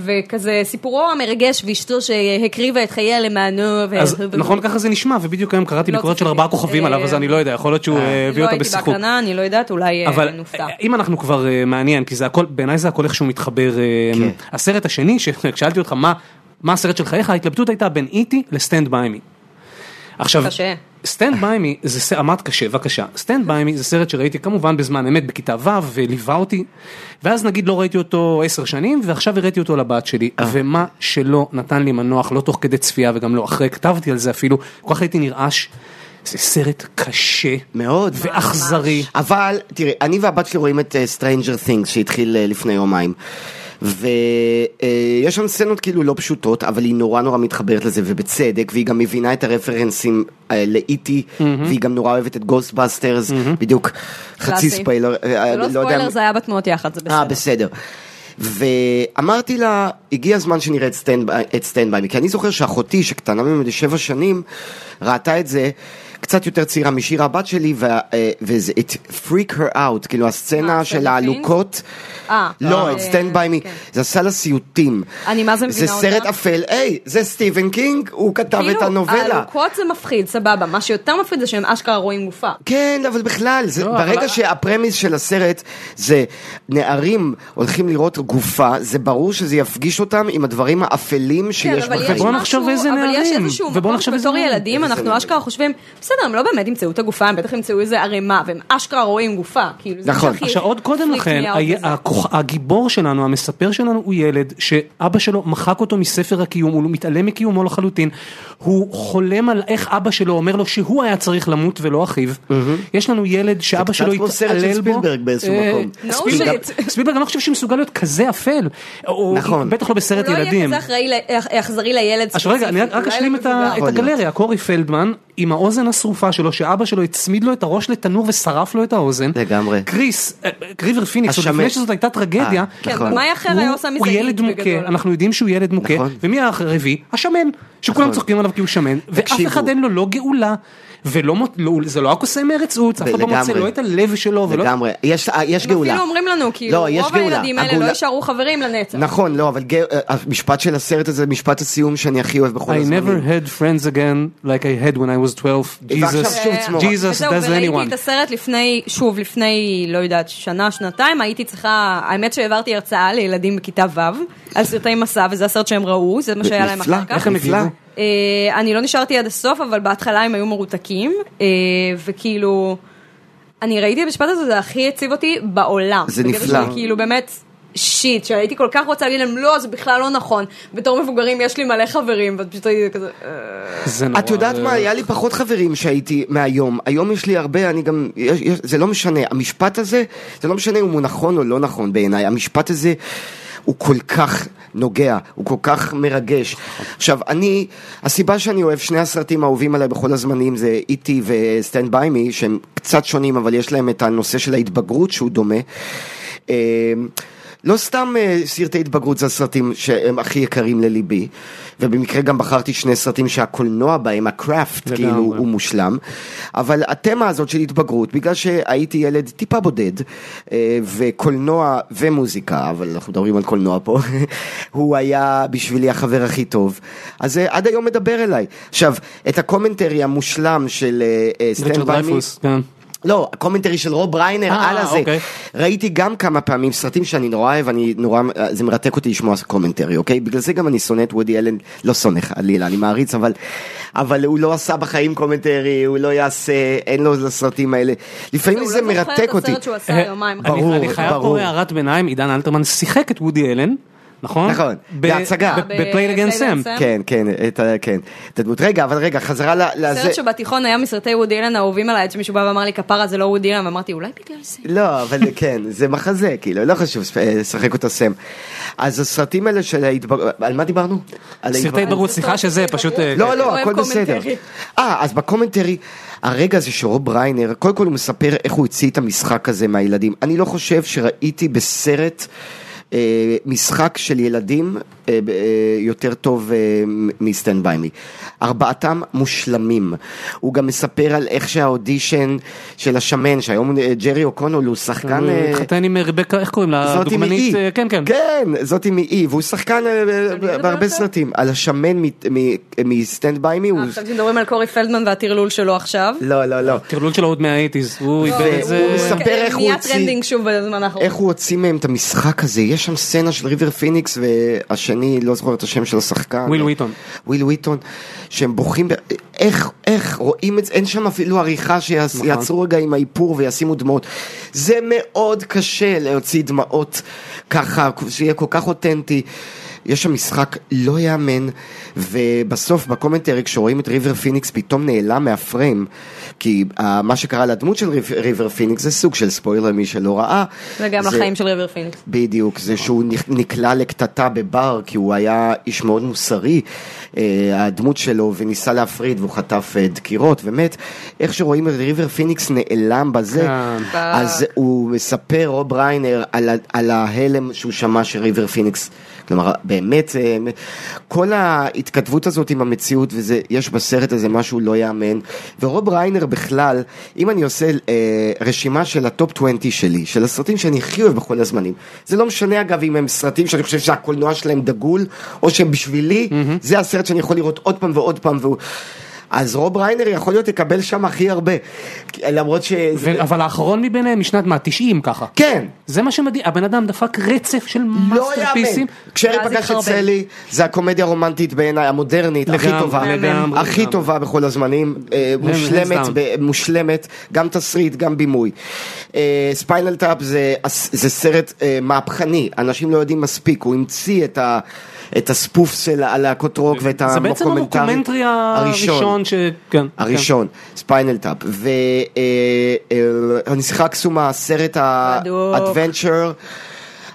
S5: וכזה סיפורו המרגש ואשתו שהקריבה את חייה למענו. ו-
S2: אז
S5: ו-
S2: נכון ככה זה נשמע ובדיוק היום קראתי
S5: לא
S2: ביקורת של
S5: צפיתי.
S2: ארבעה כוכבים
S5: אה,
S2: עליו אז אני לא יודע יכול להיות שהוא אה, הביא
S5: לא
S2: אותו
S5: הייתי
S2: בשיחוק.
S5: בהקרנה, אני לא יודעת, אולי אה,
S2: אבל
S5: נופתע.
S2: אה, אם אנחנו כבר אה, מעניין כי זה הכל בעיניי זה הכל איך שהוא מתחבר אה,
S4: כן.
S2: הסרט השני ששאלתי אותך מה מה הסרט של חייך ההתלבטות הייתה בין E איטי לסטנד ביי מי. עכשיו
S5: קשה.
S2: סטנד ביי מי זה ס- אמרת קשה בבקשה סטנד ביי מי זה סרט שראיתי כמובן בזמן אמת בכיתה ו' וליווה אותי ואז נגיד לא ראיתי אותו עשר שנים ועכשיו הראיתי אותו לבת שלי ומה שלא נתן לי מנוח לא תוך כדי צפייה וגם לא אחרי כתבתי על זה אפילו כל כך הייתי נרעש. זה סרט קשה
S4: מאוד.
S2: ואכזרי.
S4: אבל תראה, אני והבת שלי רואים את אה, Stranger Things שהתחיל אה, לפני יומיים. ויש שם סצנות כאילו לא פשוטות, אבל היא נורא נורא מתחברת לזה, ובצדק, והיא גם מבינה את הרפרנסים אה, לאיטי, והיא גם נורא אוהבת את גוסטבאסטרס, בדיוק, חצי
S5: קלאסי.
S4: ספיילר, אה, אה,
S5: זה לא
S4: לא יודע,
S5: ספוילר, זה היה בתנועות יחד, זה
S4: אה,
S5: בסדר.
S4: בסדר. ואמרתי לה, הגיע הזמן שנראה את סטנד- את סטנד ביי מי, כי אני זוכר שאחותי, שקטנה ממני שבע שנים, ראתה את זה, קצת יותר צעירה משירה הבת שלי, וה- אה, וזה, it freak her out, כאילו הסצנה
S5: מה,
S4: של
S5: Stranger
S4: העלוקות,
S5: אה,
S4: לא,
S5: אה,
S4: את סטנד ביי מי,
S5: כן.
S4: זה עשה לה סיוטים.
S5: אני מה זה מבינה
S4: זה סרט
S5: אותה?
S4: אפל, היי, זה סטיבן קינג, הוא כתב את
S5: כאילו,
S4: הנובלה.
S5: הלוקות זה מפחיד, סבבה. מה שיותר מפחיד זה שהם אשכרה רואים גופה.
S4: כן, אבל בכלל, זה,
S2: לא,
S4: ברגע
S2: אבל-
S4: שהפרמיס של הסרט זה נערים הולכים לראות גופה, זה ברור שזה יפגיש אותם עם הדברים האפלים
S2: כאילו,
S4: שיש
S5: כן, אבל
S4: בחיים.
S5: יש
S2: ובוא נחשוב
S5: משהו-
S2: איזה
S5: אבל יש
S2: נערים,
S5: איזשהו
S2: ובוא
S5: מקום
S2: נחשוב איזה
S5: בתור
S2: נערים.
S5: ילדים,
S4: איזה
S5: אנחנו
S4: נערים.
S5: אשכרה חושבים, בסדר, הם לא באמת ימצאו את הגופה, הם בטח ימצאו איזה ערימה, והם אשכרה רואים גופה. כאילו, זה
S4: נכון.
S5: הכי
S2: עכשיו עוד קודם
S5: פריק
S2: לכן,
S5: מי האוט
S2: היה-
S5: הזה.
S2: הכוח- הגיבור שלנו, המספר שלנו הוא ילד שאבא שלו מחק אותו מספר הקיום, הוא מתעלם מקיומו לחלוטין, הוא חולם על איך אבא שלו אומר לו שהוא היה צריך למות ולא אחיו, יש לנו ילד שאבא
S4: Mm-hmm. קצת
S2: שלו
S4: כמו סרט של
S2: התעלל בו,
S4: ספילברג באיזשהו
S2: אה,
S4: מקום.
S5: No
S2: ספילברג-
S5: shit.
S2: ספילברג אני לא חושב שהוא מסוגל להיות כזה אפל, או-
S4: נכון.
S2: בטח לא בסרט
S5: הוא לא יהיה
S2: ילדים.
S5: כזה אחראי ל- אכזרי לילד
S2: עכשיו רגע, אני רק- רק
S5: אולי לא
S2: אשלים את ה- נכון.
S5: למבוגר.
S2: את
S4: יכול להיות.
S2: הגלריה, קורי פלדמן עם האוזן השרופה שלו, שאבא שלו הצמיד לו את הראש לתנור ושרף לו את האוזן.
S4: לגמרי.
S2: קריס, אה, ריבר פיניקס, עוד
S4: השמן.
S2: לפני שזאת הייתה טרגדיה.
S4: אה,
S5: כן,
S4: נכון.
S5: במאי אחר
S2: הוא-
S5: היה עושה מזה
S2: הוא ילד מוכה, אנחנו יודעים שהוא ילד מוכה,
S4: נכון.
S2: ומי הרביעי? השמן, שכולם
S4: נכון.
S2: צוחקים עליו כי הוא שמן, ואף
S4: תקשיבו.
S2: אחד אין לו לא גאולה, ולא מות- לא- זה לא הקוסם ארץ עוץ, אף אחד לא
S4: לגמרי.
S2: מוצא לא את הלב שלו, ולא...
S4: לגמרי, יש, אה, יש
S5: הם
S4: גאולה.
S5: אפילו אומרים לנו, כאילו,
S4: לא, יש
S5: רוב
S4: גאולה.
S5: הילדים האלה לא
S4: הגאולה-
S5: יישארו חברים לנצח.
S4: נכון, לא, אבל גא- אה, המשפט של הסרט הזה, משפט הסיום שאני הכי אוהב בכל
S2: I never
S4: הזמנים.
S2: had friends again like I had when I was 12,
S4: ועכשיו
S2: Jesus,
S4: שוב צמורה.
S2: Jesus
S5: אה, וזהו,
S2: does
S5: וראיתי
S2: anyone.
S5: את הסרט לפני, שוב, לפני, לא יודעת, שנה, שנתיים, הייתי צריכה, האמת שהעברתי הרצאה לילדים בכיתה ו' על סרטי מסע, וזה הסרט שהם ראו, זה מה שהיה להם
S4: נפלא,
S5: אחר כך.
S4: איך הם נפלא.
S2: הגיבו?
S5: אה, אני לא נשארתי עד הסוף, אבל בהתחלה הם היו מרותקים, אה, וכאילו, אני ראיתי את המשפט הזה, זה הכי הציב אותי בעולם.
S4: זה
S5: בגלל
S4: נפלא.
S5: שכאילו באמת... שיט, שהייתי כל כך רוצה להגיד להם, לא, זה בכלל לא נכון. בתור מבוגרים יש לי מלא חברים, ואת פשוט הייתי כזה... "אה,
S2: זה נורא.
S4: את יודעת מה, היה לי פחות חברים שהייתי מהיום. היום יש לי הרבה, אני גם... יש, יש, זה לא משנה. המשפט הזה, זה לא משנה אם הוא נכון או לא נכון בעיניי. המשפט הזה הוא כל כך נוגע, הוא כל כך מרגש. עכשיו, אני... הסיבה שאני אוהב שני הסרטים האהובים עליי בכל הזמנים זה E איטי וסטנד ביי מי, שהם קצת שונים, אבל יש להם את הנושא של ההתבגרות שהוא דומה. אה, לא סתם אה, סרטי התבגרות זה הסרטים שהם הכי יקרים לליבי, ובמקרה גם בחרתי שני סרטים שהקולנוע בהם, הקראפט, כאילו, הוא מושלם, אבל התמה הזאת של התבגרות, בגלל שהייתי ילד טיפה בודד, אה, וקולנוע ומוזיקה, אבל אנחנו מדברים על קולנוע פה, הוא היה בשבילי החבר הכי טוב, אז אה, עד היום מדבר אליי. עכשיו, את הקומנטרי המושלם של אה, אה, סטנד
S2: ריצ'רד
S4: ביי מי,
S2: דרייפוס, כן.
S4: לא, הקומנטרי של רוב ריינר
S2: אה,
S4: על הזה.
S2: אוקיי.
S4: ראיתי גם כמה פעמים סרטים שאני נורא אוהב, אני נורא, זה מרתק אותי לשמוע קומנטרי, אוקיי? בגלל זה גם אני שונא את וודי אלן, לא שונא חלילה, אני מעריץ, אבל, אבל הוא לא עשה בחיים קומנטרי, הוא לא יעשה, אין לו לסרטים האלה. לפעמים
S5: הוא
S4: זה
S5: לא זוכר את
S4: מרתק אותי. אה,
S5: הסרט שהוא
S2: אה,
S5: עשה יומיים.
S2: אני-
S4: ברור,
S2: אני חייב
S4: ברור.
S2: פה הערת ביניים, עידן אלתרמן שיחק את וודי אלן, נכון?
S4: נכון, בהצגה.
S2: בפלייד
S5: ב-
S2: אגן סם.
S5: Played Against Sam.
S4: כן, כן, את ה... כן. את הדמות. רגע, אבל רגע, חזרה ל- לזה.
S5: סרט שבתיכון היה מסרטי ווד אילן האהובים עליי, עד שמישהו בא ואמר לי כפרה זה לא ווד אילן, ואמרתי אולי בגלל זה.
S4: לא, אבל כן, זה מחזה, כאילו, לא חשוב, לשחק אותה סם. אז הסרטים האלה של ההתבגרות, על מה דיברנו? על
S2: סרטי
S4: ההתבגרות.
S2: התבגרות, סליחה שזה פשוט... אה,
S4: לא,
S5: הוא
S4: לא,
S5: אוהב
S4: הכל בסדר.
S5: קומנטרי.
S4: אה, אז בקומנטרי, הרגע הזה שרוב בריינר, קודם כל הוא מספר איך הוא הוציא את המשחק הזה מהילדים. אני לא חושב שראיתי בסרט אה, משחק של ילדים אה, ב- אה, יותר טוב אה, מ- מסטנד ביי מי. ארבעתם מושלמים. הוא גם מספר על איך שהאודישן של השמן, שהיום אה, ג'רי אוקונול הוא שחקן...
S5: Mm.
S2: הוא
S4: אה,
S2: התחתן עם רבקה, איך קוראים לה?
S4: זאתי
S2: הדוגמנית,
S4: מאי.
S2: אה, כן, כן.
S4: כן, זאתי מאי, והוא שחקן אה,
S5: מדברת
S4: בהרבה
S5: על זה?
S4: סרטים. על השמן מת- מ- מסטנד ביי מי, הוא...
S5: אה, עכשיו שמדברים על קורי פלדמן והטרלול שלו עכשיו. אה, אוקיי,
S4: לא, לא, לא.
S2: טרלול שלו עוד מהאייטיז, הוא
S4: לא,
S2: איבד את
S4: הוא
S2: זה.
S4: מספר איך הוא
S5: נהיה
S4: הוציא-
S5: טרנדינג שוב בזמן האחרון.
S4: איך הוא הוציא מהם את המשחק הזה, יש שם סצנה של ריבר פיניקס והשני, לא זוכר את השם של השחקן.
S2: וויל וויטון.
S4: וויל וויטון, שהם בוכים, ב- איך, איך, רואים את זה, אין שם אפילו עריכה
S2: נכון.
S4: שיעצרו רגע עם האיפור וישימו דמעות. זה מאוד קשה להוציא דמעות ככה, שיהיה כל כך אותנטי. יש שם משחק לא יאמן, ובסוף בקומנטרי כשרואים את ריבר פיניקס פתאום נעלם מהפריים, כי אה, מה שקרה לדמות של ריב- ריבר פיניקס זה סוג של ספוילר מי שלא ראה.
S5: וגם
S4: זה-
S5: לחיים של ריבר פיניקס.
S4: בדיוק, זה שהוא נכ- נקלע לקטטה בבר, כי הוא היה איש מאוד מוסרי, אה, הדמות שלו, וניסה להפריד, והוא חטף אה, דקירות, ומת. איך שרואים את ריבר פיניקס נעלם בזה,
S2: כן.
S4: אז הוא מספר, רוב ריינר, על, ה- על ההלם שהוא שמע של ריבר פיניקס. כלומר, באמת, אה, כל ההתכתבות הזאת עם המציאות, ויש בסרט הזה משהו לא יאמן. ורוב ריינר בכלל, אם אני עושה אה, רשימה של הטופ 20 שלי, של הסרטים שאני הכי אוהב בכל הזמנים, זה לא משנה אגב אם הם סרטים שאני חושב שהקולנוע שלהם דגול, או שהם בשבילי, mm-hmm. זה הסרט שאני יכול לראות עוד פעם ועוד פעם. והוא... אז רוב ריינר יכול להיות יקבל שם הכי הרבה, כי- למרות ש...
S2: ו- אבל האחרון מביניהם משנת מה? 90 ככה.
S4: כן,
S2: זה מה שמדהים, הבן אדם דפק רצף של
S4: לא
S2: מאסטרפיסים.
S4: יאמן. כשארי
S5: ואז
S4: פגש את
S5: התחרבן.
S4: סלי, זה הקומדיה הרומנטית בעיניי, המודרנית, הכי
S2: לגמרי,
S4: טובה.
S2: לגמרי,
S4: הכי
S2: לגמרי.
S4: טובה בכל הזמנים, אה,
S2: לגמרי,
S4: מושלמת,
S2: hands down.
S4: ב- מושלמת, גם תסריט, גם בימוי. ספיינל טאפ זה סרט אה, מהפכני, אנשים לא יודעים מספיק, הוא המציא את ה... את הספוף של הלהקות רוק ואת
S2: זה בעצם
S4: המוקומנטרי
S2: המוקומנטרי הראשון ש... כן,
S4: הראשון, ספיינל טאפ, אה, והנסיכה הקסומה, סרט
S5: בדוק.
S4: האדוונצ'ר,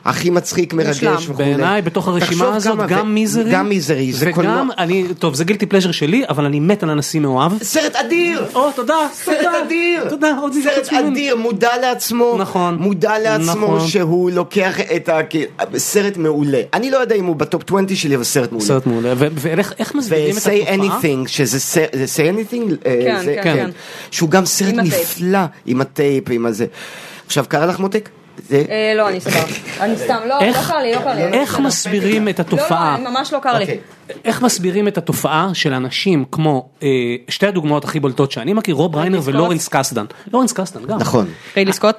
S4: הכי מצחיק, מרגש
S5: מושלם.
S4: וכולי.
S2: כן. בעיניי בתוך
S4: תחשוב
S2: הרשימה הזאת
S4: כמה- ו-
S2: גם מיזרי.
S4: גם מיזרי, זה קולנוע.
S2: וגם אני, טוב זה גילטי פלז'ר שלי, אבל אני מת על הנשיא מאוהב.
S4: סרט אדיר!
S2: או תודה,
S4: סרט
S2: תודה,
S4: אדיר!
S2: תודה, עוד
S4: סרט
S2: חוץ ממני.
S4: אדיר, מודע לעצמו,
S2: נכון.
S4: מודע לעצמו
S2: נכון.
S4: שהוא לוקח את ה... כי- סרט מעולה. אני לא יודע אם הוא בטופ 20 שלי, אבל סרט מעולה.
S2: סרט מעולה, ו- ואיך איך מסבירים את
S4: ו-say
S2: התופעה?
S4: anything, שזה ס- זה say anything, אה,
S5: כן,
S4: זה-
S5: כן, כן.
S4: שהוא גם סרט
S5: עם הטייפ.
S4: נפלא, עם הטייפ, עם הזה. עכשיו קרה לך מותק? זה-
S5: אה, לא, אני סבבה. אני סתם, לא, לא
S2: איך,
S5: קר לי, לא קר לי.
S2: איך מסבירים את
S5: לא,
S2: התופעה?
S5: לא, ממש לא קר לי.
S4: אוקיי.
S2: איך מסבירים את התופעה של אנשים כמו אה, שתי הדוגמאות הכי בולטות שאני מכיר, רוב ריינר
S5: סקוט.
S2: ולורנס קסדן. לורנס קסדן גם.
S4: נכון.
S5: ריילי סקוט?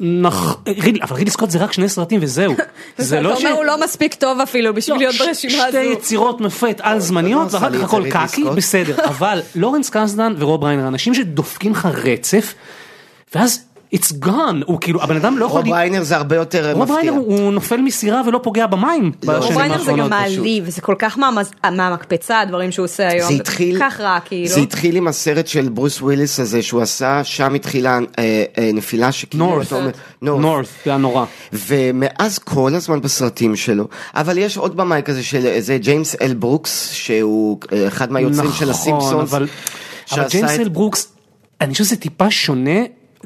S2: נכ... ריד... אבל רידלי סקוט זה רק שני סרטים וזהו. זה לא
S5: אתה
S2: ש...
S5: אומר הוא לא מספיק טוב אפילו
S2: לא,
S5: בשביל להיות
S2: ש-
S5: ברשימה
S2: שתי
S5: הזו.
S2: יצירות מופת על זמניות
S4: לא
S2: ואחר
S4: עשה
S2: כך
S4: לי
S2: הכל
S4: את רידלי
S2: קקי,
S4: סקוט.
S2: בסדר. אבל לורנס קסדן ורוב ריינר אנשים שדופקים לך רצף, ואז it's gone, הוא כאילו, הבן אדם לא יכול...
S4: רוב ריינר זה הרבה יותר אה,
S2: רוב
S4: מפתיע.
S2: ריינר הוא נופל מסירה ולא פוגע במים. בשנים
S4: רוב
S5: רוביינר זה גם
S4: לא, האחרונות פשוט.
S5: מעליב, זה אוקיי. כל כך מהמז- מהמקפצה הדברים שהוא עושה היום.
S4: זה התחיל,
S5: כל כך רע כאילו.
S4: זה התחיל עם הסרט של ברוס וויליס הזה שהוא עשה, שם התחילה אה, אה, נפילה שכאילו,
S2: North.
S4: אתה אומר- North.
S2: נורת, זה היה נורא.
S4: ומאז כל הזמן בסרטים שלו, אבל יש עוד במאי כזה של אה, זה ג'יימס אל ברוקס, שהוא אה, אחד מהיוצרים של הסימפסונס,
S2: נכון, אבל, אבל
S4: שעשה
S2: ג'יימס
S4: את-
S2: אל ברוקס, אני חושב שזה טיפה שונה.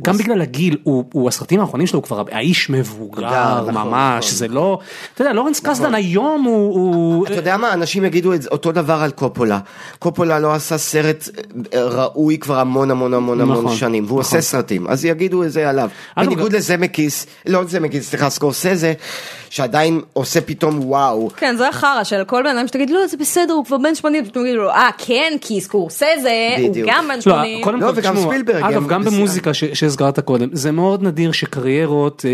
S2: גם בגלל הגיל, הוא, הוא הסרטים האחרונים שלו הוא כבר האיש מבוגר
S4: נכון,
S2: ממש,
S4: נכון.
S2: זה לא, אתה יודע, לורנס קסדן היום הוא, הוא...
S4: אתה יודע מה, אנשים יגידו את זה- אותו דבר על קופולה. קופולה לא עשה סרט אה, ראוי כבר המון המון המון המון
S2: נכון,
S4: שנים, והוא
S2: נכון.
S4: עושה סרטים, אז יגידו את זה עליו.
S2: אגב,
S4: בניגוד
S2: גם-
S4: לזמקיס, לא זמקיס, סליחה, סקורסזה, שעדיין עושה פתאום וואו.
S5: כן, זה החרא של כל בן אדם שתגיד, לא, זה בסדר, הוא כבר בן 80, ואתה תגיד לו, אה, כן, כי סקורסזה, הוא
S4: בדיוק.
S5: גם בן
S2: לא,
S5: 80.
S2: קודם
S4: לא,
S2: כל,
S4: וגם
S2: תשמעו,
S4: ספילברג,
S2: אגב,
S4: הם-
S2: גם
S4: בסדר.
S2: במוזיקה ש- שהזכרת קודם, זה מאוד נדיר שקריירות,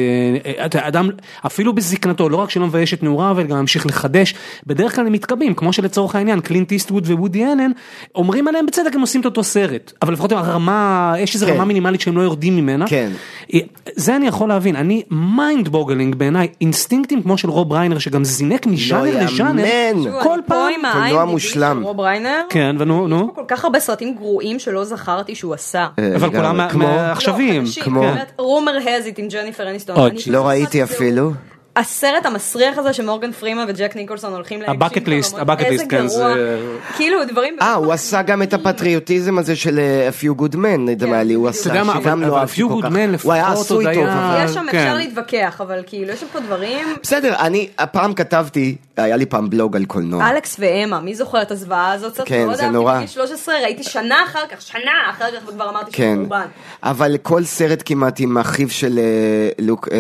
S2: אה, אה, אתה יודע, אדם, אפילו בזקנתו, לא רק שלא מבייש את נעוריו, אלא גם ממשיך לחדש, בדרך כלל הם מתקבעים, כמו שלצורך העניין, קלינט איסטווד וודי אלן, אומרים עליהם בצדק, הם עושים את אותו סרט, אבל לפחות הרמה, יש איזו
S4: כן.
S2: רמה מינימלית שהם לא יורדים ממנה.
S4: כן.
S2: אה, זה אני יכול להבין, אני מיינד בוגלינג בעיניי, אינסטינקטים כמו של רוב ריינר, שגם זינק מז'אנר
S4: לא, יאמן.
S2: לז'אנר,
S4: שוב,
S2: כל פעם,
S4: קולנוע מושלם.
S5: רוב ריינר,
S2: כן, ונו, נו,
S5: כל כך הרבה סרטים גרועים שלא זכרתי שהוא עשה. לא,
S4: אה,
S2: אבל
S4: לגמרי.
S2: כולם מה-
S4: כמו-
S2: מהעכשוויים, כן.
S4: כמו-
S5: כמו... רומר הזית עם ג'ניפר אניסטון.
S2: עוד
S5: אני
S2: ש-
S5: פשוט
S4: לא ראיתי
S5: עשיתי-
S4: אפילו.
S5: הסרט המסריח הזה שמורגן פרימה וג'ק ניקולסון הולכים להגשים.
S2: הבקט
S5: חלומות,
S2: ליסט, הבקט
S5: איזה
S2: ליסט, כן,
S5: גרוע.
S2: זה-
S5: כאילו דברים...
S4: אה, הוא עשה גם את הפטריוטיזם הזה של אה, A Few Good Men, נדמה לי,
S5: בדיוק.
S4: הוא עשה,
S5: אתה יודע
S2: מה,
S4: שגם
S2: אבל-
S4: לא
S2: אבל
S4: אהבתי
S2: A Few
S4: כל
S2: Good
S4: כך.
S2: Men
S4: הוא היה
S2: לפחות עוד
S4: עשוי
S2: היה-
S4: טוב, אבל...
S5: יש שם,
S2: כן.
S5: אפשר להתווכח, אבל כאילו, יש שם פה דברים...
S4: בסדר, אני הפעם כתבתי, היה לי פעם בלוג על קולנוע.
S5: אלכס ואמה, מי זוכר את הזוועה הזאת? קצת
S4: אה. כן,
S5: מאוד
S4: זה
S5: אהבתי
S4: נורא.
S5: בגיל 13, ראיתי שנה אחר כך, שנה אחר כך וכבר אמרתי שזה
S4: כן,
S5: קורבן.
S4: אבל כל סרט כמעט עם אחיו של אה, לוק, אה,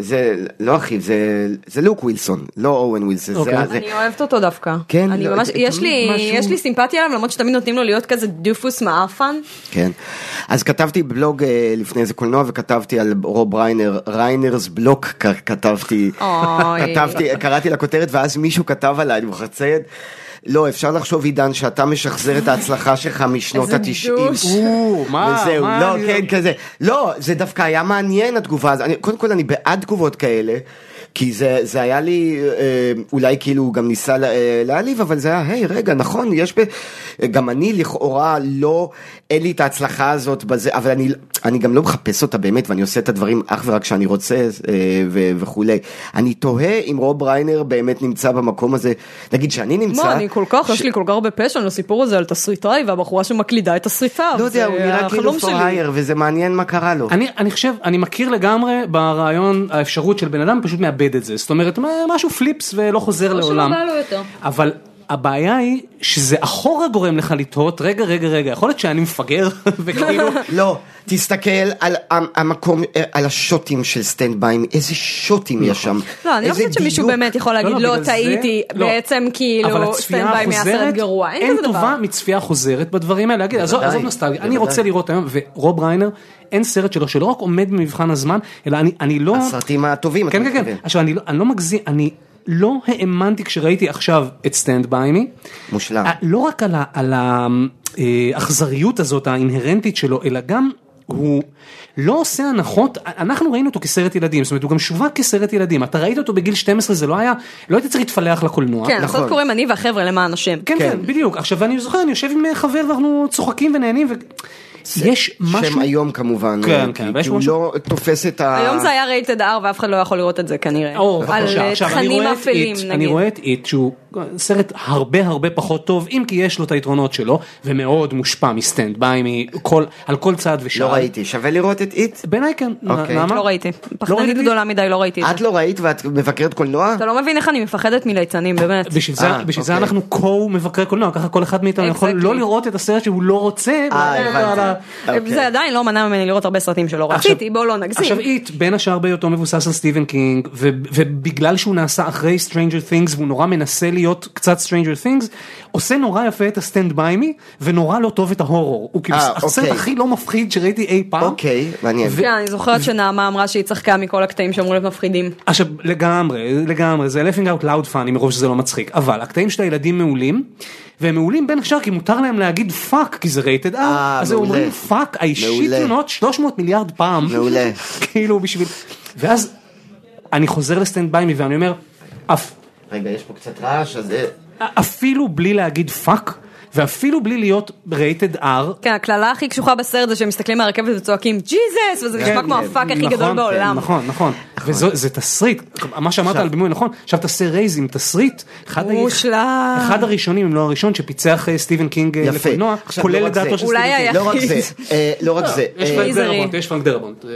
S4: זה לא אחיו, זה, זה לוק ווילסון, לא אורן ווילסון.
S2: אוקיי.
S4: זה, זה,
S5: אני אוהבת אותו דווקא.
S4: כן,
S5: אני
S4: לא,
S5: ממש,
S4: זה
S5: יש לי,
S4: תמיד משהו-
S5: יש לי סימפתיה עליו, למרות שתמיד נותנים לו להיות כזה דופוס מעפן.
S4: כן. אז כתבתי בלוג אה, לפני איזה קולנוע וכתבתי על רוב ריינר, ריינרס בלוק כ- כתבתי,
S5: אוי.
S4: כתבתי, קראתי לכותרת ואז מישהו כתב עליי, אני מוכרח לציין, לא, אפשר לחשוב עידן שאתה משחזר את ההצלחה שלך משנות
S5: איזה
S4: התשעים.
S5: דוש.
S2: או, מה,
S4: וזהו,
S2: מה,
S4: לא,
S2: אני-
S4: כן, כזה. לא, זה דווקא היה מעניין התגובה הזאת. אני- קודם כל, אני בעד תגובות כאלה, כי זה זה היה לי, אה, אולי כאילו הוא גם ניסה לה- אה, להעליב, אבל זה היה, היי, רגע, נכון, יש ב... גם אני לכאורה לא, אין לי את ההצלחה הזאת בזה, אבל אני- אני גם לא מחפש אותה באמת, ואני עושה את הדברים אך ורק כשאני רוצה אה, ו- וכולי. אני תוהה אם רוב ריינר באמת נמצא במקום הזה, נגיד שאני נמצא...
S5: מה, אני כל כך, לא
S4: ש-
S5: יש לי כל כך הרבה פשן לסיפור הזה על תסריטאי והבחורה שמקלידה את תסריטיו.
S4: לא יודע, הוא
S5: זה
S4: נראה כאילו
S5: החלום שלי.
S4: פראייר, וזה מעניין מה קרה לו.
S5: אוקיי.
S2: אני, אני חושב, אני מכיר לגמרי ברעיון האפשרות של בן אדם פשוט מאבד את זה. זאת אומרת, מה- משהו פליפס ולא חוזר
S5: שלא
S2: לעולם.
S5: בא לו יותר.
S2: אבל הבעיה היא שזה אחורה גורם לך לתהות, רגע, רגע, רגע, יכול להיות שאני מפגר, וכאילו,
S4: לא, תסתכל על המ- המקום, אה, על השוטים של סטנד ביים, איזה שוטים יש שם.
S5: לא, אני לא
S4: איזה
S5: חושבת שמישהו
S4: דיוק.
S5: באמת יכול
S2: לא,
S5: להגיד,
S2: לא,
S5: לא,
S2: בגלל זה-
S5: טעיתי,
S2: לא.
S5: בעצם
S2: אבל
S5: כאילו,
S2: הצפייה
S5: סטנד-ביי מהסרט
S2: החוזרת,
S5: גרוע.
S2: אין
S5: אין כזה
S2: טובה
S5: דבר.
S2: מצפייה חוזרת בדברים האלה. להגיד, עזוב
S4: בוודאי,
S2: עזוב נוסטלגיה, אני
S4: בוודאי.
S2: רוצה לראות היום, ורוב ריינר, אין סרט שלו שלא רק עומד במבחן הזמן, אלא אני, אני לא...
S4: הסרטים הטובים, אתה
S2: כן, כן, כן.
S4: מתכוון.
S2: עכשיו, אני לא- אני לא מגזים, אני לא האמנתי כשראיתי עכשיו את סטנד ביי מי.
S4: מושלם.
S2: לא רק על ה- על האכזריות הזאת האינהרנטית שלו, אלא גם... הוא לא עושה הנחות, אנחנו ראינו אותו כסרט ילדים, זאת אומרת הוא גם שווק כסרט ילדים, אתה ראית אותו בגיל 12 זה לא היה, לא היית צריך להתפלח לקולנוע.
S5: כן,
S4: נכון.
S5: הסרט קוראים אני והחבר'ה למען השם.
S2: כן,
S4: כן.
S2: כן, בדיוק. עכשיו אני זוכר, אני יושב עם אה, חבר ואנחנו צוחקים ונהנים, ו... יש משהו...
S4: שם היום כמובן,
S2: כן,
S4: כי-
S2: כן,
S4: כי
S2: ויש
S4: הוא
S2: משהו-
S4: לא תופס את ה...
S5: היום זה היה רייטד R ואף אחד לא יכול לראות את זה כנראה.
S2: או,
S5: על
S2: בבקשה.
S5: אה,
S2: עכשיו, אני
S5: תכנים
S2: רואה את
S5: אפלים
S2: It, אני
S5: נגיד.
S2: רואה את איט שהוא סרט הרבה הרבה פחות טוב, אם כי יש לו את היתרונות שלו, ומאוד מושפע מסטנד ביי, מכל, על כל צעד ושעה.
S4: לא ראיתי, שווה לראות את איט?
S2: בעיניי כן,
S4: אוקיי.
S2: נעמה?
S5: לא ראיתי. פחדנית
S2: ראיתי?
S5: גדולה מדי, לא ראיתי את זה.
S4: את לא ראית ואת מבקרת קולנוע?
S5: אתה לא מבין איך אני מפחדת מליצנים, באמת.
S2: בשביל זה,
S4: אה,
S2: בשביל זה
S4: אוקיי.
S2: אנחנו כה מבקרי קולנוע, ככה כל אחד מאיתנו יכול
S5: Exactly.
S2: לא לראות את הסרט שהוא לא רוצה.
S4: אה,
S2: ולדעת על
S4: הבנתי.
S2: ה-
S4: אוקיי.
S5: זה עדיין לא מנע ממני לראות הרבה סרטים שלא
S2: עכשיו-
S5: רציתי, בואו לא נגזים.
S2: עכשיו איט, בין השאר בהיותו מבוסס על סטיבן קינג, ו- ובגלל שהוא נעשה אחרי Stranger Things והוא נורא מנסה להיות קצת Stranger Things, עושה נורא יפה את הסטנד ביי מי, ונורא לא טוב את ההורור. הוא כאילו
S4: אה,
S2: הסרט
S4: אוקיי.
S2: הכי לא מפחיד שראיתי אי פעם.
S4: אוקיי, מעניין.
S2: ו-
S5: כן, אני זוכרת שנעמה אמרה שהיא צחקה מכל הקטעים שאמרו להיות מפחידים.
S2: עכשיו לגמרי לגמרי זה לפינג אאוט לאוד פאני מרוב שזה לא מצחיק אבל הקטעים של הילדים מעולים והם מעולים בין השאר כי מותר להם להגיד פאק כי זה רייטד
S4: אה,
S2: אאוט אז הם
S4: מעולה.
S2: אומרים פאק I shit you
S4: מעולה.
S2: not 300 מיליארד פעם
S4: מעולה.
S2: כאילו בשביל ואז אני חוזר לסטנד ביי מי ואני אומר "אף-
S4: רגע, יש פה קצת רעש, אז... אה,
S2: אפילו בלי להגיד פאק ואפילו בלי להיות רייטד R
S5: כן, הקללה הכי קשוחה בסרט זה שהם מסתכלים מהרכבת וצועקים ג'יזס, וזה
S4: כן,
S5: נשמע כמו הפאק הכי
S2: נכון,
S5: גדול בעולם.
S2: נכון נכון וזה תסריט מה שאמרת על בימוי נכון עכשיו תעשה רייז עם תסריט אחד ה-
S5: מושלם.
S2: אחד הראשונים אם לא הראשון שפיצח אה, סטיבן קינג אה,
S4: יפה.
S2: לקולנוע
S4: עכשיו,
S2: כולל
S4: לא רק
S2: את דעתו
S4: זה.
S2: של
S5: אולי
S2: סטיבן קינג.
S5: היה-
S4: לא רק זה, אה, לא רק זה.
S2: יש
S4: אה,
S2: פרנק
S5: מיזרי.
S2: דרבונט, יש פרנק דרבונט, אה,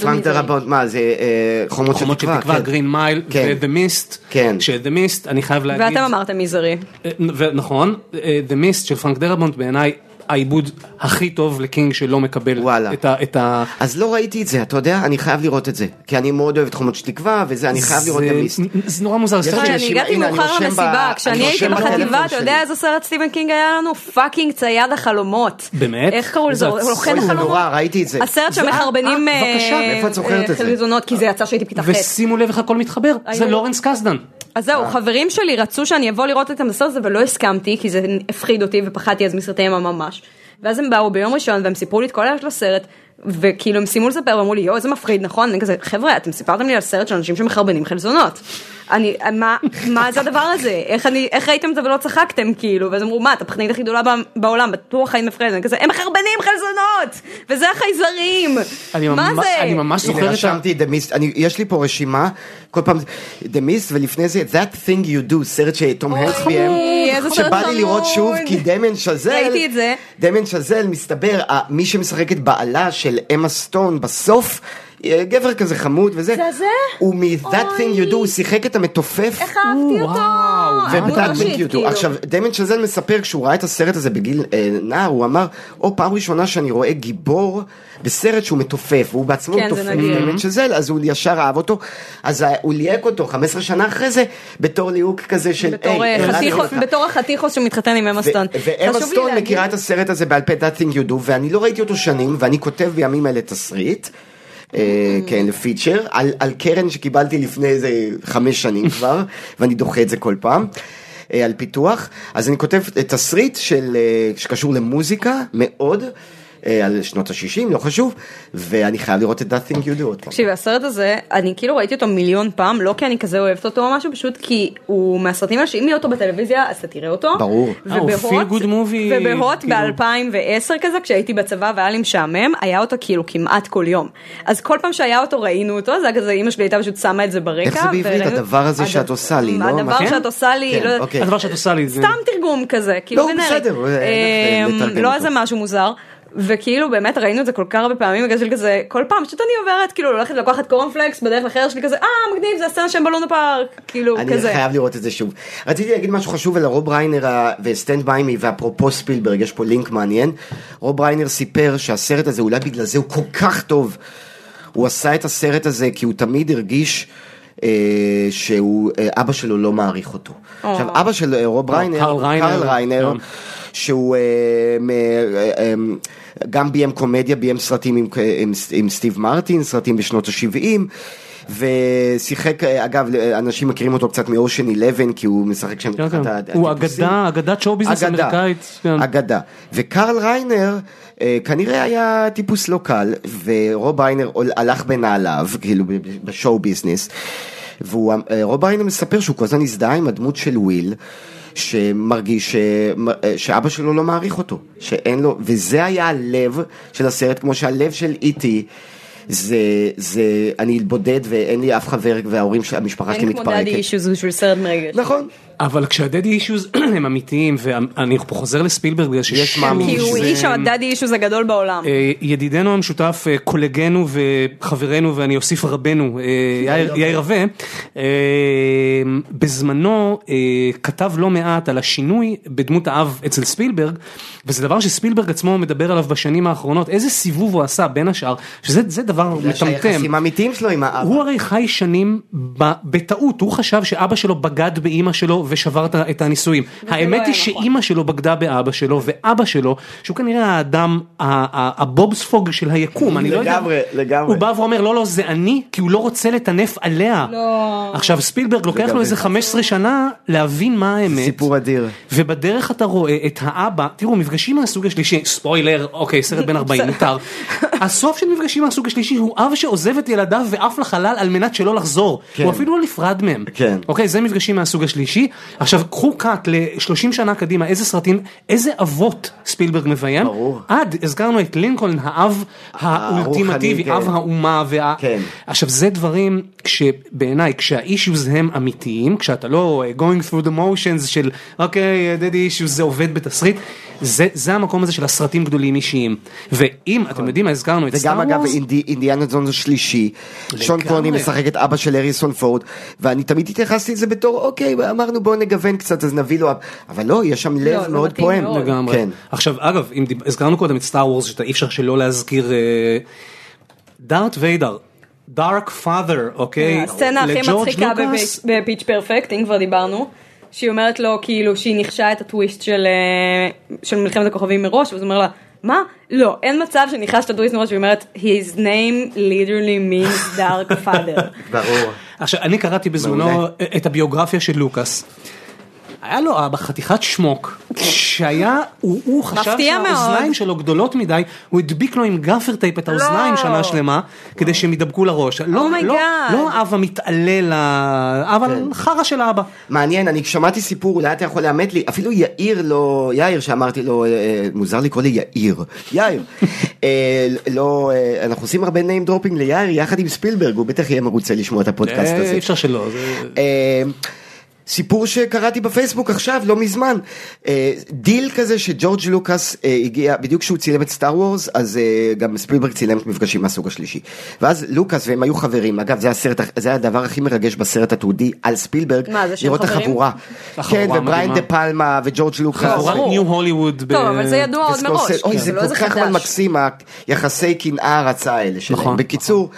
S4: פרנק דרבונט, מה זה אה, חומות של
S2: חומות של תקווה,
S4: תקווה? כן.
S2: גרין מייל,
S4: כן.
S2: ו-The Mist,
S4: כן.
S2: ש-The Mist, אני חייב להגיד,
S5: ואתם אמרתם מזערי.
S2: אה, ו- נכון, אה, The Mist של פרנק דרבונט בעיניי העיבוד הכי טוב לקינג שלא מקבל
S4: וואלה.
S2: את ה- את ה...
S4: אז לא ראיתי את זה, אתה יודע, אני חייב לראות את זה. כי אני מאוד אוהב את חומות של תקווה, וזה, אני חייב לראות את
S2: זה-
S4: המיסט.
S2: זה נורא מוזר, זה סרט
S5: אני
S4: יש
S2: של-
S4: אנשים-
S5: הגעתי
S4: הנה, אני
S5: מאוחר
S4: רושם
S5: למסיבה,
S4: ב-
S5: כשאני
S4: אני
S5: הייתי
S4: רושם
S5: בחטיבה,
S4: בטלפון
S5: אתה
S4: שלי.
S5: יודע איזה סרט סטיבן קינג היה לנו? פאקינג צייד החלומות.
S2: באמת?
S5: איך קראו
S2: איזה
S5: לזה?
S2: עצוב.
S5: לוחם
S4: אוי, זה
S5: החלומות.
S4: נורא, ראיתי את זה.
S5: כן, הסרט
S2: זה-
S5: שמחרבנים
S2: אה, אה, בבקשה,
S5: אה,
S4: מאיפה את זוכרת
S5: אה,
S4: את זה?
S5: חלזונות, כי זה יצא שהייתי בכיתה ח'.
S2: ושימו לב איך הכל מתחבר, זה
S5: היו-
S2: לורנס קסדן.
S5: אז זהו,
S2: אה.
S5: חברים שלי רצו שאני אבוא לראות את הסרט הזה ולא הסכמתי, כי זה הפחיד אותי ופחדתי אז מסרטי אימה ממש. ואז הם באו ביום ראשון והם סיפרו לי את כל הערך לסרט, וכאילו הם סיימו לספר ואמרו לי, יואו, איזה מפחיד, נכון? אני כזה, חבר'ה, אתם סיפרתם לי על סרט של אנשים שמחרבנים חלזונות. אני, מה, מה זה הדבר הזה? איך, אני, איך ראיתם את זה ולא צחקתם, כאילו? ואז אמרו, מה, את הפחדנית הכי גדולה ב- בעולם, בטוח היית מפחדת. אני כזה, הם מחרבנים חלזונות! וזה החייזרים!
S2: אני
S5: מה
S2: ממש-
S5: זה?
S2: אני ממש זוכר את
S4: הנה,
S2: ה-
S4: רשמתי את The Mist, אני- יש לי פה רשימה, כל פעם, The Mist, ולפני זה, That Thing You Do, סרט שתום הרס ביים,
S5: חמוד, איזה סרט
S4: שבא לי לראות
S5: חמוד.
S4: שוב, כי דמיין שזל,
S5: ראיתי את זה.
S4: דמיין שזל, מסתבר, ה- מי שמשחק את בעלה של אמה סטון בסוף, אה, גבר כזה חמוד וזה,
S5: זה זה?
S4: הוא מ-That Thing You Do, הוא שיחק את המתופף.
S5: איך אהבתי אותו!
S4: ו-That
S5: דמות ראשית,
S4: Thing You Do.
S5: כאילו.
S4: עכשיו, דמיין שזל מספר, כשהוא ראה את הסרט הזה בגיל אה, נער, הוא אמר, או פעם ראשונה שאני רואה גיבור בסרט שהוא מתופף, והוא בעצמו
S5: כן, זה
S4: מתופף,
S5: נדיר.
S4: דמיין שזל, אז הוא ישר אהב אותו, אז ה- הוא ליהק אותו 15 שנה אחרי זה, בתור ליהוק כזה של,
S5: בתור
S4: "היי,
S5: אה,
S4: נולדתי
S5: חתיכוס-
S4: לך".
S5: בתור החתיכוס שמתחתן עם אמה
S4: ו-
S5: סטון.
S4: ואמה
S5: חשוב לי
S4: סטון
S5: להגיד-
S4: מכירה את הסרט הזה בעל פה That Thing You Do, ואני לא ראיתי אותו שנים, ואני כותב בימים אלה תסריט. אה,
S5: Mm.
S4: כן, לפיצ'ר, על, על קרן שקיבלתי לפני איזה חמש שנים כבר, ואני דוחה את זה כל פעם, אה, על פיתוח. אז אני כותב אה, תסריט של, אה, שקשור למוזיקה, מאוד, אה, על שנות ה-60, לא חשוב, ואני חייב לראות את That Thing You Do עוד פעם.
S5: תקשיבי, הסרט הזה, אני כאילו ראיתי אותו מיליון פעם, לא כי אני כזה אוהבת אותו או משהו, פשוט כי הוא מהסרטים האלה שאם יהיה אותו בטלוויזיה, אז אתה תראה אותו.
S4: ברור.
S2: אה, הוא
S5: ובהוט-
S2: feel good movie,
S5: ובהוט
S2: כאילו.
S5: ב-2010 כזה, כשהייתי בצבא והיה לי משעמם, היה אותו כאילו כמעט כל יום. אז כל פעם שהיה אותו ראינו אותו, זה היה כזה, אמא שלי הייתה פשוט שמה את זה ברקע.
S4: איך זה בעברית?
S5: וראינו-
S4: הדבר הזה
S5: הד-
S4: שאת עושה לי, לא?
S5: הדבר
S4: מה-
S5: שאת עושה לי,
S4: כן,
S5: לא יודעת-
S4: אוקיי.
S2: הדבר שאת עושה לי זה...
S5: סתם תרגום כזה, כאילו
S4: לא,
S5: גנרי.
S4: בסדר, אה,
S5: אה,
S4: נתרגם
S5: לא
S4: אותו.
S5: איזה משהו מוזר. וכאילו באמת ראינו את זה כל כך הרבה פעמים בגלל של כזה כל פעם פשוט אני עוברת כאילו הולכת לקחת קורנפלקס בדרך לחדר שלי כזה אה מגניב זה הסצנה שהם בלונה פארק כאילו
S4: אני
S5: כזה.
S4: חייב לראות את זה שוב. רציתי להגיד משהו חשוב על הרוב ריינר ה- וסטנד ביי מי ואפרופו ספילברג, יש פה לינק מעניין. רוב ריינר סיפר שהסרט הזה, אולי בגלל זה הוא כל כך טוב. הוא עשה את הסרט הזה כי הוא תמיד הרגיש אה, שהוא, אה, אבא שלו לא מעריך אותו. עכשיו, אבא של אה, רוב ריינר,
S2: קרל לא, ריינר.
S4: קרל ריינר,
S2: כן.
S4: שהוא אה, מ- אה, אה, גם ביים קומדיה, ביים סרטים עם, עם, עם סטיב מרטין, סרטים בשנות ה-70, ושיחק, אה, אגב, אנשים מכירים אותו קצת מאושן 11, כי הוא משחק שם
S2: כן,
S4: אחד
S2: כן.
S4: הטיפוסים.
S2: הוא אגדה, אגדת שואו ביזנס
S4: אגדה.
S2: אמריקאית. כן.
S4: אגדה. וקרל ריינר אה, כנראה היה טיפוס לא קל, ורוב ריינר הול- הלך בנעליו, כאילו ב- ב- בשואו ביזנס, ורוב ריינר מספר שהוא כל הזמן הזדהה עם הדמות של וויל. שמרגיש ש... אה, שאבא שלו לא מעריך אותו, שאין לו, וזה היה הלב של הסרט, כמו שהלב של איטי, זה, זה, אני בודד ואין לי אף חבר וההורים, של- המשפחה שלי
S5: אין כמו דאדי
S4: מתפרקת.
S5: אישוז בשביל סרט מרגש.
S4: נכון,
S2: אבל כשהדדי אישוז הם אמיתיים ואני פה חוזר לספילברג בגלל שיש
S4: מאמין
S5: כי הוא
S4: שזה-
S5: איש הדאדי אישוז הגדול בעולם.
S2: אה, ידידנו המשותף, אה, קולגנו וחברנו ואני אוסיף רבנו, אה, יאיר- יאיר רווה, אה, בזמנו אה, כתב לא מעט על השינוי בדמות האב אצל ספילברג, וזה דבר שספילברג עצמו מדבר עליו בשנים האחרונות, איזה סיבוב הוא עשה בין השאר, שזה זה דבר דבר
S4: זה
S2: מטמטם.
S4: שהיחסים האמיתיים שלו עם האבא.
S2: הוא הרי חי שנים ב- בטעות, הוא חשב שאבא שלו בגד באימא שלו ושבר את ה- את הנישואים. האמת
S5: היה
S2: היא
S5: נכון.
S2: שאימא שלו בגדה באבא שלו, ואבא שלו, שהוא כנראה האדם, ה- ה- הבובספוג של היקום, אני לא יודע.
S4: לגמרי, לגמרי.
S2: הוא בא ואומר, לא, לא, זה אני, כי הוא לא רוצה לטנף עליה.
S5: לא.
S2: עכשיו, ספילברג לוקח לו
S4: לגמרי.
S2: איזה 15 שנה להבין מה האמת.
S4: סיפור אדיר.
S2: ובדרך אתה רואה את האבא, תראו מפגשים מהסוג השלישי, ספוילר, אוקיי סרט בן 40 מותר, הסוף של מפגשים מהסוג השלישי הוא אב שעוזב את ילדיו ועף לחלל על מנת שלא לחזור,
S4: כן.
S2: הוא אפילו לא נפרד מהם,
S4: כן.
S2: אוקיי זה מפגשים מהסוג השלישי, עכשיו קחו קאט ל-30 שנה קדימה איזה סרטים, איזה אבות ספילברג מביים,
S4: ברור.
S2: עד הזכרנו את לינקולן האב האולטימטיבי,
S4: הרוחני,
S2: אב
S4: כן.
S2: האומה, וה...
S4: כן.
S2: עכשיו זה דברים שבעיניי כשהאישיוז הם אמיתיים כשאתה לא אה, going through the motions של אוקיי dead issues זה עובד בתסריט זה זה המקום הזה של הסרטים גדולים אישיים ואם אתם יודעים מה הזכרנו את סטאר
S4: וגם נכון. אגב
S2: וורס
S4: אינדי, אינדיאנה ג'ונס השלישי, שון קורני משחק את אבא של אריסון פורד, ואני תמיד התייחסתי לזה בתור אוקיי אמרנו בוא נגוון קצת אז נביא לו, אב-" אבל לא יש שם לב
S5: לא, זה
S4: מאוד
S5: מתאים
S4: פועם,
S5: מאוד.
S2: לגמרי
S4: כן.
S2: עכשיו אגב אם דיב- הזכרנו קודם את סטאר וורס שאתה אי אפשר שלא להזכיר אה, דארט ויידר. דארק פאדר
S4: אה,
S2: אוקיי
S5: הסצנה הכי
S2: לג'ורג'
S5: מצחיקה
S2: לוקאס.
S5: בפיץ'- בפיץ' פרפקט, אם כבר דיברנו, שהיא אומרת לו כאילו שהיא ניחשה את הטוויסט של אה, של מלחמת הכוכבים מראש, ואז הוא אומר לה, מה? לא, אין מצב שניחש את הטוויסט מראש, והיא אומרת, his name literally means dark father.
S4: ברור.
S2: עכשיו, אני קראתי בזמנו
S4: מעולה.
S2: את הביוגרפיה של לוקאס. היה לו אבא חתיכת שמוק, שהיה, הוא, הוא חשב
S5: מפתיע
S2: שהאוזניים
S5: מאוד.
S2: שלו גדולות מדי, הוא הדביק לו עם גאפר טייפ את האוזניים שנה שלמה, כדי שהם ידבקו לראש. לא,
S5: לא. Oh my
S2: לא,
S5: God.
S2: לא האבא מתעלל, ה- אבל חרא של האבא.
S4: מעניין אני שמעתי סיפור אולי אתה יכול לאמת לי אפילו יאיר לא יאיר שאמרתי לו אה, אה, מוזר לקרוא לי יאיר יאיר אה, לא אה, אנחנו עושים הרבה name dropping ליאיר יחד עם ספילברג הוא בטח יהיה מרוצה לשמוע את הפודקאסט
S2: אה,
S4: הזה.
S2: אי אפשר שלא. זה-
S4: אה, סיפור שקראתי בפייסבוק עכשיו לא מזמן אה, דיל כזה שג'ורג' לוקאס אה, הגיע בדיוק כשהוא צילם את סטאר וורס אז אה, גם ספילברג צילם מפגשים מהסוג השלישי ואז לוקאס והם היו חברים אגב זה הסרט זה הדבר הכי מרגש בסרט התיעודי על ספילברג
S5: מה, זה שהם
S4: לראות את
S5: חברים?
S4: החבורה
S2: החבורה לא,
S4: כן ובריין
S2: מדהימה.
S4: דה פלמה וג'ורג' לוקאס.
S2: חבורת ניו הוליווד. ב-
S5: טוב, אבל זה ידוע עוד מראש,
S4: וסקורסל- אוי,
S5: כאילו,
S4: זה
S5: זה לא
S4: כל
S5: איזה
S4: כך אבל
S5: חדש.
S4: מקסים, היחסי קנאה הרצה האלה
S2: נכון,
S4: שלהם. בקיצור,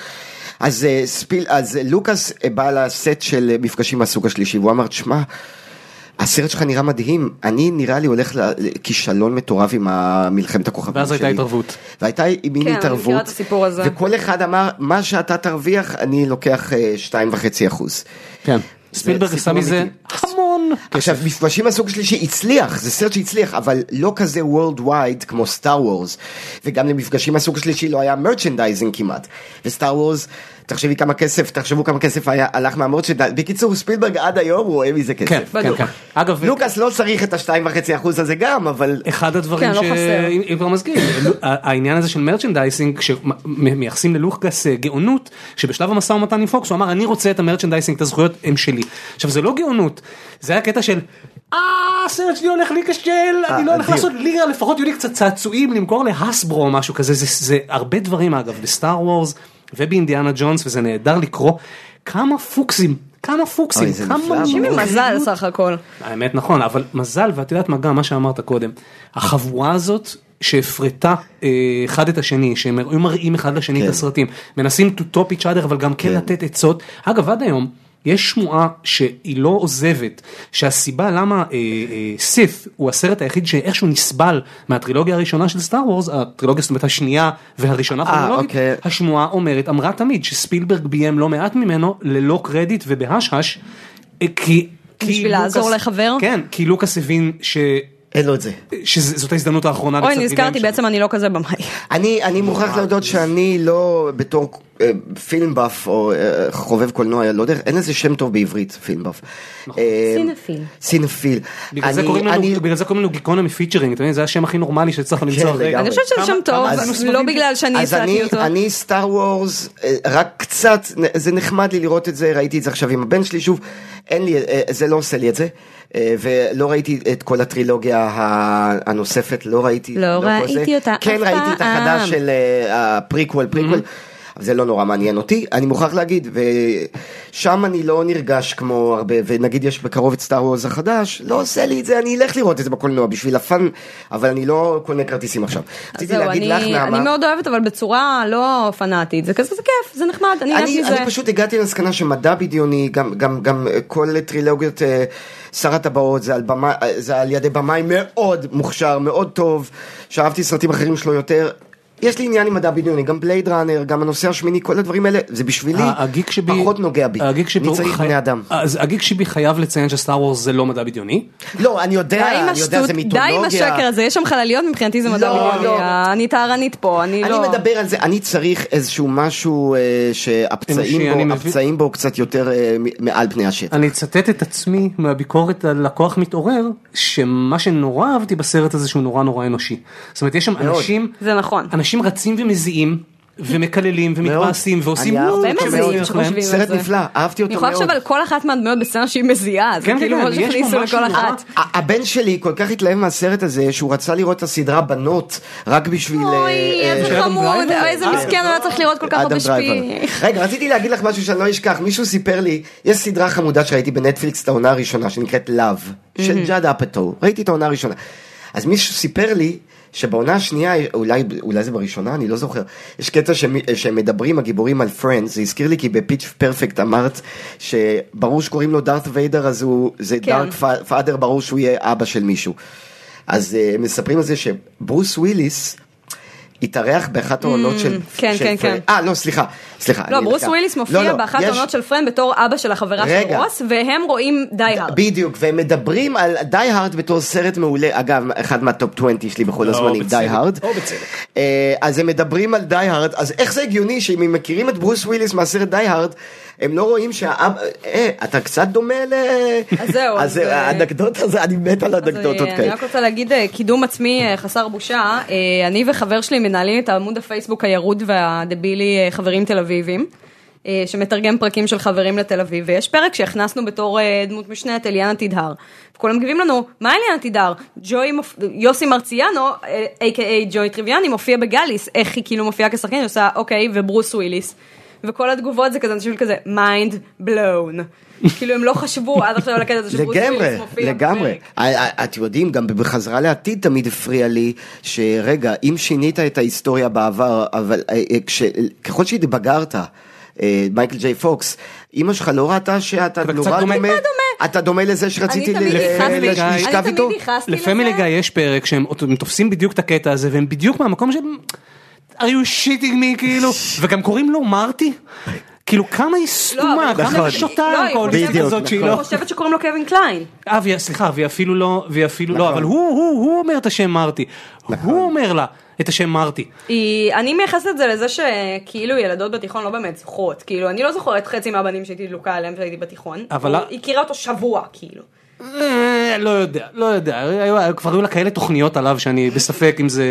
S4: אז אה, ספיל- אז אה, לוקאס אה, בא לסט של אה, מפגשים מהסוג השלישי, והוא אמר, תשמע, הסרט שלך נראה מדהים, אני נראה לי הולך ל- לכישלון מטורף עם ה- מלחמת הכוכבים שלי.
S2: ואז הייתה התערבות.
S4: והייתה מין
S5: כן, אני מכירה
S4: התערבות,
S5: את הסיפור הזה.
S4: וכל אחד אמר, מה שאתה תרוויח, אני לוקח אה, שתיים וחצי אחוז.
S2: כן. ספילברג עשה
S4: סיפור
S2: מזה
S4: אמיתי.
S2: המון.
S4: עכשיו מפגשים מהסוג שלישי הצליח זה סרט שהצליח אבל לא כזה world wide כמו סטאר וורס וגם למפגשים מהסוג השלישי לא היה מרצ'נדייזינג כמעט וסטאר וורס תחשבי כמה כסף תחשבו כמה כסף היה הלך מהמרצ'נדייזינג בקיצור ספילברג עד היום רואה מזה כסף.
S2: כן, כן,
S5: בדוק.
S2: כן. אגב,
S4: לוקאס לא צריך את השתיים וחצי אחוז הזה גם אבל
S2: אחד הדברים
S5: כן,
S2: ש...
S5: לא חסר.
S2: אם- אם כבר מזכיר, העניין הזה של מרצ'נדייסינג, כשמייחסים ללוקאס אה, גאונות, שבשלב המשא ומתן עם פוקס הוא אמר אני רוצה את המרצ'נדייסינג, את הזכויות הם שלי. עכשיו זה לא גאונות, זה היה קטע של אה הסרט שלי הולך להיכשל, אני לא הולך
S4: אה, אדיר.
S2: לעשות לירה, לפחות יהיו לי קצת צעצועים למכור להסברו או משהו כזה, זה- זה הרבה דברים אגב בסטאר וורס ובאינדיאנה ג'ונס וזה נהדר לקרוא, כמה פוקסים, כמה פוקסים,
S4: אוי, זה נפלא,
S2: כמה
S4: אבל.
S5: אנשים עם מזל
S2: מומחיות.
S5: סך הכל.
S2: האמת נכון אבל מזל ואת יודעת מה גם מה שאמרת קודם החבורה הזאת שהפרטה אה, אחד את השני שהם היו מראים אחד לשני את
S4: כן.
S2: הסרטים מנסים to top each other אבל גם כן
S4: כן.
S2: לתת עצות אגב עד היום. יש שמועה שהיא לא עוזבת, שהסיבה למה אה, אה, סיף הוא הסרט היחיד שאיכשהו נסבל מהטרילוגיה הראשונה של סטאר וורס, הטרילוגיה זאת אומרת השנייה והראשונה כרונולוגית,
S4: אוקיי.
S2: השמועה אומרת, אמרה תמיד שספילברג ביים לא מעט ממנו ללא קרדיט ובהשהש, אה, כי... כי
S5: בשביל
S2: לוקאס-
S5: לעזור לחבר?
S2: כן, כי לוקאס הבין ש...
S4: אין לו את זה.
S2: שזאת ההזדמנות האחרונה.
S5: אוי,
S2: לקצת
S5: נזכרתי,
S2: ביליים שלו.
S5: בעצם אני לא כזה במאי.
S4: אני, אני מוכרח להודות שאני לא בתור אה, פילם באף או אה, חובב קולנוע, לא יודע, אין לזה שם טוב בעברית, פילם באף. אה,
S5: סינפיל.
S4: סינפיל.
S2: נכון. בגלל זה
S4: אני-
S2: קוראים
S4: אני- כן,
S2: לנו- בגלל זה קוראים לנו גיקונומי פיצ'רינג, אתה מבין? זה השם הכי נורמלי שהצלחנו למצוא. הרגע.
S4: לגמרי.
S5: אני חושבת שזה
S2: כמה-
S5: שם טוב,
S2: כמה אנו
S5: לא
S2: סבבים.
S5: בגלל שאני
S4: אז אני,
S5: הצעתי אותו.
S4: אני סטאר וורס, רק קצת, זה נחמד לי לראות את זה, ראיתי את זה עכשיו עם הבן שלי שוב, אין לי, אה, זה לא עושה לי את זה, אה, ולא ראיתי את כל הטרילוגיה ה- הנוספת, לא ראיתי.
S5: לא
S4: כל זה.
S5: ראיתי אותה
S4: כן
S5: אף
S4: ראיתי את
S5: פעם. Mm-hmm.
S4: החדש של אה, הפריקוול, פריקוול. זה לא נורא מעניין אותי, אני מוכרח להגיד, ושם אני לא נרגש כמו הרבה, ונגיד יש בקרוב את סטאר וורז החדש, לא עושה לי את זה, אני אלך לראות את זה בקולנוע בשביל הפאן, אבל אני לא קונה כרטיסים עכשיו. רציתי
S5: זהו,
S4: להגיד לך,
S5: אני,
S4: נעמה,
S5: אני מאוד אוהבת אבל בצורה לא פנאטית, זה כזה, זה כיף, זה נחמד, אני נהנית
S4: אני,
S5: מזה.
S4: אני פשוט הגעתי למסקנה שמדע בדיוני, גם, גם, גם אה, כל טרילוגיות אה, שר הטבעות זה על, במה, אה, זה על ידי במאי מאוד מוכשר, מאוד טוב, שאהבתי סרטים אחרים שלו יותר. יש לי עניין עם מדע בדיוני, גם בלייד ראנר, גם הנושא השמיני, כל הדברים האלה, זה בשבילי
S2: הגיק שבי,
S4: פחות נוגע בי.
S2: הגיק שבי אה-
S4: אני
S2: הוא
S4: צריך
S2: חי-
S4: בני אדם.
S2: אז הגיק שבי חייב לציין שסטאר וורס זה לא מדע בדיוני.
S4: לא, אני
S5: די
S4: יודע,
S5: עם
S4: אני יודע,
S5: השטות,
S4: זה
S5: די עם
S4: מיתולוגיה.
S5: השקר הזה, יש שם חלליות מבחינתי זה מדע
S4: לא,
S5: בדיוני,
S4: לא.
S5: אני טהרנית פה, אני
S4: אני
S5: לא...
S4: מדבר על זה, אני צריך איזשהו משהו אה,
S2: אנושי,
S4: שהפצעים
S2: אני
S4: בו,
S2: מבין.
S4: הפצעים בו קצת יותר אה, מ- מעל פני השטח.
S2: אני אצטט את עצמי מהביקורת על לקוח מתעורר, שמה שנורא אהבתי בסרט הזה שהוא נורא נורא אנושי. זאת אומרת יש שם אנשים,
S5: זה נכון.
S2: אנשים רצים ומזיעים, ומקללים ומתבאסים ועושים
S4: אני
S2: וואו,
S4: אהבתי
S5: הרבה
S4: מאוד.
S2: כשמצליח
S5: מזיעים
S2: להם.
S5: שחושבים על זה.
S4: סרט נפלא, אהבתי
S5: אני
S4: אותו
S5: יכולה לחשוב
S4: מאוד.
S5: על כל אחת מהדמויות בסצנה שהיא מזיעה, זה
S2: כן,
S5: כאילו
S2: כן,
S5: ממש
S2: יש פה
S5: הכניסו
S2: משהו
S5: לכל
S2: נורא-
S5: אחת.
S4: ה- הבן שלי כל כך התלהב מהסרט הזה שהוא רצה לראות את הסדרה בנות רק בשביל... אה,
S5: אוי,
S4: אה,
S5: איזה
S2: שאדם
S5: חמוד,
S2: דרייבר?
S5: אוי, איזה
S2: אה,
S5: מסכן, הוא היה צריך לראות כל כך הרבה
S4: אדם דרייבר.
S5: שפיך.
S4: רגע, רציתי להגיד לך משהו שאני לא אשכח, מישהו סיפר לי, יש סדרה חמודה שראיתי בנטפליקס את העונה הראשונה שנקראת Love, של ג'אד אפטו, ראיתי את העונה הראשונה. אז מישהו סיפר לי שבעונה השנייה, אולי, אולי זה בראשונה, אני לא זוכר, יש קטע שמ, שהם מדברים, הגיבורים על פרנדס, זה הזכיר לי כי בפיץ' פרפקט אמרת שברור שקוראים לו דארת ויידר אז הוא, זה
S5: כן.
S4: דארק פאדר, ברור שהוא יהיה אבא של מישהו. אז אה, מספרים על זה שברוס וויליס התארח באחת העונות של...
S5: כן,
S4: של
S5: כן,
S4: פרנ-
S5: כן.
S4: אה, לא, סליחה. סליחה.
S5: לא,
S4: אני
S5: ברוס
S4: נתקע.
S5: וויליס
S4: לא,
S5: מופיע
S4: לא,
S5: באחת
S4: יש-
S5: העונות של פרן בתור אבא של החברה של
S4: רגע.
S5: רוס, והם רואים די הרד.
S4: בדיוק, והם מדברים על די הארד בתור סרט מעולה, אגב, אחד מהטופ 20 שלי בכל הזמנים, די הארד. אה, אז הם מדברים על די הארד, אז איך זה הגיוני שאם הם מכירים את ברוס וויליס מהסרט די הארד, הם לא רואים שהאבא, אה, אתה קצת דומה ל...
S5: אז זהו,
S4: אז
S5: אז, אה,
S4: האנקדוטה הזה, אני מת על
S5: אז
S4: אנקדוטות
S5: אני- אני
S4: כאלה.
S5: רק רוצה להגיד אה, קידום עצמי אה, חסר בושה, אה, אני וחבר שלי מנהלים את עמוד הפייסבוק הירוד והדבילי אה, חברים תל אביבים. אה, שמתרגם פרקים של חברים לתל אביב, ויש פרק שהכנסנו בתור אה, דמות משנה את אליאנה תדהר. וכולם מגיבים לנו, מה אליאנה תדהר? ג'וי מופ... יוסי מרציאנו, אה, a.k.a ג'וי טריוויאני, מופיע בגאליס, איך היא כאילו מופיעה כשחקנית, היא עושה אוקיי, וברוס וויליס. וכל התגובות זה כזה אנשים כזה מיינד בלון. כאילו הם לא חשבו עד עכשיו על הקטע הזה שברוס וויליס
S4: לגמרי,
S5: מופיע.
S4: לגמרי.
S5: בפרק.
S4: א- א- את יודעים, גם בחזרה לעתיד תמיד הפריע לי, שרגע, אם שינית את ההיסטוריה בעבר, אבל אה, אה, כש- ככל שהתבגרת, אה, מייקל ג'יי פוקס, אימא שלך לא ראתה שאתה
S2: אתה
S4: נורא
S2: קצת דומה.
S4: דומה,
S2: טיפה
S4: אתה דומה לזה שרציתי ל-
S5: אני תמיד
S4: ל- אה,
S5: ייחסתי-
S4: לש-
S2: אני
S4: לשכב
S5: תמיד
S4: איתו?
S5: ייחסתי לזה.
S2: לפמילי גיא יש פרק שהם אותו- הם תופסים בדיוק את הקטע הזה והם בדיוק מהמקום שהם are you shitting me כאילו וגם קוראים לו מרטי. כאילו כמה היא סתומה,
S5: לא, אבל-
S2: כמה
S5: נכון.
S2: היא שותה
S5: לא, היא נכון.
S2: אלכוהוליסט
S5: חושבת-
S2: כזאת שהיא
S5: אני
S2: לא.
S5: חושבת שקוראים לו קווין קליין.
S2: אה, והיא- סליחה, והיא אפילו לא, והיא אפילו
S5: נכון.
S2: לא, אבל הוא, הוא, הוא אומר את השם מרטי. הוא אומר לה את השם מרטי.
S5: היא- אני מייחסת את זה לזה שכאילו ילדות בתיכון לא באמת זוכרות. כאילו, אני לא זוכרת חצי מהבנים שהייתי דלוקה עליהם כשהייתי בתיכון.
S2: אבל-
S5: הוא- היא הכירה אותו שבוע, כאילו.
S2: אה, לא יודע, לא יודע, היו- כבר היו לה כאלה תוכניות עליו שאני בספק אם זה...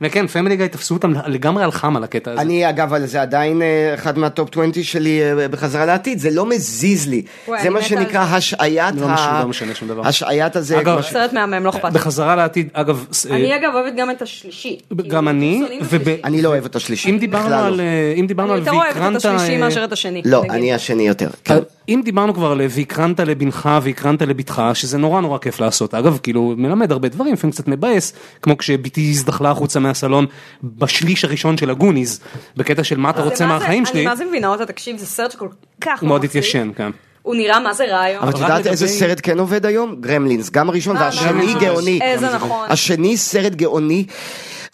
S2: וכן, פמילי גיא תפסו אותם לגמרי על חם על הקטע הזה.
S4: אני אגב על זה עדיין אה, אחד מהטופ 20 שלי אה, בחזרה לעתיד, זה לא מזיז לי,
S5: וואי,
S4: זה
S5: אני
S4: מה
S5: מתה על
S4: שנקרא
S5: זה.
S4: השעיית
S2: לא משנה-
S4: ה...
S2: לא משנה שום דבר.
S4: השעיית הזה,
S2: אגב,
S4: כמו ש-
S5: סרט מהמם, לא אכפת. לי.
S2: בחזרה לעתיד, אגב, ס-
S5: אני
S2: אה,
S5: אגב אוהבת גם את השלישי.
S2: גם
S5: כאילו,
S2: אני,
S5: שונאים את
S2: וב-
S5: השלישי.
S4: אני לא אוהב את השלישי,
S2: אם דיברנו
S4: בכלל לא.
S2: על... אה, אם דיברנו
S5: אני
S2: על
S5: יותר אוהבת את
S2: והקרנת...
S5: השלישי
S2: אה,
S5: מאשר את השני.
S4: לא,
S5: נגיד.
S4: אני השני יותר. כן.
S2: אז אם דיברנו כבר על והקרנת לבנך והקרנת לבתך, שזה נורא נורא כיף לעשות, אגב, כאילו, מלמד הרבה דברים, לפעמים קצת מבאס, כמו כשבתי הזדחלה החוצה מהסלון בשליש הראשון של הגוניז, בקטע של מה אתה
S5: זה
S2: רוצה
S5: מה זה-
S2: מהחיים שלי,
S5: אני מה זה מבינה אותה, תקשיב, זה סרט שכל כך
S2: הוא מאוד
S5: מצחיק.
S2: התיישן, כן.
S5: הוא נראה מה זה רע היום.
S4: אבל את
S2: רק
S4: יודעת איזה
S2: לגבי-
S4: סרט כן עובד היום? גרמלינס, גם הראשון
S5: אה,
S4: והשני
S5: גרמלינס.
S4: גאוני.
S5: איזה נכון.
S4: השני סרט גאוני,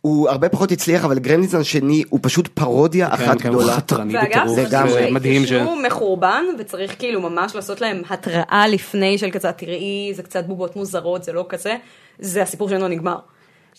S4: הוא הרבה פחות הצליח, אבל גרמלינס השני הוא פשוט פרודיה
S2: כן,
S4: אחת
S2: כן, הוא
S4: גדולה.
S2: חתרני
S5: ואגב,
S2: בטירוף,
S4: לגמרי.
S2: זה מדהים ש...
S5: שהוא מחורבן וצריך כאילו ממש לעשות להם התראה לפני של כזה תראי זה קצת בובות מוזרות זה לא כזה זה הסיפור שלנו נגמר.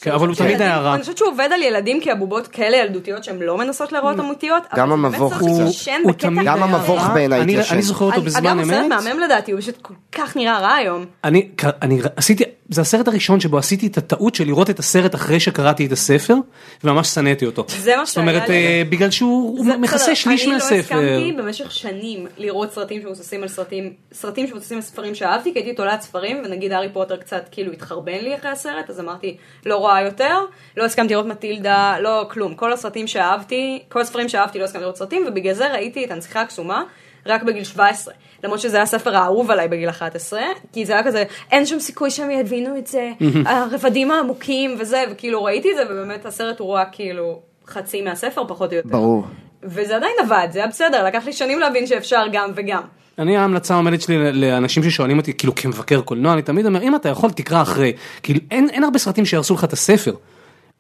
S2: כן, אבל הוא
S5: של
S2: תמיד היה
S5: ילדים-
S2: רע.
S5: אני חושבת שהוא עובד על ילדים כי הבובות כאלה ילדותיות שהן לא מנסות
S2: Mm.
S5: להראות אמיתיות. אבל
S4: גם
S5: זה באמת
S4: המבוך
S5: סרט
S4: הוא-
S5: שהתיישן
S2: הוא
S5: בקטע
S2: תמיד
S4: גם
S5: רע.
S4: המבוך
S5: אני-
S4: בעיניי
S2: אני-
S4: התיישן.
S2: אני זוכר אותו בזמן
S5: אגב הוא סרט
S2: אמת.
S5: מהמם לדעתי הוא פשוט כל כך נראה רע היום.
S2: אני, אני עשיתי זה הסרט הראשון שבו עשיתי את הטעות של לראות את הסרט אחרי שקראתי את הספר, וממש שנאתי אותו.
S5: זה מה
S2: זאת אומרת,
S5: שהיה לי.
S2: אה, בגלל שהוא הוא
S5: זה- בסדר,
S2: מכסה שליש
S5: אני לא
S2: מהספר.
S5: הסכמתי במשך שנים לראות סרטים שמבוססים על סרטים, סרטים שמבוססים על ספרים שאהבתי, כי הייתי תולעת ספרים, ונגיד הארי פוטר קצת כאילו התחרבן לי אחרי הסרט, אז אמרתי, לא רואה יותר, לא הסכמתי לראות מטילדה, לא כלום. כל הסרטים שאהבתי, כל הספרים שאהבתי לא הסכמתי לראות סרטים, ובגלל זה ראיתי את הנסיכה הקסומה. רק בגיל 17, למרות שזה היה הספר האהוב עליי בגיל 11, כי זה היה כזה, אין שום סיכוי שהם יבינו את זה, הרבדים העמוקים וזה, וכאילו ראיתי את זה, ובאמת הסרט הוא רק כאילו חצי מהספר פחות או יותר.
S4: ברור.
S5: וזה עדיין עבד, זה היה בסדר, לקח לי שנים להבין שאפשר גם וגם.
S2: אני ההמלצה העומדת שלי ל- לאנשים ששואלים אותי כאילו כמבקר קולנוע אני תמיד אומר אם אתה יכול תקרא אחרי כאילו אין, אין הרבה סרטים שיהרסו לך את הספר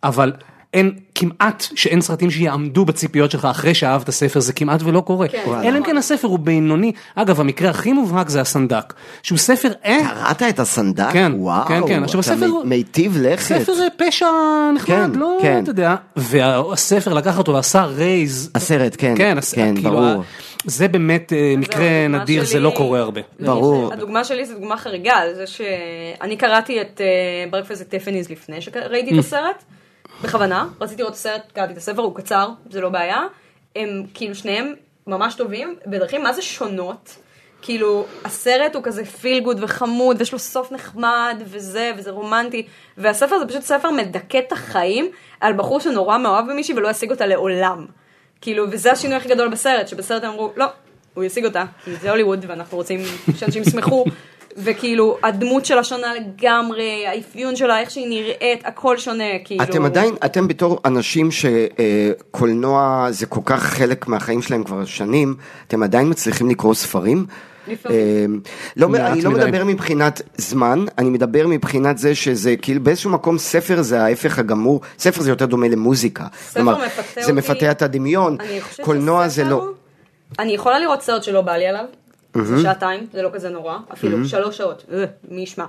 S2: אבל אין כמעט שאין סרטים שיעמדו בציפיות שלך אחרי שאהבת ספר זה כמעט ולא קורה
S5: כן, וואלה.
S2: אלא אם כן הספר הוא בינוני אגב המקרה הכי מובהק זה הסנדק שהוא ספר אה,
S4: קראת את הסנדק?
S2: כן,
S4: וואו,
S2: כן, כן. עכשיו,
S4: אתה
S2: הספר-
S4: מ- מיטיב לכת.
S2: ספר אה, פשע נחמד
S4: כן,
S2: לא
S4: כן.
S2: אתה יודע והספר לקח אותו ועשה רייז
S4: הסרט, כן,
S2: כן, הס-
S4: כן,
S2: כאילו,
S4: ברור.
S2: זה באמת אה, מקרה
S5: הדוגמה
S2: נדיר זה
S5: שלי-
S2: לא קורה הרבה.
S4: ברור.
S5: הדוגמה שלי זו דוגמה חריגה, על זה שאני קראתי את אה, ברקפסט טיפניז לפני שראיתי
S2: Mm.
S5: את הסרט, בכוונה, רציתי לראות את הסרט, קראתי את הספר, הוא קצר, זה לא בעיה. הם כאילו שניהם ממש טובים, בדרכים מה זה שונות. כאילו, הסרט הוא כזה פיל גוד וחמוד, ויש לו סוף נחמד, וזה, וזה רומנטי, והספר זה פשוט ספר מדכא את החיים על בחור שנורא מאוהב במישהי ולא ישיג אותה לעולם. כאילו, וזה השינוי הכי גדול בסרט, שבסרט הם אמרו, לא, הוא ישיג אותה, כי זה הוליווד, ואנחנו רוצים שאנשים ישמחו, וכאילו, הדמות שלה שונה לגמרי, האפיון שלה, איך שהיא נראית, הכל שונה, כאילו.
S4: אתם עדיין, אתם בתור אנשים שקולנוע זה כל כך חלק מהחיים שלהם כבר שנים, אתם עדיין מצליחים לקרוא ספרים?
S5: לפעמים.
S4: אה, לא,
S2: מעט
S4: אני לא
S2: מדי.
S4: מדבר מבחינת זמן, אני מדבר מבחינת זה שזה כאילו באיזשהו מקום ספר זה ההפך הגמור, ספר זה יותר דומה למוזיקה.
S5: ספר מפתה
S4: זה
S5: אותי.
S4: מפתה את הדמיון,
S5: אני חושבת
S4: קולנוע זה
S5: שספר-
S4: לא.
S5: אני יכולה לראות סרט שלא בא לי עליו, זה שעתיים, זה לא כזה נורא, אפילו שלוש שעות, אה, מי ישמע.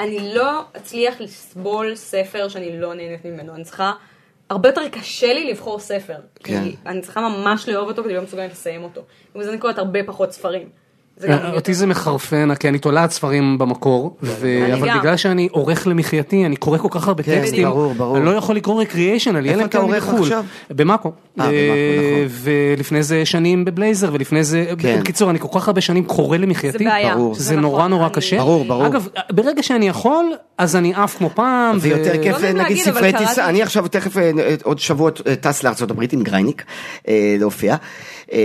S5: אני לא אצליח לסבול ספר שאני לא נהנית ממנו, אני צריכה, הרבה יותר קשה לי לבחור ספר,
S4: כן.
S5: כי אני צריכה ממש לאהוב אותו כדי להיות מסוגלת לסיים אותו. ובגלל זה אני קוראת הרבה פחות ספרים. זה גם-
S2: אה, אותי זה מחרפן, כי אני תולעת ספרים במקור, ו-
S5: אני
S2: אבל
S5: גם.
S2: בגלל שאני עורך למחייתי, אני קורא כל כך הרבה
S4: כן,
S2: טקסטים,
S4: ברור, ברור.
S2: אני לא יכול לקרוא רקריאיישנלי,
S4: איפה
S2: אלא אם
S4: אתה
S2: כן אני
S4: עורך
S2: בחו"ל.
S4: עכשיו?
S2: במאקו.
S4: אה, במאקו,
S2: אה,
S4: נכון.
S2: ולפני זה שנים בבלייזר, ולפני זה,
S4: כן.
S2: בקיצור, אני כל כך הרבה שנים קורא למחייתי,
S5: זה בעיה, ברור.
S2: שזה
S5: זה
S2: נורא
S5: נכון,
S2: נורא
S5: אני-
S2: קשה.
S4: ברור, ברור.
S2: אגב, ברגע שאני יכול, אז אני עף כמו פעם.
S4: זה
S2: ו-
S4: יותר כיף,
S5: לא נעים
S4: נגיד
S5: להגיד, אבל
S4: ספרי
S5: קראתי-
S4: טיסה, אני עכשיו תכף אה, אה, עוד שבוע אה, טס לארה"ב עם גרייניק, אה, להופיע. אה,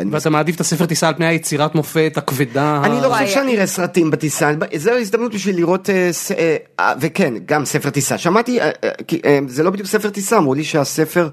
S4: אני
S2: ואתה מעדיף את הספר טיסה על פני היצירת מופת הכבדה.
S4: אני לא
S5: וואי. אה,
S4: חושב שאני אראה סרטים בטיסה, זו הזדמנות בשביל לראות, אה, ס- אה, אה, וכן, גם ספר טיסה. שמעתי, אה, אה, כי, אה, זה לא בדיוק ספר טיסה, אמרו לי שהספר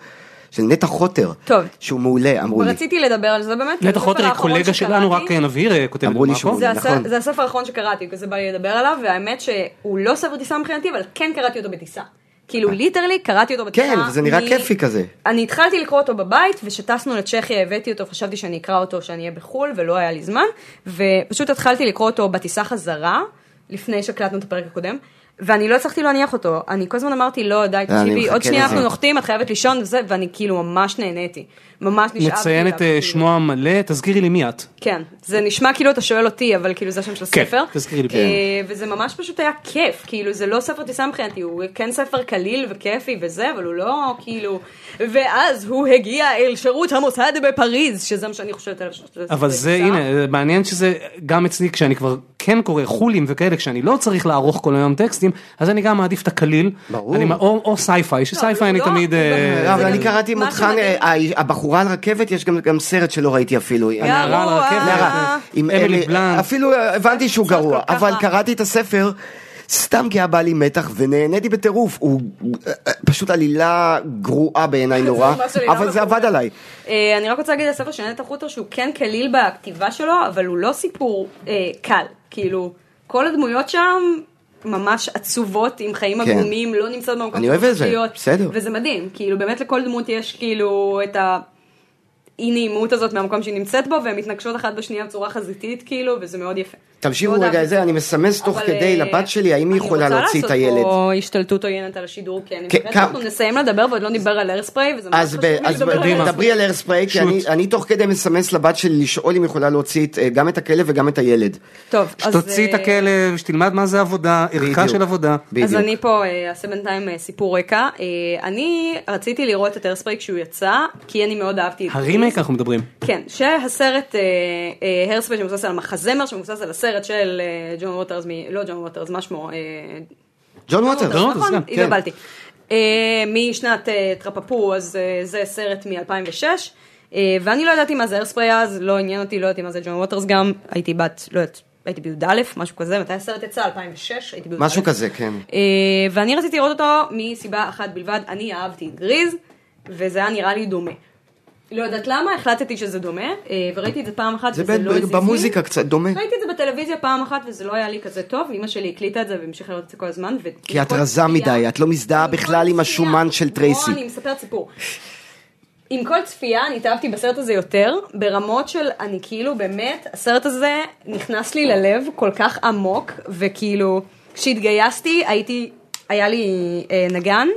S4: של נטע חוטר,
S5: טוב.
S4: שהוא מעולה, אמרו לי.
S5: רציתי לדבר על זה באמת.
S2: נטע
S5: הספר
S2: חוטר היא
S5: האחרון
S2: קולגה שלנו,
S5: שקראתי-
S2: רק אה, נבהיר, אה, כותבת
S4: אמרו לי
S2: במאקו.
S4: שהוא-
S5: זה, הס...
S4: נכון.
S5: זה הספר האחרון שקראתי, כזה בא לי לדבר עליו, והאמת שהוא לא ספר טיסה מבחינתי, אבל כן קראתי אותו בטיסה. כאילו ליטרלי קראתי אותו בטיסה.
S4: כן, וזה נראה כיפי כזה.
S5: אני התחלתי לקרוא אותו בבית, וכשטסנו לצ'כיה הבאתי אותו, חשבתי שאני אקרא אותו, שאני אהיה בחו"ל, ולא היה לי זמן, ופשוט התחלתי לקרוא אותו בטיסה חזרה, לפני שהקלטנו את הפרק הקודם. ואני לא הצלחתי להניח אותו, אני כל הזמן אמרתי לא די
S4: אה, אני
S5: תקשיבי
S4: מחכה
S5: עוד שנייה
S4: לזה.
S5: אנחנו נוחתים את חייבת לישון וזה ואני כאילו ממש נהניתי, ממש נשאבתי.
S2: נציין
S5: אליו,
S2: את אה,
S5: כאילו.
S2: שמו המלא, תזכירי לי מי את.
S5: כן, זה נשמע כאילו אתה שואל אותי, אבל כאילו זה השם של
S2: כן,
S5: הספר.
S2: תזכירי לי.
S5: אה, וזה ממש פשוט היה כיף, כאילו זה לא ספר טיסה מבחינתי, הוא כן ספר קליל וכיפי וזה, אבל הוא לא כאילו... ואז הוא הגיע אל שירות המוסד בפריז, שזה מה שאני חושבת עליו. שזה ספר
S2: אבל זה
S5: טיסה.
S2: הנה זה מעניין שזה גם אצלי כשאני כבר כן קורא חולים וכאלה כשאני לא צריך לערוך כל היום טקסטים אז אני גם מעדיף את הקליל
S4: ברור.
S2: אני, מע- או, או סייפיי שסייפיי
S5: לא,
S2: אני
S5: לא,
S2: תמיד
S5: זה
S2: אה,
S5: גם-
S4: לא, אבל
S5: זה
S4: אני
S5: גם-
S4: קראתי עם
S5: מה
S4: אותך,
S5: שמדהים-
S4: אה, הבחורה על הרכבת, יש גם- גם סרט שלא ראיתי אפילו. אה,
S5: גרוע.
S2: אה, נערה על הרכבת, אה,
S4: נערה, עם
S2: אמילי
S4: אלי-
S2: בלאנט.
S4: אפילו אה, הבנתי שהוא
S5: סרט
S4: גרוע,
S5: כל כך
S4: אבל
S5: רע.
S4: קראתי את הספר. סתם כי היה בא לי מתח ונהניתי בטירוף, הוא אה, אה, פשוט עלילה גרועה בעיניי נורא,
S5: ממש עלילה
S4: אבל זה
S5: מחוררת.
S4: עבד עליי.
S5: אה, אני רק רוצה להגיד על ספר של נטע חוטר שהוא כן קליל בכתיבה שלו, אבל הוא לא סיפור אה, קל. כאילו, כל הדמויות שם ממש עצובות, עם חיים
S4: כן.
S5: עגומים, לא נמצאות במקום
S4: אני אוהב את זה, בסדר.
S5: וזה מדהים, כאילו באמת לכל דמות יש כאילו את ה... האי נעימות הזאת מהמקום שהיא נמצאת בו, והן מתנגשות אחת בשנייה בצורה חזיתית, כאילו, וזה מאוד יפה.
S4: תמשיכו
S5: מאוד
S4: רגע את
S5: אהבתי.
S4: זה, אני מסמס תוך
S5: אבל,
S4: כדי
S5: אה,
S4: לבת שלי, האם היא יכולה להוציא את
S5: אני
S4: הילד?
S5: רוצה לעשות פה השתלטות עוינת על השידור, כי אני
S4: כן,
S5: חושבת
S4: כמה-
S5: שאנחנו נסיים לדבר ועוד לא דיבר על איירספריי, וזה מאוד
S4: אז,
S5: חשוב
S4: ב,
S5: לי
S4: אז
S5: לדבר על
S2: קדימה.
S5: Airspray.
S4: דברי על איירספריי, כי אני,
S2: שוט.
S4: אני תוך כדי מסמס לבת שלי לשאול אם יכולה להוציא את, אה, גם את הכלב וגם את הילד.
S5: טוב, אז...
S2: שתוציא את
S5: אה,
S2: הכלב, שתלמד מה זה עבודה, ערכה
S4: בדיוק.
S2: של עבודה.
S4: בדיוק.
S5: אז אני פה אה, אעשה בינתיים אה, סיפור רקע. אה, אני רציתי לראות את איירספריי כשהוא יצא, כי אני מאוד אהבתי את
S2: הרימייק אנחנו מדברים.
S5: כן, שהסרט הרספי שמבוסס על המחזמר, שמבוסס על הסרט של אה, ג'ון ווטרס, מ- לא ג'ון ווטרס, מה שמו? אה,
S4: ג'ון ווטרס.
S2: ווטרס,
S5: נכון,
S2: גם,
S4: כן.
S5: התבלבלתי. אה, משנת אה, טרפפו, אז אה, זה סרט מ-2006, ואני לא ידעתי מה זה הרספרי אז, לא עניין אותי, לא ידעתי מה זה ג'ון ווטרס גם, הייתי בת, לא יודעת, הייתי בי"א, משהו כזה, מתי הסרט יצא? 2006, הייתי בי"א.
S4: משהו כזה, כן.
S5: אה, ואני רציתי לראות אותו מסיבה אחת בלבד, אני אהבתי את גריז, וזה היה נראה לי דומה. לא יודעת למה, החלטתי שזה דומה, אה, וראיתי את זה פעם אחת,
S4: זה
S5: וזה לא
S4: ב-
S5: הזיז לי.
S4: במוזיקה קצת דומה.
S5: ראיתי את זה בטלוויזיה פעם אחת, וזה לא היה לי כזה טוב, אמא שלי הקליטה את זה והמשיכה לראות את זה כל הזמן. ו-
S4: כי את
S5: וכל
S4: רזה
S5: צפייה-
S4: מדי, את לא מזדהה
S5: עם כל
S4: בכלל עם
S5: צפייה-
S4: השומן של טרייסי.
S5: בוא, אני מספרת סיפור. עם כל צפייה אני התאהבתי בסרט הזה יותר, ברמות של אני כאילו באמת, הסרט הזה נכנס לי ללב כל כך עמוק, וכאילו כשהתגייסתי הייתי, היה לי אה, נגן,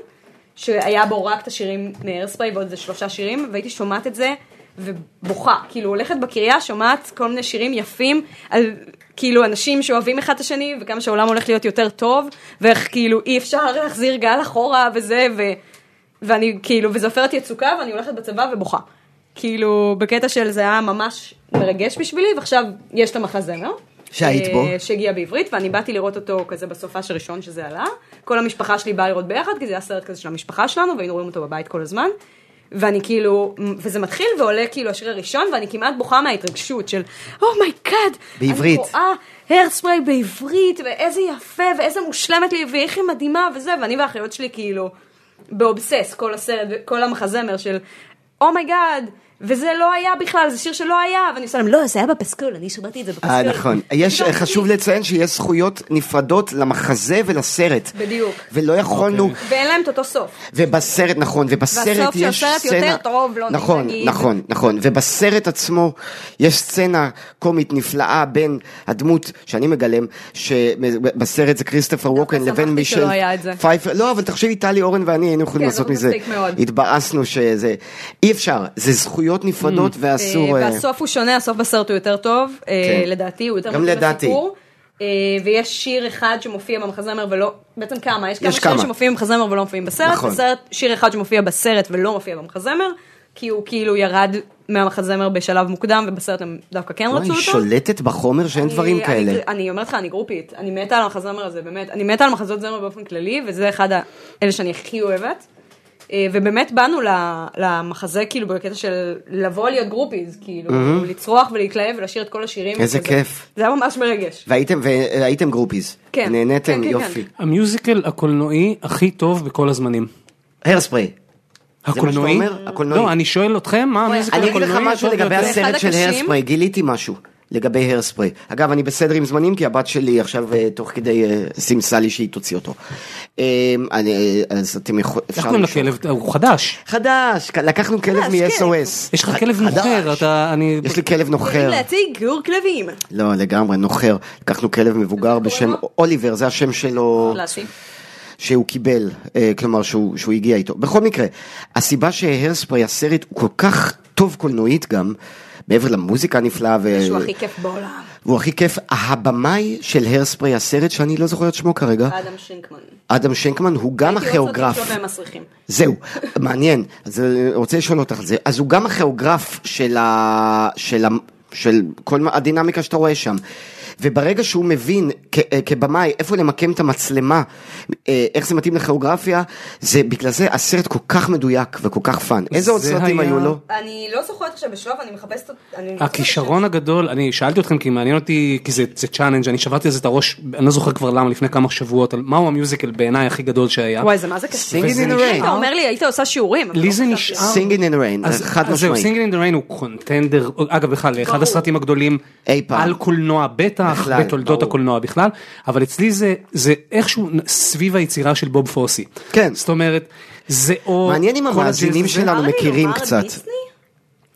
S5: שהיה בו רק את השירים מאיירספריי ועוד איזה שלושה שירים, והייתי שומעת את זה ובוכה, כאילו הולכת בקריה, שומעת כל מיני שירים יפים על כאילו אנשים שאוהבים אחד את השני, וכמה שהעולם הולך להיות יותר טוב, ואיך כאילו אי אפשר להחזיר גל אחורה וזה, ו... ואני כאילו, וזה עופרת יצוקה ואני הולכת בצבא ובוכה. כאילו, בקטע של זה היה ממש מרגש בשבילי, ועכשיו יש את המחזמר.
S4: שהיית
S5: אה,
S4: בו.
S5: שהגיע בעברית, ואני באתי לראות אותו כזה בסופש הראשון שזה עלה. כל המשפחה שלי באה לראות ביחד, כי זה היה סרט כזה של המשפחה שלנו, והיינו רואים אותו בבית כל הזמן. ואני כאילו, וזה מתחיל ועולה כאילו השיר הראשון, ואני כמעט בוכה מההתרגשות של, אומייגאד, oh my God,
S4: בעברית.
S5: אני רואה הרספריי בעברית, ואיזה יפה, ואיזה מושלמת לי, ואיך היא מדהימה, וזה, ואני והאחיות שלי כאילו, באובסס, כל הסרט, כל המחזמר של, אומייגאד, oh my God, וזה לא היה בכלל, זה שיר שלא היה, ואני עושה להם, לא, זה היה בפסקול, אני שמעתי את זה בפסקול.
S4: אה, נכון. יש,
S5: פתאום,
S4: חשוב לציין שיש זכויות נפרדות למחזה ולסרט.
S5: בדיוק.
S4: ולא יכולנו,
S5: ואין להם את אותו סוף.
S4: ובסרט, נכון, ובסרט
S5: והסוף של
S4: יש
S5: הסרט יותר
S4: סצנה,
S5: טוב, לא
S4: נכון,
S5: נגיד.
S4: נכון, נכון, ובסרט עצמו יש סצנה קומית נפלאה בין הדמות שאני מגלם, שבסרט זה כריסטופר ווקן
S5: שמחתי
S4: לבין
S5: שלא
S4: מישל
S5: היה את זה.
S4: פייפר, לא, אבל תחשבי, טלי אורן ואני היינו יכולים
S5: כן,
S4: לעשות
S5: אבל
S4: מזה,
S5: מצחיק מאוד.
S4: התבאסנו שזה, אי אפשר, זה זכויות נפרדות ואסור,
S5: אה,
S4: אה,
S5: והסוף הוא שונה, הסוף בסרט הוא יותר טוב, אה,
S4: כן.
S5: לדעתי, הוא יותר
S4: גם
S5: מתאים
S4: לדעתי.
S5: לסיפור. אה, ויש שיר אחד שמופיע במחזמר ולא, בעצם כמה, יש כמה
S4: יש
S5: שירים
S4: כמה.
S5: שמופיעים במחזמר ולא מופיעים בסרט,
S4: נכון.
S5: בסרט שיר אחד שמופיע בסרט ולא מופיע במחזמר, כי הוא כאילו ירד מהמחזמר בשלב מוקדם, ובסרט הם דווקא כן
S4: וואי,
S5: רצו אותו.
S4: לא, שולטת בחומר שאין
S5: אני-
S4: דברים
S5: אני-
S4: כאלה.
S5: אני אומרת לך, אני גרופית, אני מתה על המחזמר הזה, באמת, אני מתה על מחזות זמר באופן כללי, וזה אחד ה- אלה שאני הכי אוהבת. אה, ובאמת באנו ל- למחזה כאילו בקטע של לבוא להיות גרופיז, כאילו, לצרוח ולהתלהב ולשיר את כל השירים.
S4: איזה
S5: וזה-
S4: כיף.
S5: זה היה ממש מרגש.
S4: והייתם, והייתם גרופיז.
S5: כן.
S4: נהניתם,
S5: כן, כן,
S4: יופי.
S2: המיוזיקל הקולנועי הכי טוב בכל הזמנים.
S5: כן.
S4: הרספרי. מה שאתה
S2: הקולנועי?
S4: אומר? הקולנועי.
S2: לא, אני שואל אתכם מה המיוזיקל
S4: אני אגיד
S2: הקולנועי.
S4: לך משהו
S2: הטוב
S4: לגבי
S2: ביותר?
S5: אחד
S4: הסרט של
S5: הקשים.
S4: הרספרי, גיליתי משהו. לגבי הרספרי. אגב, אני בסדר עם זמנים, כי הבת שלי עכשיו אה, תוך כדי אה, סימסה לי שהיא תוציא אותו. אה, אני, אה, אז אתם יכולים...
S2: איך קוראים לכלב? הוא חדש.
S4: חדש, כ- לקחנו כלב
S5: חדש, כן.
S4: מ-SOS.
S2: יש לך כלב
S4: חדש.
S2: נוחר, אתה... אני...
S4: יש לי כלב
S5: יכולים
S4: נוחר.
S5: להציג גאור כלבים.
S4: לא, לגמרי, נוחר. לקחנו כלב מבוגר בשם
S5: לו? לא.
S4: אוליבר, זה השם שלו.
S5: קלאסי.
S4: שהוא קיבל, אה, כלומר שהוא, שהוא הגיע איתו. בכל מקרה, הסיבה שהרספרי הסרט הוא כל כך טוב קולנועית גם, מעבר למוזיקה הנפלאה, ו...
S5: שהוא הכי כיף בעולם.
S4: והוא הכי כיף, הבמאי של הרספרי הסרט, שאני לא זוכר את שמו כרגע,
S5: אדם שינקמן.
S4: אדם שנקמן, הוא גם
S5: הייתי רוצה
S4: הכיאוגרף.
S5: לצלוב להם מסריחים.
S4: זהו, מעניין, אז אה, רוצה לשאול אותך על זה. אז הוא גם הכיאוגרף של, ה... של, ה... של כל מה- הדינמיקה שאתה רואה שם. וברגע שהוא מבין כ- אה, כבמאי איפה למקם את המצלמה, אה, איך זה מתאים לכיאוגרפיה, זה בגלל זה הסרט כל כך מדויק וכל כך פאן. איזה עוד
S2: זה
S4: סרטים
S2: היה-
S4: היו לו?
S5: אני לא זוכרת עכשיו בשלוף, אני מחפשת... אות- אני מחפשת-
S2: הכישרון הגדול, אני שאלתי אתכם כי מעניין אותי, כי זה, זה צ'אלנג', אני שברתי על זה את הראש, אני לא זוכר כבר למה, לפני כמה שבועות, על מהו המיוזיקל בעיניי הכי גדול שהיה.
S5: וואי, זה מה זה קשה.
S4: Singing in the
S5: היית
S4: rain.
S5: אומר לי, היית עושה שיעורים. אבל
S2: לי
S5: לא
S2: זה
S5: חשבתי.
S2: נשאר.
S4: Singing in the rain,
S2: אה, אז
S4: אה, חד
S2: אז זהו,
S4: משמעית.
S2: סינגל אין דה ריין הוא קונטנדר, אגב בכלל, אחד הסרטים הגדולים
S4: אי פעם.
S2: על קולנוע בטח,
S4: בכלל,
S2: בתולדות
S4: ברור.
S2: הקולנוע בכלל, אבל אצלי זה- זה איכשהו סביב היצירה של בוב פוסי.
S4: כן.
S2: זאת אומרת, זה או...
S4: מעניין אם
S2: כל הג'אז
S4: המאזינים
S2: הזה-
S4: שלנו
S5: ארלי, הוא
S4: מכירים
S5: אמר
S4: קצת.
S5: דיסני?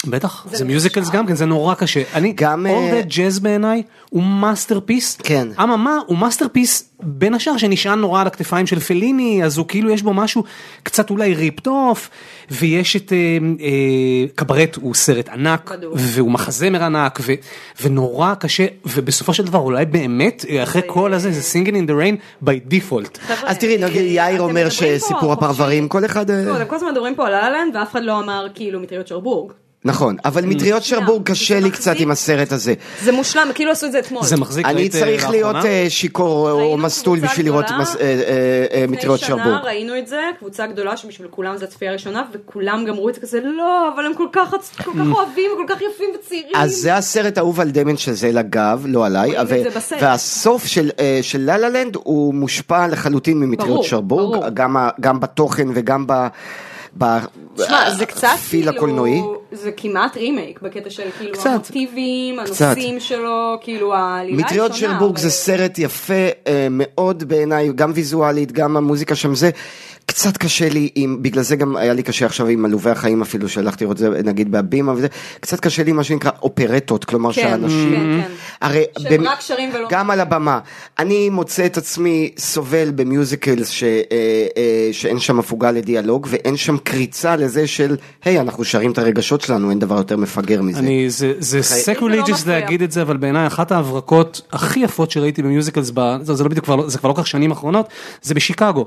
S2: בטח, זה מיוזיקלס גם כן, זה נורא קשה. אני,
S4: לא גם, אה,
S2: All That Jazz בעיניי הוא מאסטרפיס.
S4: כן.
S2: אממה, הוא מאסטרפיס בין השאר שנשען נורא על הכתפיים של פליני, אז הוא כאילו יש בו משהו קצת אולי ריפט אוף, ויש את אה, אה, קברט, הוא סרט ענק,
S5: בדיוק.
S2: והוא מחזמר ענק, ו, ונורא קשה, ובסופו של דבר אולי באמת, אה, אחרי כל הזה, זה סינגל אין דה ריין בי דיפולט.
S5: חבר'ה,
S4: אז תראי, נגיד
S5: אה,
S4: יאיר
S5: אתם
S4: אומר
S5: מדברים פה
S4: שסיפור
S5: חופשי.
S4: הפרברים, כל אחד... אה,
S5: לא, אתם כל הזמן מדברים פה על אהלנד, ואף אחד לא אמר כאילו מטריות שרבורג.
S4: נכון,
S5: Mm.
S4: אבל
S5: לא,
S4: מטריות שרבור קשה לי קצת עם הסרט הזה.
S5: זה מושלם, כאילו עשו את זה אתמול.
S2: זה מחזיק,
S4: אני
S2: ראית, אה,
S4: צריך להיות
S2: לאחרונה?
S4: אה, שיכור או
S5: ראינו
S4: מסטול
S5: קבוצה
S4: בשביל לראות
S5: גדולה.
S4: מס- אה, אה, אה, מטריות
S5: לפני שנה
S4: שרבור.
S5: ראינו את זה, קבוצה גדולה שבשביל כולם זו הצפייה הראשונה, וכולם גמרו את זה כזה, לא, אבל הם כל כך כל כך אוהבים, כל כך יפים וצעירים.
S4: אז זה הסרט האהוב על דמיין שזה לגב, לא עליי,
S5: רואים את
S4: ו-
S5: זה בסרט.
S4: והסוף של, אה, של לה לה לנד הוא מושפע לחלוטין ממטריות
S5: ברור,
S4: שרבורג,
S5: ברור.
S4: גם, ה- גם בתוכן וגם ב... ב-
S5: תשמע, זה קצת
S4: פיל
S5: כאילו,
S4: הקולנועי.
S5: זה כמעט רימייק בקטע של כאילו
S2: קצת.
S5: המוטיבים, הנושאים שלו, כאילו העלילה היא
S4: מטריות
S5: שונה,
S4: שרבורג
S5: אבל-
S4: זה סרט יפה אה, מאוד בעיניי, גם ויזואלית, גם המוזיקה שם זה. קצת קשה לי עם, בגלל זה גם היה לי קשה עכשיו עם עלובי החיים אפילו שהלכתי לראות את זה נגיד בהבימה וזה, קצת קשה לי עם מה שנקרא אופרטות, כלומר
S5: כן,
S4: שהאנשים,
S5: כן, כן.
S4: הרי,
S5: שהם רק שרים ולא-
S4: גם על הבמה, אני מוצא את עצמי סובל במיוזיקלס ש, אה, אה, שאין שם הפוגה לדיאלוג ואין שם קריצה לזה של, היי אנחנו שרים את הרגשות שלנו, אין דבר יותר מפגר מזה. אוקיי.
S2: אני, זה, זה
S5: זה לא
S2: סקוליג'יס
S5: מפריע.
S2: להגיד את זה, אבל בעיניי אחת ההברקות הכי יפות שראיתי במיוזיקלס, ב- זה, זה לא בדיוק כבר, לא- זה כבר לא כל כך שנים אחרונות, זה בשיקגו.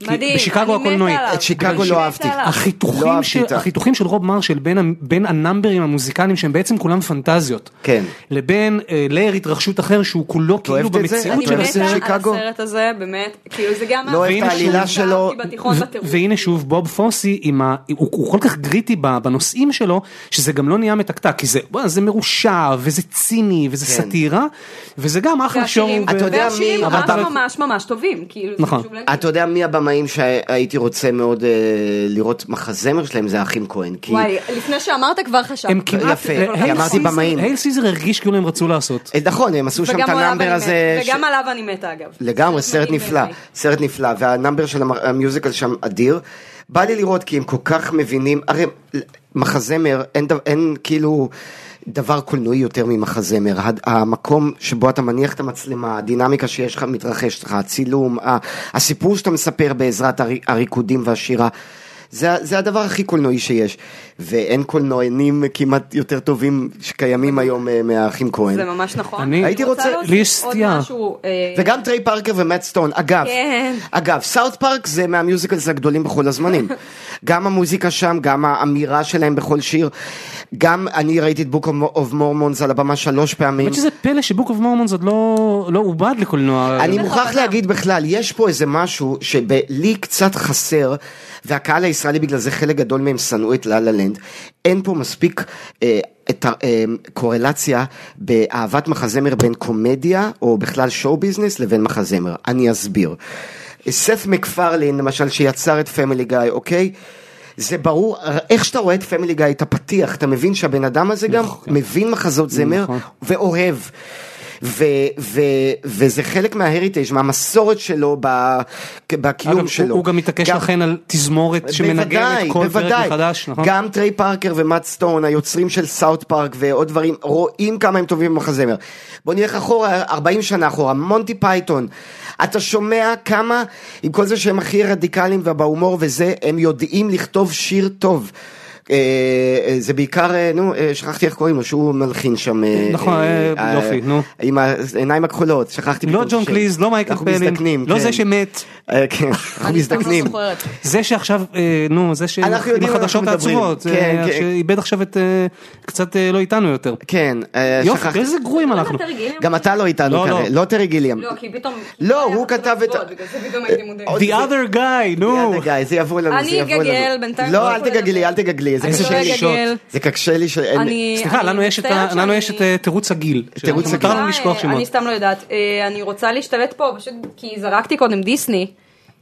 S2: כי
S5: מדהים,
S2: בשיקגו
S5: אני מתה
S2: הקולנועי.
S5: עליו.
S4: את שיקגו לא
S5: מתה
S4: אהבתי.
S5: עליו.
S4: לא
S2: החיתוכים,
S4: אהבתי
S2: של,
S4: את ה-
S2: החיתוכים של רוב מרשל בין, ה- בין הנאמברים המוזיקליים שהם בעצם כולם פנטזיות.
S4: כן.
S2: לבין אה, לייר התרחשות אחר שהוא כולו כאילו
S4: אוהבת את זה?
S2: במציאות
S5: אני
S4: את
S2: של
S4: אוהבת את
S5: מתה
S4: זה?
S2: הסרט.
S5: על
S4: שיקגו.
S5: הסרט הזה, באמת, כאילו זה גם...
S4: לא אוהב
S5: משהו
S2: את העלילה
S5: שהזכרתי
S4: שלו.
S5: בתיכון
S2: ו-
S5: בטירוף.
S2: והנה שוב בוב פוסי עם ה... הוא, הוא כל כך גריטי ב- בנושאים שלו שזה גם לא נהיה מתקתק כי זה, וואי, זה מרושע וזה ציני וזה
S4: כן.
S2: סאטירה וזה גם אחלה
S5: והשירים-
S2: שואו.
S4: אתה יודע
S5: והשירים
S4: מי-
S5: רק
S2: אבל אתה-
S5: ממש ממש טובים, כאילו, זה
S2: נכון.
S5: חשוב להגיד.
S4: אתה יודע מי הבמאים שהייתי רוצה מאוד אה, לראות מחזמר שלהם זה האחים כהן כי
S5: וואי, לפני שאמרת כבר חשבתי. אוקיי,
S2: הם כמעט... אה,
S4: יפה, כי אמרתי במאים.
S2: הייל סיזר הרגיש כאילו הם רצו לעשות.
S4: אה, נכון הם עשו שם את
S5: וגם עליו
S4: הנאמבר
S5: אני
S4: הזה
S5: מתה, וגם עליו אני מתה אגב.
S4: לגמרי סרט
S5: מדהים
S4: נפלא
S5: בעיניי.
S4: סרט נפלא והנאמבר של המ- המיוזיקל שם אדיר בא לי לראות כי הם כל כך מבינים הרי מחזמר אין, דו- אין כאילו דבר קולנועי יותר ממחזמר הד- המקום שבו אתה מניח את המצלמה הדינמיקה שיש לך מתרחשת לך הצילום ה- הסיפור שאתה מספר בעזרת הרי- הריקודים והשירה זה, ה- זה הדבר הכי קולנועי שיש, ואין קולנוענים כמעט יותר טובים שקיימים היום אה, מהאחים כהן.
S5: זה ממש נכון.
S2: אני- הייתי
S5: רוצה
S4: רוצה-
S5: להוסיף
S2: לי יש
S5: עוד
S2: סטייה.
S5: משהו, אה,
S4: וגם טריי פארקר ומט סטון, אגב,
S5: כן.
S4: אגב, סאוט פארק זה מהמיוזיקלס הגדולים בכל הזמנים. גם המוזיקה שם, גם האמירה שלהם בכל שיר, גם אני ראיתי את בוק אוף מורמונס על הבמה שלוש פעמים.
S2: האמת שזה פלא שבוק אוף מורמונס עוד לא לא עובד לקולנוע.
S4: אני
S5: בכוונה.
S4: מוכרח להגיד בכלל, יש פה איזה משהו שלי קצת חסר, והקהל הישראלי בגלל זה חלק גדול מהם שנאו את לה לה לנד, אין פה מספיק אה, את, ה- אה, קורלציה באהבת מחזמר בין קומדיה, או בכלל שואו ביזנס, לבין מחזמר. אני אסביר. סף מקפרלין למשל שיצר את פמילי גיא, אוקיי? זה ברור, איך שאתה רואה את פמילי גיא, את הפתיח, אתה מבין שהבן אדם הזה גם מבין מחזות זמר ואוהב. ו, ו, וזה חלק מההריטייג', מהמסורת שלו, ב, בקיום
S2: אגב,
S4: שלו.
S2: הוא- הוא גם מתעקש לכן על תזמורת שמנגנת כל פרק מחדש. נכון?
S4: גם טריי פארקר ומאט סטון, היוצרים של סאוט פארק ועוד דברים, רואים כמה הם טובים במחזמר. בוא נלך אחורה, 40 שנה אחורה, מונטי פייתון. אתה שומע כמה, עם כל זה שהם הכי רדיקליים ובהומור וזה, הם יודעים לכתוב שיר טוב. אה, אה, זה בעיקר, אה, נו, אה, שכחתי איך קוראים לו, שהוא מלחין שם. אה,
S2: נכון,
S4: אה,
S2: אה, יופי,
S4: אה,
S2: נו.
S4: עם העיניים הכחולות, שכחתי.
S2: לא
S4: פתאום
S2: ג'ון
S4: שם.
S2: קליז, לא מייקל
S4: אנחנו
S2: פלין,
S4: מזדקנים,
S2: לא
S4: כן.
S2: זה שמת.
S4: אה, כן, אנחנו
S5: אני סתם לא
S4: מזדקנים.
S5: זוכרת.
S2: זה שעכשיו, אה, נו, זה שעם
S4: אנחנו יודעים על מה
S2: החדשות
S4: אנחנו מדברים.
S2: העצובות,
S4: כן,
S2: אה,
S4: כן.
S2: שאיבד עכשיו את, אה, קצת אה, לא איתנו יותר.
S4: כן, אה,
S2: יופי,
S4: שכחתי.
S2: איזה גרועים אנחנו.
S5: אתה רגיל?
S4: גם אתה לא איתנו
S2: לא, לא.
S4: כרגע, לא טרי גיליאם.
S5: לא, כי פתאום...
S4: לא,
S5: היה
S4: הוא
S5: חשוב
S4: כתב את-
S5: לצפות, בגלל זה פתאום הייתי מודאגת.
S4: עוד-
S2: The other guy, נו.
S4: יאללה, גיא, זה יבוא לנו,
S5: אני
S4: זה יבוא לנו.
S5: אגגל, בינתיים
S4: לא,
S5: לא
S4: אל
S5: יכול
S4: תגגלי,
S5: לדבר.
S4: אל תגגלי. זה
S5: אני
S2: איזה
S5: לא
S4: קשה לי.
S2: שלישות.
S5: אגגל.
S4: זה קשה לי שאין...
S5: אני-
S2: סליחה,
S5: אני
S2: לנו יש את ה-
S5: מצטערת
S2: לנו
S5: שאני-
S2: יש את אה, תירוץ הגיל.
S4: תירוץ
S2: שמותר
S4: הגיל.
S2: לנו לשכוח
S5: אה, אני
S2: שמות.
S5: סתם לא יודעת. אה, אני רוצה להשתלט פה, פשוט כי זרקתי קודם דיסני.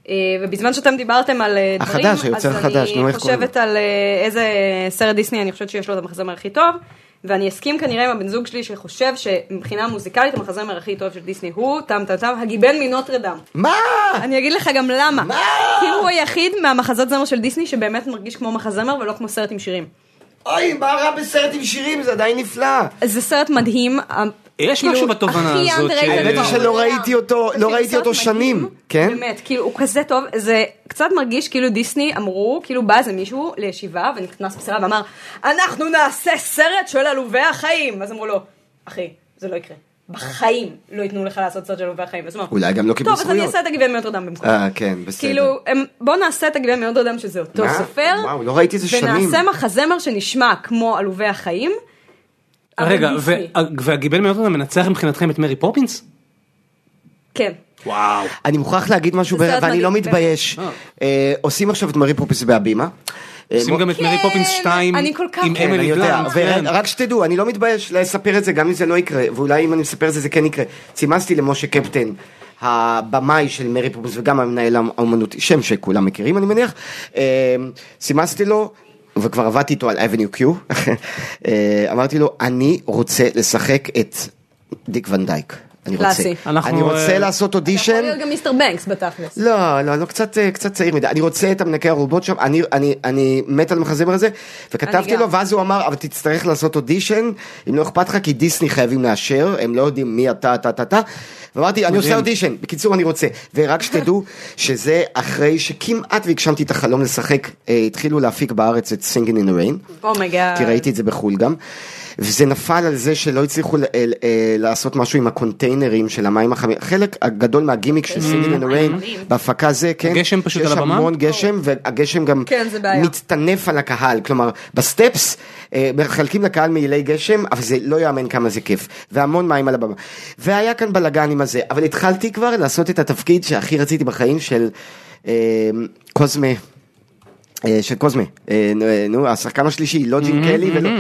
S5: אה, ובזמן שאתם דיברתם על אה, דברים,
S4: החדש, היוצר החדש, נו,
S5: אז אני
S4: איך קוראים לו?
S5: חושבת על אה, איזה סרט דיסני אני חושבת שיש לו את המחזמר הכי טוב, ואני אסכים כנראה עם הבן זוג שלי שחושב שמבחינה מוזיקלית המחזמר הכי טוב של דיסני הוא, טם טם טם, הגיבן מנוטרדם.
S4: מה?
S5: אני אגיד לך גם למה. כי הוא היחיד מהמחזות זמר של דיסני שבאמת מרגיש כמו מחזמר ולא כמו סרט עם שירים.
S4: אוי, מה רע בסרט עם שירים? זה עדיין נפלא.
S5: זה סרט מדהים. ה-
S2: יש
S5: כאילו,
S2: משהו בתובנה
S5: הכי
S2: הזאת.
S5: underrated
S2: ש-
S4: האמת היא
S5: בעולם.
S4: שלא ראיתי אותו- לא
S5: זה
S4: ראיתי
S5: כאילו, סרט
S4: אותו
S5: מדהים.
S4: שנים, כן?
S5: באמת, כאילו, הוא כזה טוב, זה קצת מרגיש כאילו דיסני אמרו, כאילו בא איזה מישהו לישיבה ונכנס בסירה ואמר, אנחנו נעשה סרט של עלובי החיים! אז אמרו לו, אחי, זה לא יקרה. בחיים לא ייתנו לך לעשות סרט של עלובי החיים. אז הוא אמר,
S4: אולי גם לא קיבלו
S5: טוב, אז אני
S4: זכויות.
S5: אעשה את הגביע מאוטרדם במקום.
S4: אה, כן, בסדר.
S5: כאילו, הם- בוא נעשה את הגביע מאוטרדם שזה אותו
S4: מה?
S5: סופר,
S4: וואו, לא ראיתי את זה שנים.
S5: ונעשה מחזמר שנשמע כמו עלובי החיים. אבל
S2: רגע, אה,
S5: דיסני.
S2: וה- והגיבל מאוטרדם מנצח מבחינתכם את מרי פופינס?
S5: כן.
S2: וואו.
S4: אני מוכרח להגיד משהו,
S5: זה
S4: ב-
S5: סרט
S4: ואני לא
S5: מדהים,
S4: מתבייש. אה, עושים עכשיו את מרי פופס בהבימה. אה,
S2: עושים
S4: בוא-
S2: גם את מרי
S5: כן,
S2: פופינס 2
S5: אני כל כך-
S2: עם
S5: כן,
S4: כן, אני
S2: אמילי
S4: יודע,
S2: בלאנט. כן.
S4: ורק שתדעו, אני לא מתבייש לספר את זה, גם אם זה לא יקרה, ואולי אם אני מספר את זה, זה כן יקרה. צימסתי למשה קפטן, הבמאי של מרי פופס וגם המנהל האומנותי, שם שכולם מכירים אני מניח, אה, צימסתי לו, וכבר עבדתי איתו על אבניו קיו, אה, אמרתי לו, אני רוצה לשחק את דיק ונדייק. אני רוצה,
S5: קלאסי.
S2: אנחנו,
S4: אני רוצה
S2: אה,
S4: לעשות
S5: יכול
S4: אודישן,
S5: להיות גם מיסטר בנקס בתכלס.
S4: לא, לא, לא, קצת, אה, קצת צעיר מדי. אני רוצה את המנקה הרובוט שם, אני, אני, אני מת על המחזמר הזה, וכתבתי
S5: אני גם.
S4: לו, ואז הוא אמר, אבל תצטרך לעשות אודישן, אם לא אכפת לך, כי דיסני חייבים לאשר, הם לא יודעים מי אתה, אתה, אתה, אתה. ואמרתי, אני עושה אודישן, בקיצור, אני רוצה. ורק שתדעו שזה אחרי שכמעט והגשמתי את החלום לשחק, אה, התחילו להפיק בארץ את Singing in the Rain.
S5: אומייגאד.
S4: כי ראיתי את זה בחו"ל גם. וזה נפל על זה שלא הצליחו ל- אה, אה, לעשות משהו עם הקונטיינרים של המים החמים. חלק הגדול מהגימיק
S5: Mm-hmm.
S4: של סינגל אנד ריין בהפקה זה, כן.
S2: הגשם פשוט על הבמה?
S4: יש המון גשם, והגשם גם
S5: כן, זה בעיה.
S4: מצטנף על הקהל. כלומר, בסטפס אה, מחלקים לקהל מעילי גשם, אבל זה לא יאמן כמה זה כיף. והמון מים על הבמה. והיה כאן בלאגן עם הזה, אבל התחלתי כבר לעשות את התפקיד שהכי רציתי בחיים של אה, קוזמה. אה, של קוזמה, אה, נו, אה, נו, השחקן השלישי, לא ג'ים קלי ולא,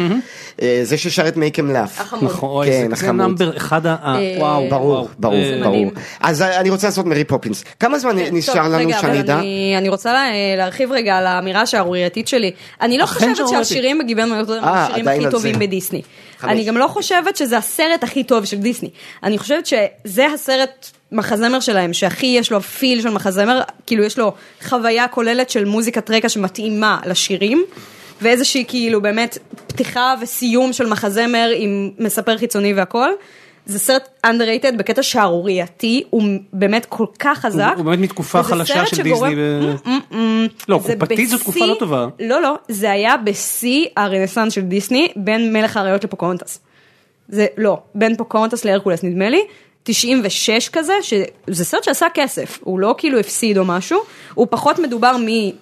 S4: אה, זה ששר את מייקם לאף.
S5: החמוד.
S2: נכון, אוי,
S4: כן,
S2: זה- זה
S4: החמוד.
S2: נאמבר אחד ה... ה-
S5: אה,
S2: וואו. וואו.
S4: ברור, ברור,
S2: אה,
S4: ברור.
S5: מדהים. כן,
S4: אז אה, אני רוצה לעשות מרי פופינס. כמה זמן נשאר
S5: טוב,
S4: לנו
S5: רגע, אבל
S4: שאני אדע?
S5: אני- אני רוצה לה- אה, להרחיב רגע על האמירה השערורייתית שלי. אני לא
S2: אכן
S5: חושבת
S2: שערורייתית.
S5: שהשירים בגיבן מיוחדים הם
S4: אה,
S5: השירים
S4: עדיין
S5: הכי
S4: על
S5: טובים
S4: זה.
S5: בדיסני.
S4: חמש.
S5: אני גם לא חושבת שזה הסרט הכי טוב של דיסני. אני חושבת שזה הסרט מחזמר שלהם, שהכי יש לו פיל של מחזמר, כאילו יש לו חוויה כוללת של מוזיקת רקע שמתאימה לשירים. ואיזושהי כאילו באמת פתיחה וסיום של מחזמר עם מספר חיצוני והכל. זה סרט underrated בקטע שערורייתי, הוא באמת כל כך חזק.
S2: הוא באמת מתקופה
S5: וזה
S2: חלשה
S5: סרט
S2: של
S5: שגורם- Mm,
S2: דיסני. ו- לא, קופתית זו תקופה לא טובה.
S5: לא, לא, זה היה בשיא הרנסאנס של דיסני, בין מלך האריות לפוקהונטס. זה, לא, בין פוקהונטס להרקולס נדמה לי, 96 כזה, שזה סרט שעשה כסף, הוא לא כאילו הפסיד או משהו, הוא פחות מדובר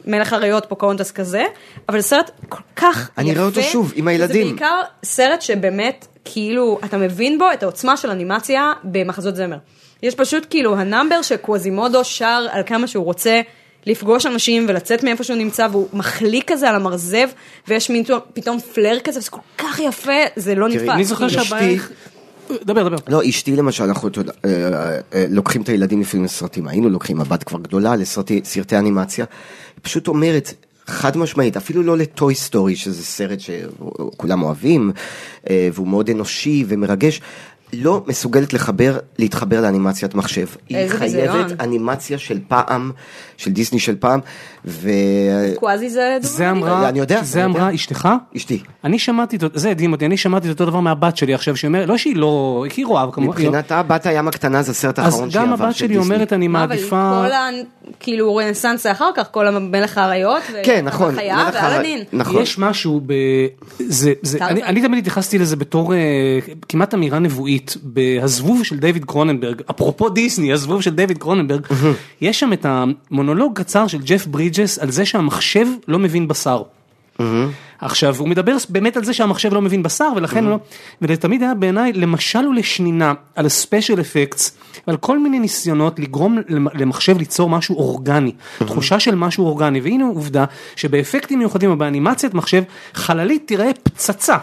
S5: ממלך האריות פוקהונטס כזה, אבל זה סרט כל כך יפה.
S4: אני אראה אותו שוב, עם
S5: וזה
S4: הילדים.
S5: בעיקר סרט שבאמת, כאילו, אתה מבין בו את העוצמה של אנימציה במחזות זמר. יש פשוט כאילו הנאמבר שקווזימודו שר על כמה שהוא רוצה לפגוש אנשים ולצאת מאיפה שהוא נמצא, והוא מחליק כזה על המרזב, ויש מין פתאום- פתאום פלר כזה, וזה כל כך יפה, זה לא נתפס.
S2: אני זוכר
S5: כאילו.
S2: שהבעיה... היא- דבר, דבר.
S4: לא, אשתי למשל, אנחנו אתה יודע, אה, אה, אה, לוקחים את הילדים לפעמים לסרטים, היינו לוקחים, הבת כבר גדולה, לסרטי סרטי אנימציה, היא פשוט אומרת, חד משמעית, אפילו לא לטוי סטורי, שזה סרט שכולם אוהבים, אה, והוא מאוד אנושי ומרגש, לא מסוגלת לחבר, להתחבר לאנימציית מחשב. היא
S5: איזה ביזיון.
S4: חייבת אנימציה של פעם, של דיסני של פעם, ואשתי.
S5: קוואזי זה דוגמה.
S2: זה אמרה,
S4: אני יודע,
S2: זה
S4: אני יודע.
S2: אמרה אשתך? אני שמעתי, את- זה הדהים אותי, אני שמעתי את אותו דבר מהבת שלי עכשיו, שהיא אומרת, לא שהיא לא, היא כאילו אוהב כמובן,
S4: מבחינת הבת הים הקטנה זה הסרט
S2: אז
S4: האחרון שהיא
S2: גם
S4: עברה
S2: הבת
S4: של
S2: שלי
S4: דיסני.
S2: אומרת, אני מעדיפה,
S5: אבל כל ה... כאילו רנסאנס זה אחר כך, כל המלך האריות. ו-
S4: כן, נכון.
S5: החיה
S4: מלך הר-
S5: ואלאדין.
S4: נכון.
S2: יש משהו ב... זה, זה,
S5: טרזן.
S2: אני, אני תמיד התייחסתי לזה בתור אה, כמעט אמירה נבואית, בהזבוב של דיוויד קרוננברג, אפרופו דיסני, הזבוב של דיוויד קרוננברג, יש שם את המונולוג קצר של ג'ף ברידג'ס על זה שהמחשב לא מבין בשר. עכשיו הוא מדבר באמת על זה שהמחשב לא מבין בשר ולכן הוא לא, וזה תמיד היה בעיניי למשל ולשנינה על הספיישל אפקטס ועל כל מיני ניסיונות לגרום למ- למחשב ליצור משהו אורגני, תחושה של משהו אורגני והנה עובדה שבאפקטים מיוחדים או באנימציית מחשב חללית תיראה פצצה.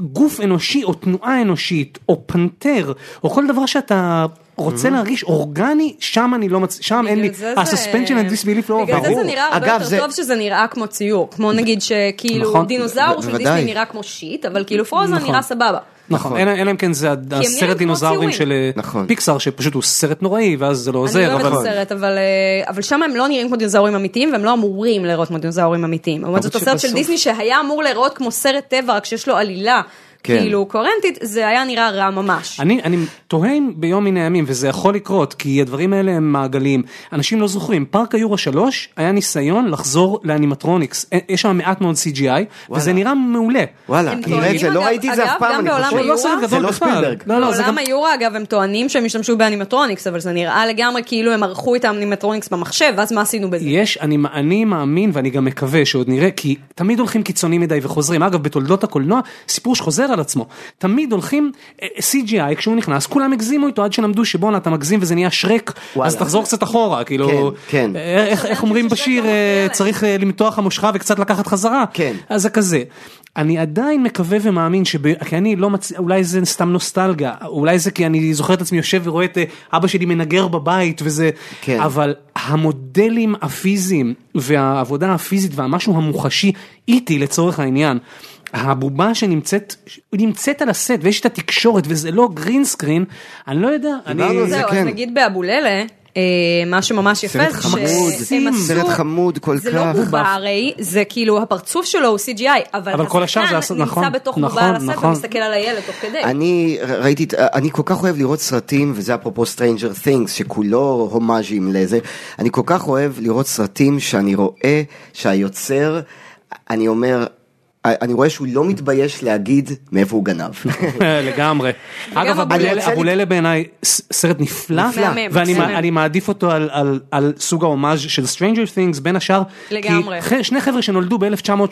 S2: גוף אנושי או תנועה אנושית או פנתר או כל דבר שאתה רוצה להרגיש אורגני שם אני לא מצ... שם אין לי,
S5: בגלל זה זה-
S2: הספנשן and disbelief לא
S5: בגלל זה
S2: ברור.
S5: זה נראה הרבה
S4: אגב,
S5: יותר
S4: זה-
S5: טוב שזה נראה כמו ציור. כמו נגיד שכאילו
S2: נכון,
S5: דינוזאור
S4: ב-
S5: של
S4: בוודאי.
S5: דיסני נראה כמו שיט, אבל כאילו פרוזן
S2: נכון.
S5: נראה סבבה.
S2: נכון, אלא אלא אם כן זה הד-
S5: הם נראים
S2: הסרט
S5: כמו
S2: דינוזאורים
S5: ציורים.
S2: של אה,
S4: נכון.
S2: פיקסאר, שפשוט הוא סרט נוראי, ואז זה לא
S5: אני לא
S2: עוזר,
S5: אוהבת את
S2: אבל...
S5: הסרט, אבל, אה, אבל שם הם לא נראים כמו דינוזאורים אמיתיים, והם לא אמורים להיראות כמו דינוזאורים אמיתיים. לעומת זאת הסרט של
S2: שבסוף-
S5: דיסני שהיה אמור להיראות כמו סרט טבע, רק שיש לו עלילה,
S4: כן.
S5: כאילו קוהרנטית, זה היה נראה רע ממש.
S2: אני, אני תוהה אם ביום מן הימים, וזה יכול לקרות, כי הדברים האלה הם מעגליים. אנשים לא זוכרים, פארק היורו 3 היה ניסיון לחזור לאנימטרוניקס. אה, יש שם מעט מאוד CGI, וזה נראית מעולה.
S4: וואלה,
S5: הם
S4: אני אראה את זה,
S5: טוענים,
S4: לא
S5: אגב-
S4: ראיתי את זה
S5: אגב,
S4: אף פעם,
S5: גם
S4: אני
S5: בעולם
S4: חושב.
S2: הוא לא
S5: היורה?
S2: סרט גדול
S4: זה לא
S2: בכלל.
S4: ספילברג.
S2: לא, לא, זה גם...
S5: בעולם היורה אגב הם טוענים שהם השתמשו באנימטרוניקס, אבל זה נראה לגמרי כאילו הם ערכו את האנימטרוניקס במחשב, ואז מה עשינו בזה?
S2: יש, אני, אני מאמין ואני גם מקווה שעוד נראה, כי תמיד הולכים קיצוני מדי וחוזרים. אגב, בתולדות הקולנוע, סיפור שחוזר על עצמו. תמיד הולכים, אה, CGI, כשהוא נכנס, כולם הגזימו איתו עד שלמדו שבואנה, אתה מגזים וזה נהיה שרק,
S4: וואלה.
S2: אז תחזור קצת אחורה, כאילו,
S4: כן, כן.
S2: אה, איך, איך אומרים בשיר, אה, צריך אה, למתוח המושכה וקצת לקחת חזרה.
S4: כן.
S2: אז זה כזה. אני עדיין מקווה ומאמין שב... כי אני לא מצ... אולי זה סתם נוסטלגיה, אולי זה כי אני זוכר את עצמי יושב ורואה את אה, אבא שלי מנגר בבית וזה,
S4: כן.
S2: אבל המודלים הפיזיים והעבודה הפיזית והמשהו המוחשי איטי לצורך העניין. הבובה שנמצאת, נמצאת על הסט ויש את התקשורת וזה לא גרין סקרין, אני לא יודע, אני...
S4: דיברנו על זה,
S5: זהו, אז
S4: כן.
S5: נגיד באבוללה, אה, מה שממש יפה
S4: סרט
S5: זה
S4: חמוד,
S5: שהם עשו...
S4: סרט חמוד כל
S5: זה לא
S4: כך.
S5: בובה הרי, זה כאילו הפרצוף שלו הוא CGI, אבל,
S2: אבל כל השאר זה
S5: השחקן
S2: עשה- נכון,
S5: נמצא בתוך
S2: נכון,
S5: בובה על הסט
S2: נכון.
S5: ומסתכל על הילד תוך כדי.
S4: אני ר- ראיתי, את- אה, אני כל כך אוהב לראות סרטים, וזה אפרופו Stranger Things, שכולו הומאז'ים לזה, אני כל כך אוהב לראות סרטים שאני רואה שהיוצר, אני אומר, אני רואה שהוא לא מתבייש להגיד מאיפה הוא גנב.
S2: לגמרי. אגב,
S5: אבוללה-
S2: אבוללה- אבוללה בעיניי ס- סרט נפלא,
S5: נפלא.
S2: ואני
S5: מהמם.
S2: אני מעדיף אותו על- על- על סוג ההומאז' של Stranger Things בין השאר.
S5: לגמרי.
S2: כי ח- שני חבר'ה שנולדו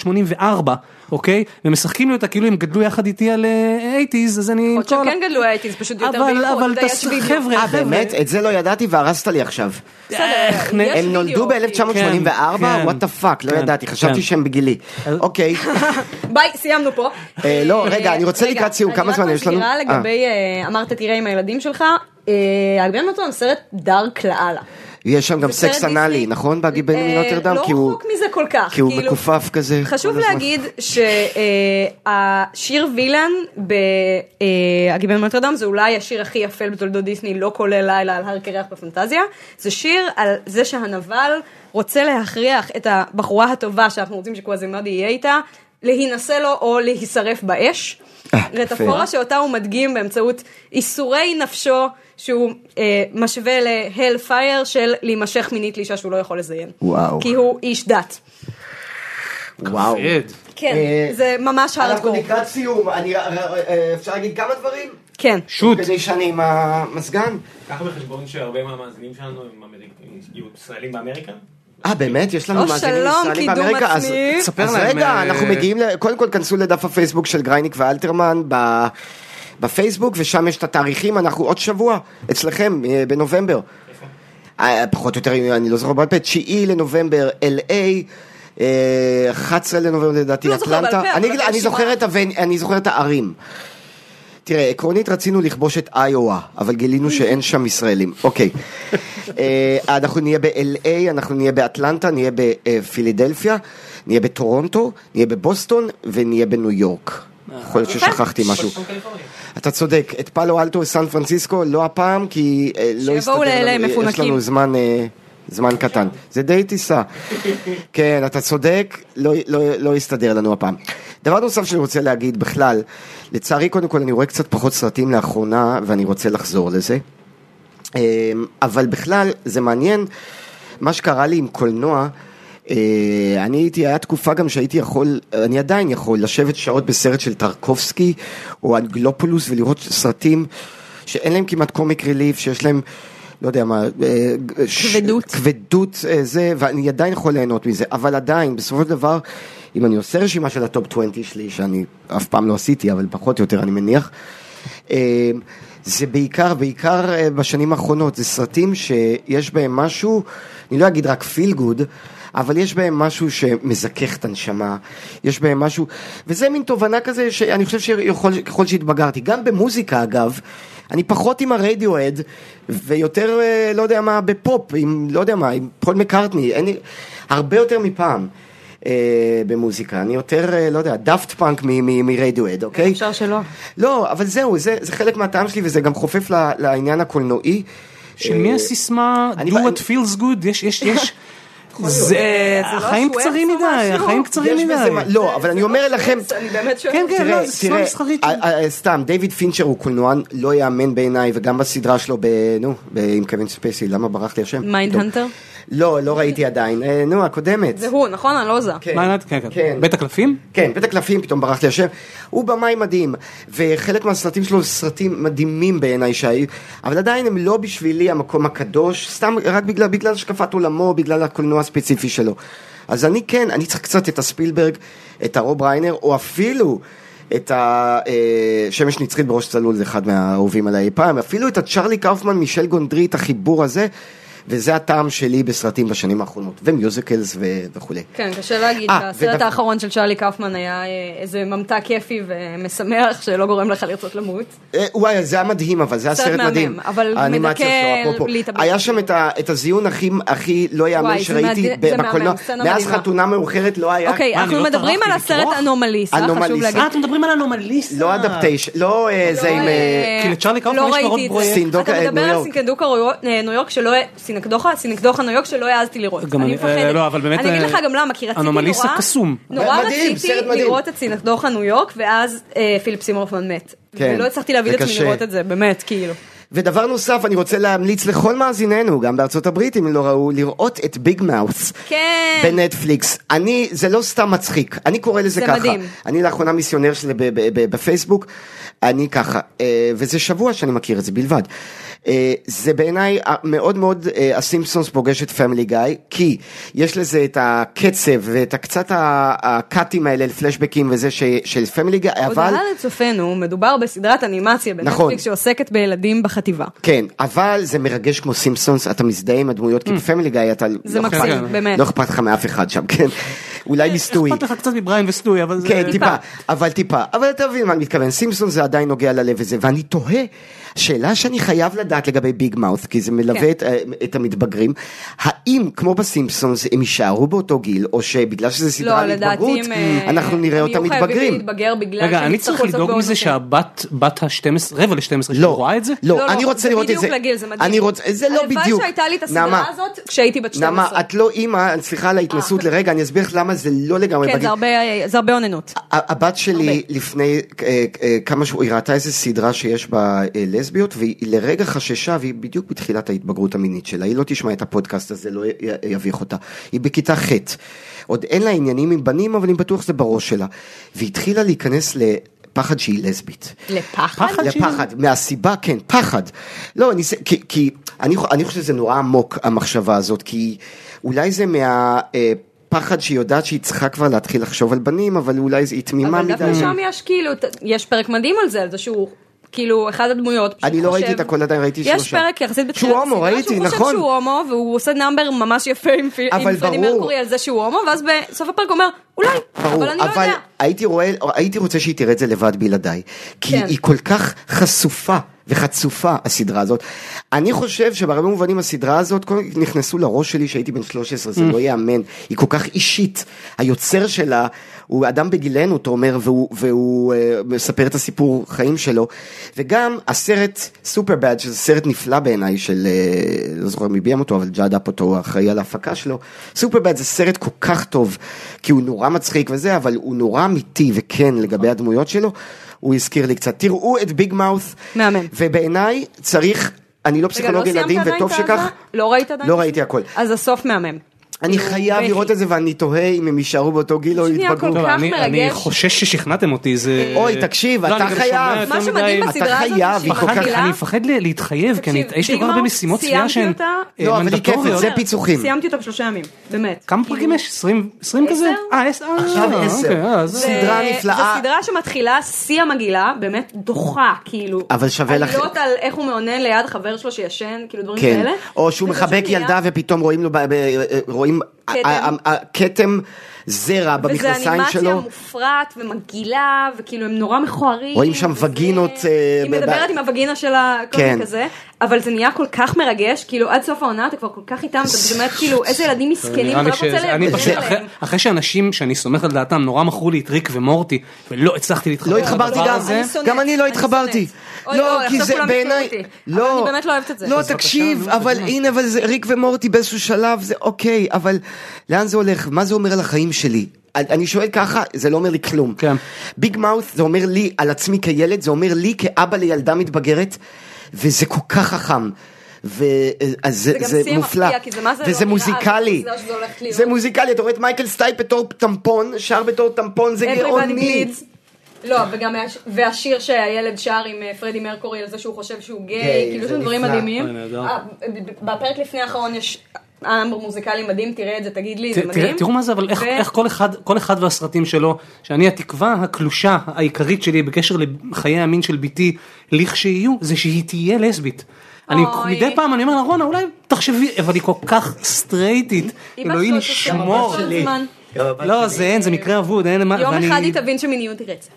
S2: ב-1984, אוקיי? ומשחקים לי אותה כאילו הם גדלו יחד איתי על אה, 80's, אז אני...
S5: עוד שהם כן גדלו האייטיז, פשוט יותר
S2: אבל,
S5: באיחוד,
S2: אבל
S5: אתה יודע,
S2: תס-
S5: יש וידאו.
S2: חבר'ה, אה,
S4: אה,
S2: חבר'ה.
S4: באמת? את זה לא ידעתי והרסת לי עכשיו.
S2: איך נ-
S5: יש
S4: הם נולדו
S5: וידאו, אוקיי.
S4: ב-1984?
S2: כן,
S4: וואט דה פאק, לא
S2: כן,
S4: ידעתי, חשבתי
S2: כן.
S4: שהם בגילי. אוקיי,
S5: ביי, סיימנו פה.
S4: אה, לא, רגע, אני רוצה לקראת סיום, כמה זמן יש לנו?
S5: אני רק
S4: אה.
S5: מסבירה לגבי, אה, אמרת תראה עם הילדים שלך, אה, הגביין מתון סרט דארק לאללה.
S4: יש שם גם
S5: זה סרט
S4: סקס אנאלי,
S5: דיסני.
S4: נכון? בגיבן
S5: אה,
S4: מנוטרדם?
S5: לא רחוק מזה כל כך,
S4: כי הוא
S5: כאילו-
S4: מכופף כזה.
S5: חשוב
S4: כל הזמן.
S5: להגיד שהשיר וילן ב"הגיבן מנוטרדם" זה אולי השיר הכי אפל בתולדות דיסני, לא כולל לילה על הר קרח בפנטזיה. זה שיר על זה שהנבל רוצה להכריח את הבחורה הטובה שאנחנו רוצים שקוואזימאדי יהיה איתה, להינשא לו או להישרף באש.
S4: אה, יפה.
S5: רטפורה שאותה הוא מדגים באמצעות איסורי נפשו שהוא אה, משווה להל פייר של להימשך מינית לאישה שהוא לא יכול לזיין.
S4: וואו.
S5: כי הוא איש דת.
S4: וואו.
S2: עד.
S5: כן,
S4: אה,
S5: זה ממש
S4: אנחנו
S5: הארדקור.
S4: לקראת סיום, אני, אה, אה, אה, אפשר להגיד כמה דברים?
S5: כן.
S2: שוט.
S4: כדי שאני עם המזגן.
S1: קח בחשבון שהרבה מהמאזינים שלנו הם אמריק- ישראלים באמריקה.
S4: אה באמת? יש לנו
S5: או
S4: מאזינים
S5: שלום,
S4: ישראלים
S5: קידום
S4: באמריקה? אז-
S5: עצמי.
S2: ספר
S4: אז
S2: להם,
S4: רגע,
S2: אה,
S4: אנחנו מגיעים, ל- קודם כל כנסו לדף הפייסבוק של גרייניק ואלתרמן ב- בפייסבוק, ושם יש את התאריכים, אנחנו עוד שבוע אצלכם אה, בנובמבר. אה, פחות או יותר, אני לא זוכר בעל פה, 9 לנובמבר LA. אה, 11 לנובמבר לדעתי,
S5: לא זוכר
S4: אטלנטה.
S5: בעל פה,
S4: אני-
S5: אבל
S4: אני
S5: הרשימה-
S4: זוכר את הוונ- אני זוכר את הערים. תראה, עקרונית רצינו לכבוש את איואה, אבל גילינו שאין שם ישראלים. אוקיי. אה, אנחנו נהיה ב-LA, אנחנו נהיה באטלנטה, נהיה בפילידלפיה, נהיה בטורונטו, נהיה בבוסטון ונהיה בניו יורק. יכול להיות ששכחתי משהו. אתה צודק, את פאלו אלטו וסן פרנסיסקו, לא הפעם, כי אה, לא
S5: שיבואו
S4: הסתדר
S5: ל-LA
S4: לנו, יש
S5: מפונקים.
S4: לנו זמן... אה, זמן קטן, זה די טיסה. כן, אתה צודק, לא, לא, לא יסתדר לנו הפעם. דבר נוסף שאני רוצה להגיד בכלל, לצערי קודם כל אני רואה קצת פחות סרטים לאחרונה ואני רוצה לחזור לזה. אמ, אבל בכלל, זה מעניין, מה שקרה לי עם קולנוע, אה, אני הייתי, היה תקופה גם שהייתי יכול, אני עדיין יכול, לשבת שעות בסרט של טרקובסקי או אנגלופולוס ולראות סרטים שאין להם כמעט קומיק ריליף, שיש להם, לא יודע מה, אה, ג- ש-
S5: כבדות.
S4: כבדות אה, זה, ואני עדיין יכול ליהנות מזה, אבל עדיין, בסופו של דבר, אם אני עושה רשימה של הטופ 20 שלי, שאני אף פעם לא עשיתי, אבל פחות או יותר אני מניח, אה, זה בעיקר, בעיקר אה, בשנים האחרונות, זה סרטים שיש בהם משהו, אני לא אגיד רק פיל גוד, אבל יש בהם משהו שמזכך את הנשמה, יש בהם משהו, וזה מין תובנה כזה שאני חושב שככל שהתבגרתי, גם במוזיקה אגב, אני פחות עם הרדיואד, ויותר, אה, לא יודע מה, בפופ, עם, לא יודע מה, עם פול מקארטני, אין לי, הרבה יותר מפעם. אה, במוזיקה, אני יותר, אה, לא יודע, דאפט פאנק מרדיואד, אוקיי?
S5: אפשר שלא.
S4: לא, אבל זהו, זה, זה חלק מהטעם שלי וזה גם חופף ל, לעניין הקולנועי.
S2: של מי הסיסמה
S4: אה, אני
S2: do
S4: בא-
S2: what feels good יש יש יש. זה
S5: זה לא
S2: החיים
S5: סוואץ
S2: קצרים
S5: או
S2: מדי
S5: משהו?
S2: החיים קצרים
S4: יש בזה
S2: מדי.
S4: מה- לא, אבל אני אומר לכם,
S5: אני באמת שואלת.
S2: כן כן לא, זה סיסמה
S4: תראה,
S2: מסחרית.
S4: אה, אה, סתם, דיוויד פינצ'ר הוא קולנוען לא יאמן בעיניי, וגם בסדרה שלו, ב... נו, ב... עם קווין ספייסי, למה ברח לי השם?
S5: מיינד
S4: פתאום.
S5: הנטר?
S4: לא, לא ראיתי עדיין, אה, נו, הקודמת.
S5: זה הוא, נכון? אני לא זה.
S4: כן,
S2: מה, ענת? כן, כן.
S4: כן.
S2: בית הקלפים?
S4: כן, בית הקלפים, פתאום ברח לי השם. הוא במאי מדהים, וחלק מהסרטים שלו זה סרטים מדהימים בעיניי שהיו, אבל עדיין הם לא בשבילי המקום הקדוש, סתם רק בגלל, בגלל השקפת עולמו, בגלל הקולנוע הספציפי שלו. אז אני כן, אני צריך קצת את הספילברג, את הרוב ריינר, או אפילו את השמש נצחית בראש צלול, זה אחד מהאהובים עליי אי פעם, אפילו את הצ'רלי קאופמן, מישל גונדרי, את החיבור הזה. וזה הטעם שלי בסרטים בשנים האחרונות, ומיוזיקלס ו- וכולי.
S5: כן, קשה להגיד,
S4: אה,
S5: הסרט
S4: ודווקא-
S5: האחרון של שרלי קאופמן היה אה, איזה ממתק כיפי ומשמח שלא גורם לך לרצות למות.
S4: אה, וואי, זה היה מדהים, אבל זה היה
S5: סרט
S4: סרט
S5: מהמם,
S4: מדהים.
S5: אבל
S4: האנימציה
S5: מדכא
S4: שלו, אפרופו.
S5: להתאבד.
S4: היה שם את ה- את הזיון הכי- הכי לא יאמן
S5: וואי, זה
S4: שראיתי
S5: מהד-
S4: ב-
S5: זה מהמם,
S4: בקולנוע.
S5: סצנה
S4: מאז
S5: מדהימה.
S4: חתונה מאוחרת לא היה.
S5: אוקיי,
S2: מה, אני
S5: אנחנו
S2: לא
S5: מדברים על
S2: טרחתי
S5: הסרט
S2: לקרוא?
S5: אנומליסה, חשוב
S4: אנומליסה.
S5: להגיד.
S2: אה אתם מדברים על אנומליסה.
S4: לא אדפטיישן, לא אה, זה עם... אה,
S2: כי לצ'רלי כאילו, קאופמן
S5: לא
S2: יש כבר עוד
S5: ראיתי את זה.
S2: פרויקט.
S4: סינדוקה, אה,
S5: אתה מדבר
S4: ניו
S5: על
S4: יורק.
S5: סינקדוקה רו- אה, ניו יורק שלא... סינקדוחה? סינקדוחה ניו יורק שלא העזתי לראות.
S2: גם אני-
S5: אני
S2: אה,
S5: מפחדת.
S2: לא, אבל באמת,
S5: אני אגיד
S2: אה,
S5: לך גם למה, כי רציתי נורא...
S2: אנומליסה קסום.
S5: נורא
S4: מדהים,
S5: רציתי
S4: סרט מדהים.
S5: לראות את סינקדוחה ניו יורק, ואז אה, פיליפ סימורפמן מת.
S4: כן,
S5: ולא הצלחתי להביא את
S4: זה
S5: עצמי
S4: קשה.
S5: לראות את זה, באמת, כאילו.
S4: ודבר נוסף, אני רוצה להמליץ לכל מאזיננו, גם בארצות הברית, אם לא ראו, לראות את ביג מאוס.
S5: כן.
S4: בנטפליקס. אני, זה לא סתם מצחיק, אני קורא לזה
S5: זה
S4: ככה.
S5: מדהים.
S4: אני לאחרונה מיסיונר שלי ב- ב- ב- בפייסבוק, אני ככה, אה, וזה שבוע שאני מכיר את זה בלבד. אה, זה בעיניי אה, מאוד מאוד אה, הסימפסונס פוגש את פמילי גיא, כי יש לזה את הקצב ואת הקצת ה- הקאטים האלה, פלשבקים וזה ש- של פמילי גיא, אבל...
S5: הודעה לצופינו, מדובר בסדרת אנימציה
S4: נכון.
S5: בנטפליקס שעוסקת בילדים בחטיבה.
S4: כן, אבל זה מרגש כמו סימפסונס, אתה מזדהה עם הדמויות, כי בפמילי גיא אתה...
S5: Mm. זה
S4: לא אכפת-
S5: מקסים, באמת. אה,
S4: לא אכפת לך מאף אחד שם, כן. אולי מסטוי.
S2: אכפת לך קצת מבריין וסטוי אבל זה...
S4: כן, טיפה, אבל טיפה. אבל אתה מבין מה אני מתכוון, סימפסון זה עדיין נוגע ללב וזה, ואני תוהה, שאלה שאני חייב לדעת לגבי ביג מאוס, כי זה
S5: כן.
S4: מלווה את, אה, את המתבגרים, האם כמו בסימפסונס הם יישארו באותו גיל, או שבגלל שזה סדרה
S5: לא,
S4: על
S5: לדעתי
S4: התבגרות,
S5: הם... אה,
S4: אנחנו נראה
S5: הם
S4: אותם
S5: יהיו חייבים
S4: מתבגרים.
S5: להתבגר בגלל שהם
S2: רגע אני צריך
S5: יצטרכו לעשות
S2: לדאוג
S5: בעוד
S2: מזה
S5: נושא.
S2: שהבת בת ה-12 רבע ל-12
S4: לא,
S2: רואה את זה?
S4: לא,
S5: לא,
S4: אני
S5: לא,
S4: רוצה
S5: זה
S4: לראות את זה.
S5: בדיוק לגיל, זה מדהים.
S4: אני רוצה, זה לא בדיוק.
S5: הלוואי שהייתה לי את הסדרה
S4: נעמה,
S5: הזאת כשהייתי בת 12.
S4: נעמה, את לא אימא, סליחה על ההתנסות לרגע, אני אסביר לך למה זה לא לגמרי
S5: אה. כן,
S4: בגיל.
S5: זה הרבה, זה הרבה אוננות.
S4: ה- הבת שלי הרבה. לפני אה, אה, כמה שבועות, היא ראתה איזה סדרה שיש בה אה, לסביות, והיא לרגע חששה, והיא בדיוק בתחילת ההתבגרות המינית שלה, היא לא תשמע את הפודקאסט הזה, לא י- י- יביך אותה. היא בכיתה ח', עוד אין לה עניינים עם בנים, אבל אני בטוח שזה בראש שלה. והיא התחילה להיכנס לפחד שהיא לסבית.
S5: לפחד?
S2: פחד שהיא-
S4: לפחד, מהסיבה, כן, פחד. לא, אני, זה- כי, כי אני, חו- אני חושב שזה נורא עמוק, המחשבה הזאת, כי אולי זה מה... אה, פחד שהיא יודעת שהיא צריכה כבר להתחיל לחשוב על בנים, אבל אולי זה- היא תמימה
S5: אבל
S4: מדי.
S5: דווקא שם יש כאילו, ת- יש פרק מדהים על זה, על זה שהוא... כאילו, אחד הדמויות, פשוט
S4: אני לא
S5: חושב-
S4: ראיתי את הכל עדיין, ראיתי
S5: יש
S4: שלושה.
S5: פרק יחסית בתחילת
S4: שהוא הומו,
S5: הסדרה
S4: ראיתי,
S5: שהוא חושב
S4: נכון.
S5: שהוא הומו, והוא עושה נאמבר ממש יפה עם פי-
S4: אבל
S5: עם פרדי
S4: ברור.
S5: מרקורי על זה שהוא הומו, ואז בסוף הפרק אומר, אולי, אבל אני לא
S4: אבל
S5: יודע.
S4: הייתי, רואה, הייתי רוצה שהיא תראה את זה לבד בלעדיי, כי
S5: כן.
S4: כן. היא כל כך חשופה וחצופה הסדרה הזאת. אני חושב שבהרבה מובנים הסדרה הזאת קודם כל נכנסו לראש שלי שהייתי בן 13, זה לא ייאמן, היא כל כך אישית, היוצר שלה הוא אדם בגילנו, תומר, והוא, והוא אה, מספר את הסיפור חיים שלו, וגם הסרט סופר בד, שזה סרט נפלא בעיניי של, אה, לא זוכר מי ביים אותו, אבל ג'אד אפ אותו, אחראי על ההפקה שלו, סופר בד זה סרט כל כך טוב, כי הוא נורא מצחיק וזה, אבל הוא נורא אמיתי וכן לגבי הדמויות שלו. הוא הזכיר לי קצת, תראו את ביג מאוס,
S5: מהמם.
S4: ובעיניי צריך, אני לא
S5: רגע, לא
S4: פסיכולוג
S5: סיימת
S4: ילדים,
S5: עדיין
S4: וטוב
S5: את לא. הזה?
S4: שכך,
S5: לא ראית עדיין?
S4: לא ראיתי הכל.
S5: אז הסוף מהמם.
S4: אני חייב
S5: בכי.
S4: לראות את זה ואני תוהה אם הם יישארו באותו גיל או
S5: פשוט נהיה
S4: יתבגרו.
S5: כל
S2: טוב,
S5: כך
S2: אני- אני
S5: מרגש.
S2: חושש ששכנעתם אותי זה...
S4: אוי,
S2: לא,
S4: תקשיב, אתה
S2: אני גם
S4: חייב.
S2: שומע יותר
S5: מה שמדהים
S2: מדי.
S4: אתה
S5: בסדרה הזאת,
S4: חייב,
S5: שהיא
S4: היא כל כך-
S5: מתחילה-
S2: אני מפחד ל- להתחייב, כי אני-
S5: תקשיב,
S2: יש לי כל כך
S5: ביג
S2: הרבה
S5: מאוס,
S2: משימות צפייה
S5: סיימתי
S2: שהן
S5: אותה.
S2: אה,
S4: לא, אבל היא כיפת,
S2: מנדטוריות.
S4: זה פיצוחים.
S5: סיימתי אותה בשלושה ימים, באמת.
S2: כמה פרקים יש? 20 20 כזה?
S5: כאילו, עשר?
S2: אה, עשר.
S4: עכשיו
S2: אה,
S4: עשר.
S2: אוקיי, אה, אז-
S4: זה- סדרה נפלאה.
S5: זו סדרה שמתחילה שיא המגעילה, באמת דוחה, כאילו.
S4: אבל שווה לך-
S5: עלילות על איך הוא מאונן ליד חבר שלו שישן, כאילו דברים
S4: כן,
S5: כאלה.
S4: או שהוא
S5: וזה
S4: מחבק
S5: פשוט נהיה-
S4: ילדה ופתאום רואים לו, ב- ב-
S5: אה?
S4: רואים,
S5: כתם.
S4: ה- ה- ה- כתם זרע
S5: וזה
S4: במכנסיים
S5: אנימציה
S4: שלו.
S5: מופרעת ומגעילה, וכאילו הם נורא מכוערים.
S4: רואים שם
S5: וזה-
S4: וגינות, אה,
S5: היא
S4: ב-
S5: מדברת
S4: ב-
S5: עם הווגינה שלה, כל
S4: כן.
S5: מיני כזה, אבל זה נהיה כל כך מרגש, כאילו עד סוף העונה אתה כבר כל כך איתם, אתה באמת כאילו איזה ילדים מסכנים, אתה
S2: נראה
S5: רק
S2: לי
S5: רוצה
S2: שאני
S5: לדבר
S2: פשוט,
S5: אליהם.
S2: אה, אחרי- אחרי שאנשים שאני סומך על דעתם נורא מכרו לי את ריק ומורטי, ולא הצלחתי להתחבר
S4: לא
S2: לדבר
S4: התחברתי גם,
S2: הזה.
S5: אני שונאת,
S4: גם אני לא
S5: אני
S4: התחברתי.
S5: שונאת. אוי,
S4: לא,
S5: אוי,
S4: כי
S5: עכשיו
S4: זה
S5: כולם
S4: בעיניי,
S5: יתקפו אותי. אבל
S4: לא,
S5: אני באמת לא אוהבת את זה.
S4: לא,
S5: אז בבקשה,
S4: תקשיב,
S2: נו,
S4: אבל
S2: באמת.
S4: הנה, אבל זה ריק ומורטי באיזשהו שלב זה אוקיי, אבל לאן זה הולך? מה זה אומר על החיים שלי? אני- אני שואל ככה, זה לא אומר לי כלום.
S2: כן.
S4: ביג מאוס זה אומר לי על עצמי כילד, זה אומר לי כאבא לילדה מתבגרת, וזה כל כך חכם. וזה
S5: גם
S4: זה
S5: שיא
S4: מופלא,
S5: מפתיע, כי זה מה זה
S4: וזה
S5: לא
S4: מוזיקלי,
S5: נראה, זה לא שזה הולך להיות.
S4: זה מוזיקלי, אתה רואה את מייקל סטייפ בתור טמפון, שר בתור טמפון, זה
S5: Everybody
S4: גאוני,
S5: bleeds. לא, וגם הש- והשיר שהילד שר עם אה, פרדי מרקורי על זה שהוא חושב שהוא
S4: גיי,
S5: גיי, כאילו יש
S4: זה
S5: שם דברים
S4: נפלא.
S5: מדהימים.
S2: אוי, נהדר.
S5: אה, ב- בפרק לפני האחרון יש אמבר מוזיקלי מדהים, תראה את זה, תגיד לי,
S2: ת-
S5: זה
S2: תראה-
S5: מדהים.
S2: תראו מה זה, אבל איך-
S5: ו-
S2: איך כל אחד- כל אחד והסרטים שלו, שאני התקווה הקלושה העיקרית שלי בקשר לחיי המין של בתי, לכשיהיו, זה שהיא תהיה לסבית. אני
S5: אוי.
S2: מדי פעם אני אומר לה רונה אולי תחשבי אבל היא כל כך סטרייטית
S5: אמא
S2: אלוהים
S5: שלו
S2: ישמור.
S5: תעשה כל הזמן.
S2: לא זה אין זה מקרה אבוד אין מה-
S5: יום
S2: ואני-
S5: אחד היא תבין שמיניות היא רצף.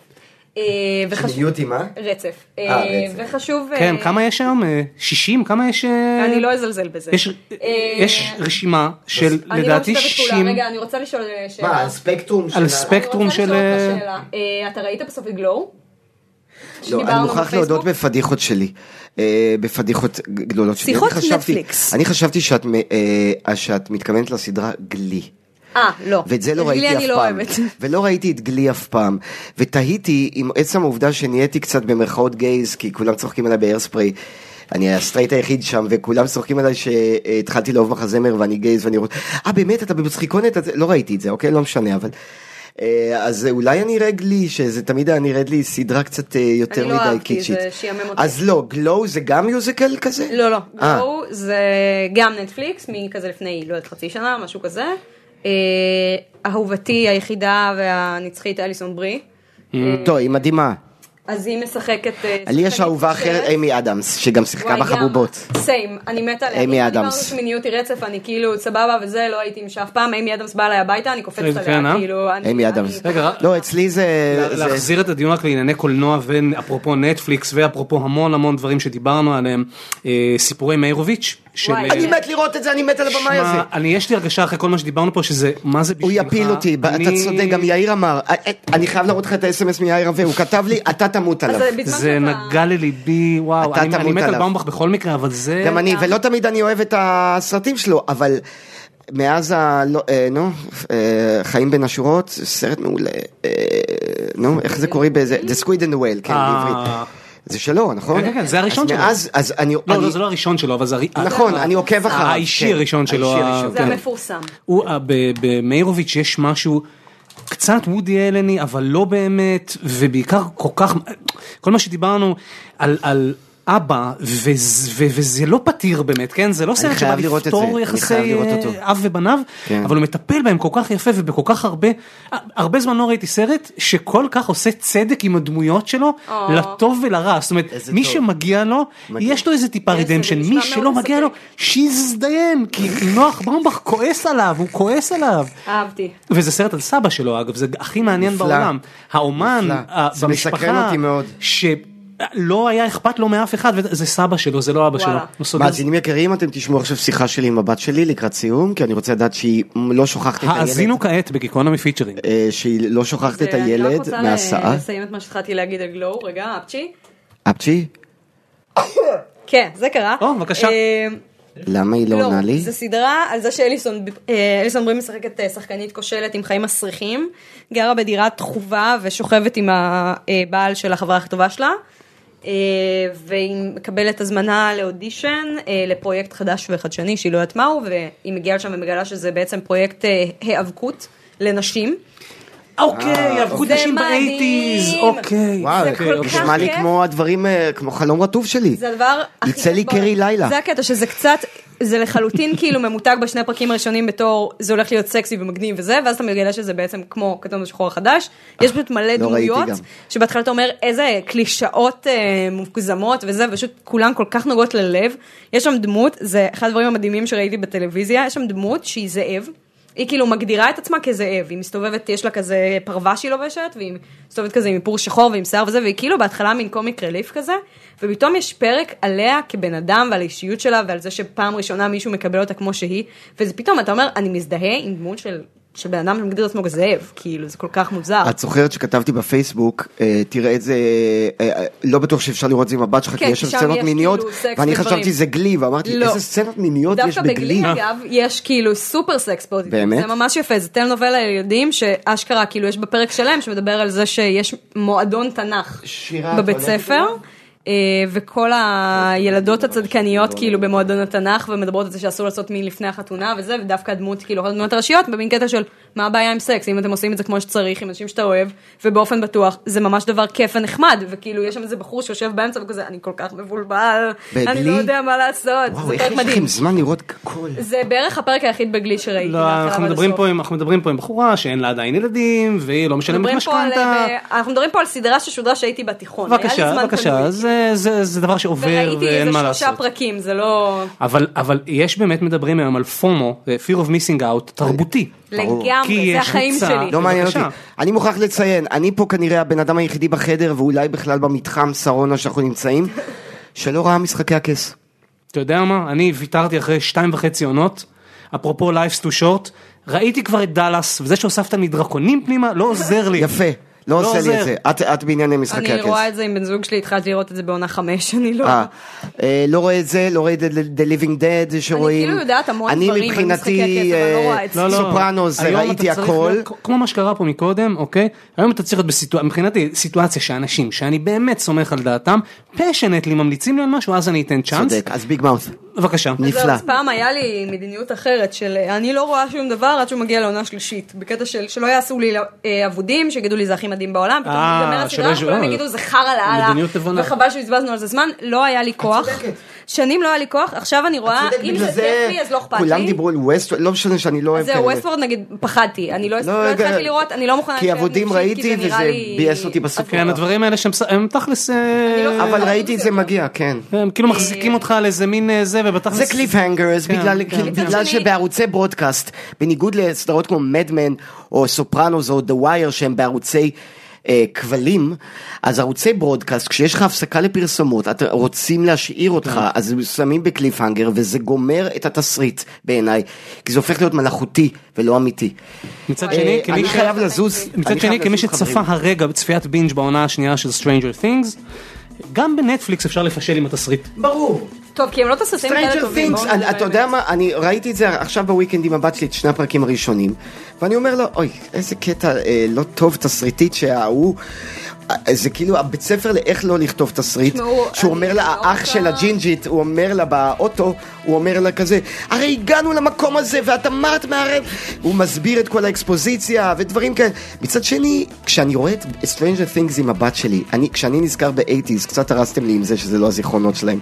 S5: אה, וחשוב-
S4: שמיניות היא מה?
S5: רצף.
S4: אה,
S5: אה,
S4: רצף.
S5: וחשוב... אה,
S2: כן כמה יש היום אה, 60 כמה יש אה,
S5: אני לא אזלזל בזה.
S2: יש-
S5: אה,
S2: יש רשימה של
S5: אני לא
S2: לדעתי
S5: משתפת פעולה.
S2: 60
S5: רגע, אני רוצה לשאול אה, שאלה.
S4: מה, על ספקטרום של...
S2: על
S4: ה-
S2: ספק- ספקטרום של,
S5: אני רוצה לשאול
S2: אה,
S5: אותך שאלה. אה, אתה ראית בסוף את גלואו?
S4: לא, אני
S5: שדיברנו
S4: מוכרח
S5: בפייסבוק?
S4: להודות בפדיחות שלי, אה, בפדיחות ג- גדולות שלי.
S5: שיחות
S4: אני חשבתי-
S5: נטפליקס.
S4: אני חשבתי שאת מ- אה, שאת מתכוונת לסדרה גלי.
S5: אה, לא.
S4: ואת זה לא
S5: את גלי
S4: ראיתי אף
S5: אני לא
S4: פעם,
S5: אוהבת.
S4: ולא ראיתי את גלי אף פעם, ותהיתי עם עצם העובדה שנהייתי קצת במרכאות גייז, כי כולם צוחקים עליי באיירספריי, אני הסטרייט היחיד שם, וכולם צוחקים עליי שהתחלתי לאהוב מחזמר ואני גייז ואני רוצה, אה באמת אתה במצחיקונת, אז- לא ראיתי את זה, אוקיי? לא משנה, אבל... אה, אז אולי אני אראה גלי, שזה תמיד היה נראית לי סדרה קצת אה, יותר
S5: אני לא
S4: מדי
S5: אהבתי,
S4: קיצ'ית.
S5: זה שיעמם אותי.
S4: אז לא, גלו זה גם מיוזיקל כזה?
S5: לא, לא.
S4: אה.
S5: גלואו זה גם נטפליקס, מכזה לפני, לא יודעת, חצי שנה, משהו כזה. אה, אהובתי היחידה והנצחית אליסון ברי.
S4: טוב, היא מדהימה.
S5: אז היא משחקת... אה,
S4: לי יש
S5: שחקנית
S4: אהובה אחרת,
S5: נשארת.
S4: אמי אדמס, שגם שיחקה
S5: וואי, גם.
S4: בחבובות.
S5: סיים, אני מתה עליה.
S4: אמי
S5: אם
S4: אדמס.
S5: דיברנו שמיניות היא רצף, אני כאילו סבבה וזה, לא הייתי עם שאף פעם, אמי אדמס באה אליי הביתה, אני קופצת
S2: כן, אה?
S5: עליה, כאילו... אני-
S4: אמי אדמס.
S5: אני-
S2: רגע,
S4: לא, אצלי זה... זה-
S2: להחזיר את הדיון רק לענייני קולנוע ואפרופו נטפליקס ואפרופו המון המון דברים שדיברנו עליהם אה, סיפורי מאירוביץ' של
S5: וואי.
S2: אה,
S4: אני מת לראות את זה, אני מת על הבמאי
S2: שמע,
S4: הזה.
S2: אני יש לי הרגשה אחרי כל מה שדיברנו פה שזה מה זה
S4: הוא
S2: בשבילך.
S4: יפיל אותי, ב- אתה
S2: אני-
S4: צודק, גם יאיר אמר, "אה, אה, אני חייב להראות לך את האס.אם.אס מיאיר רווה, הוא כתב לי, אתה תמות עליו.
S5: אז אה, בזמן
S2: זה
S5: שאתה-
S2: נגע לליבי וואו
S4: אתה
S2: אני אני
S4: תמות
S2: מת על
S4: עליו.
S2: באומבך בכל מקרה אבל זה
S4: גם אני, ולא תמיד אני אוהב את הסרטים שלו, אבל מאז ה... לא, אה, נו, אה, חיים בין השורות, סרט מעולה. אה, נו, איך זה קורא באיזה... The Squid and the Whale, כן,
S2: אה.
S4: בעברית. זה שלו, נכון?
S2: כן, כן, זה הראשון
S4: אז
S2: שלו.
S4: מאז, אז אני...
S2: לא
S4: אני-
S2: לא זה לא הראשון שלו אבל זה הרי-
S4: נכון, אני עוקב אחריו.
S2: האישי
S4: כן.
S2: הראשון שלו,
S4: האישי
S2: ה-
S4: הראשון.
S5: זה
S2: כן.
S5: המפורסם.
S2: הוא, אה, ב- במאירוביץ' יש משהו קצת וודי אלני אבל לא באמת ובעיקר כל כך כל מה שדיברנו על על אבא וזה, ו- וזה לא פתיר באמת כן זה לא סרט שבא
S4: חייב לראות את זה,
S2: לפתור
S4: אני
S2: יחסי
S4: חייב לראות
S2: אה,
S4: אותו.
S2: אב ובניו
S4: כן.
S2: אבל הוא מטפל בהם כל כך יפה ובכל כך הרבה אה, הרבה זמן לא ראיתי סרט שכל כך עושה צדק עם הדמויות שלו
S5: או.
S2: לטוב ולרע זאת אומרת
S4: איזה
S2: מי
S4: טוב.
S2: שמגיע לו
S4: מגיע.
S2: יש לו איזה טיפה
S5: יש, זה
S2: רידמפשן
S5: נשמע
S2: מי שלא
S5: מאוד
S2: מגיע לו
S5: מספק.
S2: שיזדיין כי נוח ברומבך כועס עליו הוא כועס עליו
S5: אהבתי.
S2: וזה סרט על סבא שלו אגב זה הכי מעניין
S4: נפלא.
S2: בעולם האומן
S4: נפלא.
S2: ה-
S4: זה
S2: במשפחה
S4: מסקרן אותי מאוד.
S2: שלא היה אכפת לו מאף אחד וזה סבא שלו זה לא אבא שלו.
S5: וואלה.
S2: הוא סוגר-
S4: מאזינים יקרים, אתם תשמעו עכשיו שיחה שלי עם הבת שלי לקראת סיום, כי אני רוצה לדעת שהיא לא שוכחת את הילד,
S2: האזינו כעת בגיקונומי פיצ'רינג.
S4: אה, שהיא לא שוכחת את
S5: אני רק
S4: הילד
S5: רוצה אה,
S4: מההסעה.
S5: לסיים את מה שהתחלתי להגיד על גלואו, רגע, אפצ'י.
S4: אפצ'י?
S5: כן, זה קרה.
S2: או, בבקשה.
S5: אה,
S4: למה היא לא עונה לי?
S5: זו סדרה על זה שאליסון אה, אליסון ברי משחקת אה, שחקנית כושלת עם חיים מסריחים, גרה בדירת חובה ושוכבת עם הבעל של החברה הכי טובה שלה, אה, והיא מקבלת הזמנה לאודישן אה, לפרויקט חדש וחדשני שהיא לא יודעת מהו, והיא מגיעה לשם ומגלה שזה בעצם פרויקט אה, היאבקות לנשים.
S2: אוקיי, עברו
S5: אה, זה
S2: נשים
S5: מדהים.
S2: באייטיז, אוקיי.
S4: וואו,
S5: זה
S2: אוקיי,
S5: כל
S2: אוקיי.
S5: כך-
S4: נשמע לי
S5: כיף.
S4: כמו הדברים, אה, כמו חלום רטוב שלי.
S5: זה הדבר הכי...
S4: יצא לי
S5: טוב בעולם.
S4: קרי לילה.
S5: זה הקטע שזה קצת, זה לחלוטין כאילו ממותג בשני הפרקים הראשונים בתור זה הולך להיות סקסי ומגניב וזה, ואז אתה מגלה שזה בעצם כמו כתום בשחור החדש. יש פשוט מלא
S4: לא ראיתי
S5: דמויות,
S4: גם.
S5: שבהתחלה אתה אומר איזה קלישאות אה, מוגזמות וזה, ופשוט כולן כל כך נוגעות ללב. יש שם דמות, זה אחד הדברים המדהימים שראיתי בטלוויזיה, יש שם דמות שהיא זאב. היא כאילו מגדירה את עצמה כזאב, היא מסתובבת, יש לה כזה פרווה שהיא לובשת, והיא מסתובבת כזה עם איפור שחור ועם שיער וזה, והיא כאילו בהתחלה מין קומיק רליף כזה, ופתאום יש פרק עליה כבן אדם ועל האישיות שלה ועל זה שפעם ראשונה מישהו מקבל אותה כמו שהיא, וזה פתאום, אתה אומר, אני מזדהה עם דמות של... של בן אדם שמגדיר את עצמו כזאב, כאילו, זה כל כך מוזר.
S4: את זוכרת שכתבתי בפייסבוק, אה, תראה את זה, אה, אה, לא בטוח שאפשר לראות את זה עם הבת שלך, כי
S5: כן,
S4: יש שם
S5: כי שם
S4: סצנות
S5: יש
S4: מיניות,
S5: כאילו סקס
S4: ואני
S5: ודברים.
S4: חשבתי זה גלי, ואמרתי,
S5: לא.
S4: איזה סצנות מיניות יש
S5: דווקא
S4: בגלי? אה.
S5: בגלי, אגב, יש כאילו סופר סקס פוזיטיב.
S4: באמת?
S5: זה ממש יפה, זה טלנובלה לילדים, שאשכרה, כאילו, יש בפרק שלם שמדבר על זה שיש מועדון תנ"ך
S4: שירה, את
S5: בבית
S4: הולכת
S5: ספר. אה, וכל הילדות הצדקניות
S4: לא,
S5: כאילו במועדון התנ"ך ומדברות על זה שאסור לעשות מין לפני החתונה וזה ודווקא הדמות כאילו אחת הדמות הראשיות במין קטע של מה הבעיה עם סקס אם אתם עושים את זה כמו שצריך עם אנשים שאתה אוהב ובאופן בטוח זה ממש דבר כיף ונחמד וכאילו יש שם איזה בחור שיושב באמצע וכזה אני כל כך מבולבל אני
S4: בגלי?
S5: לא יודע מה לעשות
S4: וואו,
S5: זה
S4: איך
S5: פרק
S4: יש
S5: מדהים.
S4: לכם זמן לראות הכל?
S5: זה בערך הפרק היחיד בגלי שראיתי.
S2: לא,
S5: מההתחלה
S2: אנחנו
S5: ועד
S2: מדברים
S5: הסוף.
S2: פה עם- אנחנו מדברים פה עם בחורה שאין לה עדיין ילדים, והיא לא משלמת
S5: מדברים פה על,
S2: משכנתה.
S5: אה, אנחנו מדברים פה על סדרה ששודרה שהייתי בתיכון. היה לי
S2: בבקשה,
S5: זמן
S2: בבקשה,
S5: פנוי.
S2: זה- זה זה דבר שעובר
S5: וראיתי
S2: ואין
S5: איזה
S2: מה
S5: שלושה
S2: לעשות.
S5: פרקים, זה לא...
S2: אבל אבל יש באמת מדברים היום על פומו, אה, Fear of Missing Out, תרבותי. כי
S5: לגמרי, זה
S2: יש
S5: החיים
S2: ריצה.
S5: שלי.
S4: לא מעניין אותי.
S2: אוקיי, בבקשה.
S4: אני מוכרח לציין, אני פה כנראה הבן אדם היחידי בחדר, ואולי בכלל במתחם שרונה שאנחנו נמצאים, שלא ראה משחקי הכס.
S2: אתה יודע מה? אני ויתרתי אחרי שתיים וחצי עונות, אפרופו Life's too short, ראיתי כבר את דאלאס, וזה שהוספת לי דרקונים פנימה לא עוזר לי.
S4: יפה, לא עושה לי את זה. את- את בענייני משחקי
S5: אני
S4: הכס.
S5: רואה את זה עם בן זוג שלי, התחלתי לראות את זה בעונה חמש, אני לא...
S4: אה, אה, לא רואה את זה, לא רואה את The Living Dead שרואים.
S5: כאילו יודעת המון דברים
S4: אני
S5: על
S4: מבחינתי
S5: משחקי הכס, אבל לא רואה
S4: אה,
S5: את זה.
S2: לא, לא.
S4: סופרנוס,
S2: היום אתה
S4: ראיתי
S2: צריך
S4: הכל.
S2: להיות- כמו מה שקרה פה מקודם, אוקיי? היום אתה צריך להיות בסיטואציה, מבחינתי, סיטואציה שאנשים, שאני באמת סומך על דעתם, פשנטלי ממליצים לי על משהו, אז אני אתן צ'אנס.
S4: צודק, אז ביג מאוס,
S5: אה,
S2: בבקשה.
S4: נפלא.
S5: זהו, אז פעם היה לי מדיניות אחרת של אה, אני לא רואה שום דבר עד שהוא מגיע לעונה שלישית. בקטע של שלא יעשו לי אה, אבודים, שיגידו לי זה הכי מדהים בעולם, פתאום
S2: אה,
S5: נגמר
S2: שלא
S5: הסדרה,
S2: ישו-
S5: כולם
S2: אה,
S5: יגידו זה חרא לאללה,
S2: מדיניות נבונה."
S5: וחבל שבזבזנו על זה זמן, לא היה לי כוח. שנים לא היה לי כוח, עכשיו אני רואה,
S4: צודק,
S5: אם
S4: בגלל
S5: זה כיף לי אז לא אכפת לי.
S4: כולם דיברו על ווסטוורד, לא משנה שאני לא אוהב
S5: זהו, ווסטוורד נגיד, פחדתי, אני לא לא
S4: יודע.
S5: התחלתי לראות, אני לא מוכנה...
S4: כי
S5: להתקדם
S4: אבודים
S5: נפשית, כי
S4: ראיתי
S5: זה נראה
S4: וזה
S5: לי-
S4: ביאס אותי בסוף.
S2: כן, הדברים האלה שהם ס- הם תכלס, אה,
S5: אני לא-
S4: אבל ראיתי את זה מגיע, כן.
S2: הם כאילו מחזיקים אותך על איזה מין אה, זה, ובתכלס...
S4: זה קליפהנגרס,
S2: כן,
S4: בגלל,
S2: כן,
S4: כאילו,
S2: כן.
S4: בגלל
S5: שני-
S4: שבערוצי ברודקאסט, בניגוד לסדרות כמו מדמן או סופרנוס או דה ווייר שהם בערוצי אה, כבלים, אז ערוצי ברודקאסט, כשיש לך הפסקה לפרסומות, את רוצים להשאיר
S2: כן.
S4: אותך, אז הם שמים בקליפהנגר וזה גומר את התסריט בעיניי, כי זה הופך להיות מלאכותי ולא אמיתי.
S2: מצד
S4: אה,
S2: שני, כמי
S4: אני
S2: ש-
S4: חייב לזוז,
S2: מצד
S4: אני
S2: שני,
S4: חייב
S2: כמי
S4: לזוז, חברים.
S2: שצפה הרגע בצפיית בינג' בעונה השנייה של Stranger Things, גם בנטפליקס אפשר לפשל עם התסריט.
S4: ברור.
S5: טוב, כי הם לא תססים כאלה
S4: Stranger
S5: טובים.
S4: Things,
S5: בואו
S4: אני-
S5: נדבר
S4: אתה יודע מה, אני ראיתי את זה עכשיו בוויקנד עם הבת שלי, את שני הפרקים הראשונים, ואני אומר לו, אוי, איזה קטע אה, לא טוב תסריטית שההוא, אה, זה כאילו הבית ספר לאיך לא לכתוב תסריט,
S5: תשמעו,
S4: שהוא
S5: אני
S4: אומר לה,
S5: לא
S4: האח
S5: רוצה-
S4: של הג'ינג'ית, הוא אומר לה באוטו, הוא אומר לה כזה, הרי הגענו למקום הזה ואת אמרת מהרב, הוא מסביר את כל האקספוזיציה ודברים כאלה. מצד שני, כשאני רואה את Stranger Things עם הבת שלי, אני, כשאני נזכר ב-80's, קצת הרסתם לי עם זה שזה לא הזיכרונות שלהם.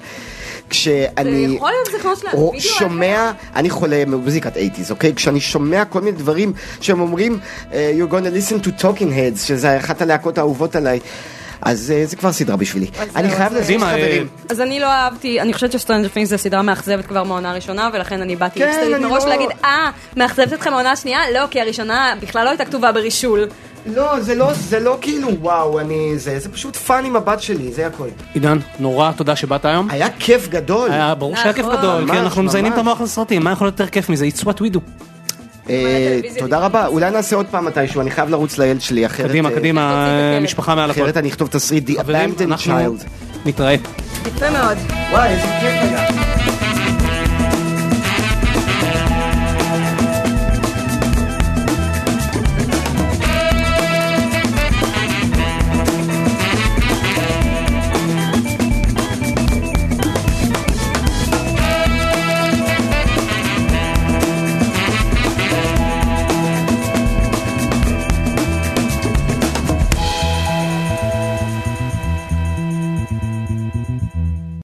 S4: כשאני...
S5: יכול להיות זיכרונות שלהם,
S4: רוא-
S5: בדיוק, כן.
S4: שומע, אני חולה מוזיקת 80's, אוקיי? כשאני שומע כל מיני דברים שהם אומרים, אה, you're gonna listen to talking heads, שזה אחת הלהקות האהובות עליי. אז אה, זה כבר סדרה בשבילי. אני
S5: זהו,
S4: חייב
S5: אז
S4: להזיז
S2: קדימה, אה,
S4: חברים.
S5: אז אני לא אהבתי, אני חושבת שסטרנג'ר פינגס זו סדרה מאכזבת כבר מהעונה הראשונה, ולכן אני באתי
S4: כן,
S5: להצטייד
S4: אני
S5: מראש
S4: לא-
S5: להגיד, אה, מאכזבת אתכם העונה השנייה? לא, כי הראשונה בכלל לא הייתה כתובה ברישול.
S4: לא, זה לא, זה לא כאילו וואו, אני... זה, זה פשוט פאן עם הבת שלי, זה הכל.
S2: עידן, נורא תודה שבאת היום.
S4: היה כיף גדול.
S2: היה ברור שהיה כיף
S5: נכון.
S2: גדול, כי
S4: ממש,
S2: אנחנו מזיינים את
S4: ממש.
S2: המוח לסרטים, מה יכול להיות יותר כיף מזה? It's what we do.
S4: אה,
S5: הטלוויזיה
S4: תודה רבה, אולי נעשה עוד פעם מתישהו, אני חייב לרוץ לילד שלי, אחרת...
S2: קדימה,
S4: אה,
S2: קדימה,
S5: להוציא את
S2: אה,
S5: הכלב.
S2: משפחה מעל הכל.
S4: אחרת אני אכתוב תסריט The
S2: חברים,
S4: Abandoned
S2: אנחנו
S4: Child.
S2: נתראה.
S5: יפה מאוד.
S4: וואי, איזה כיף היה.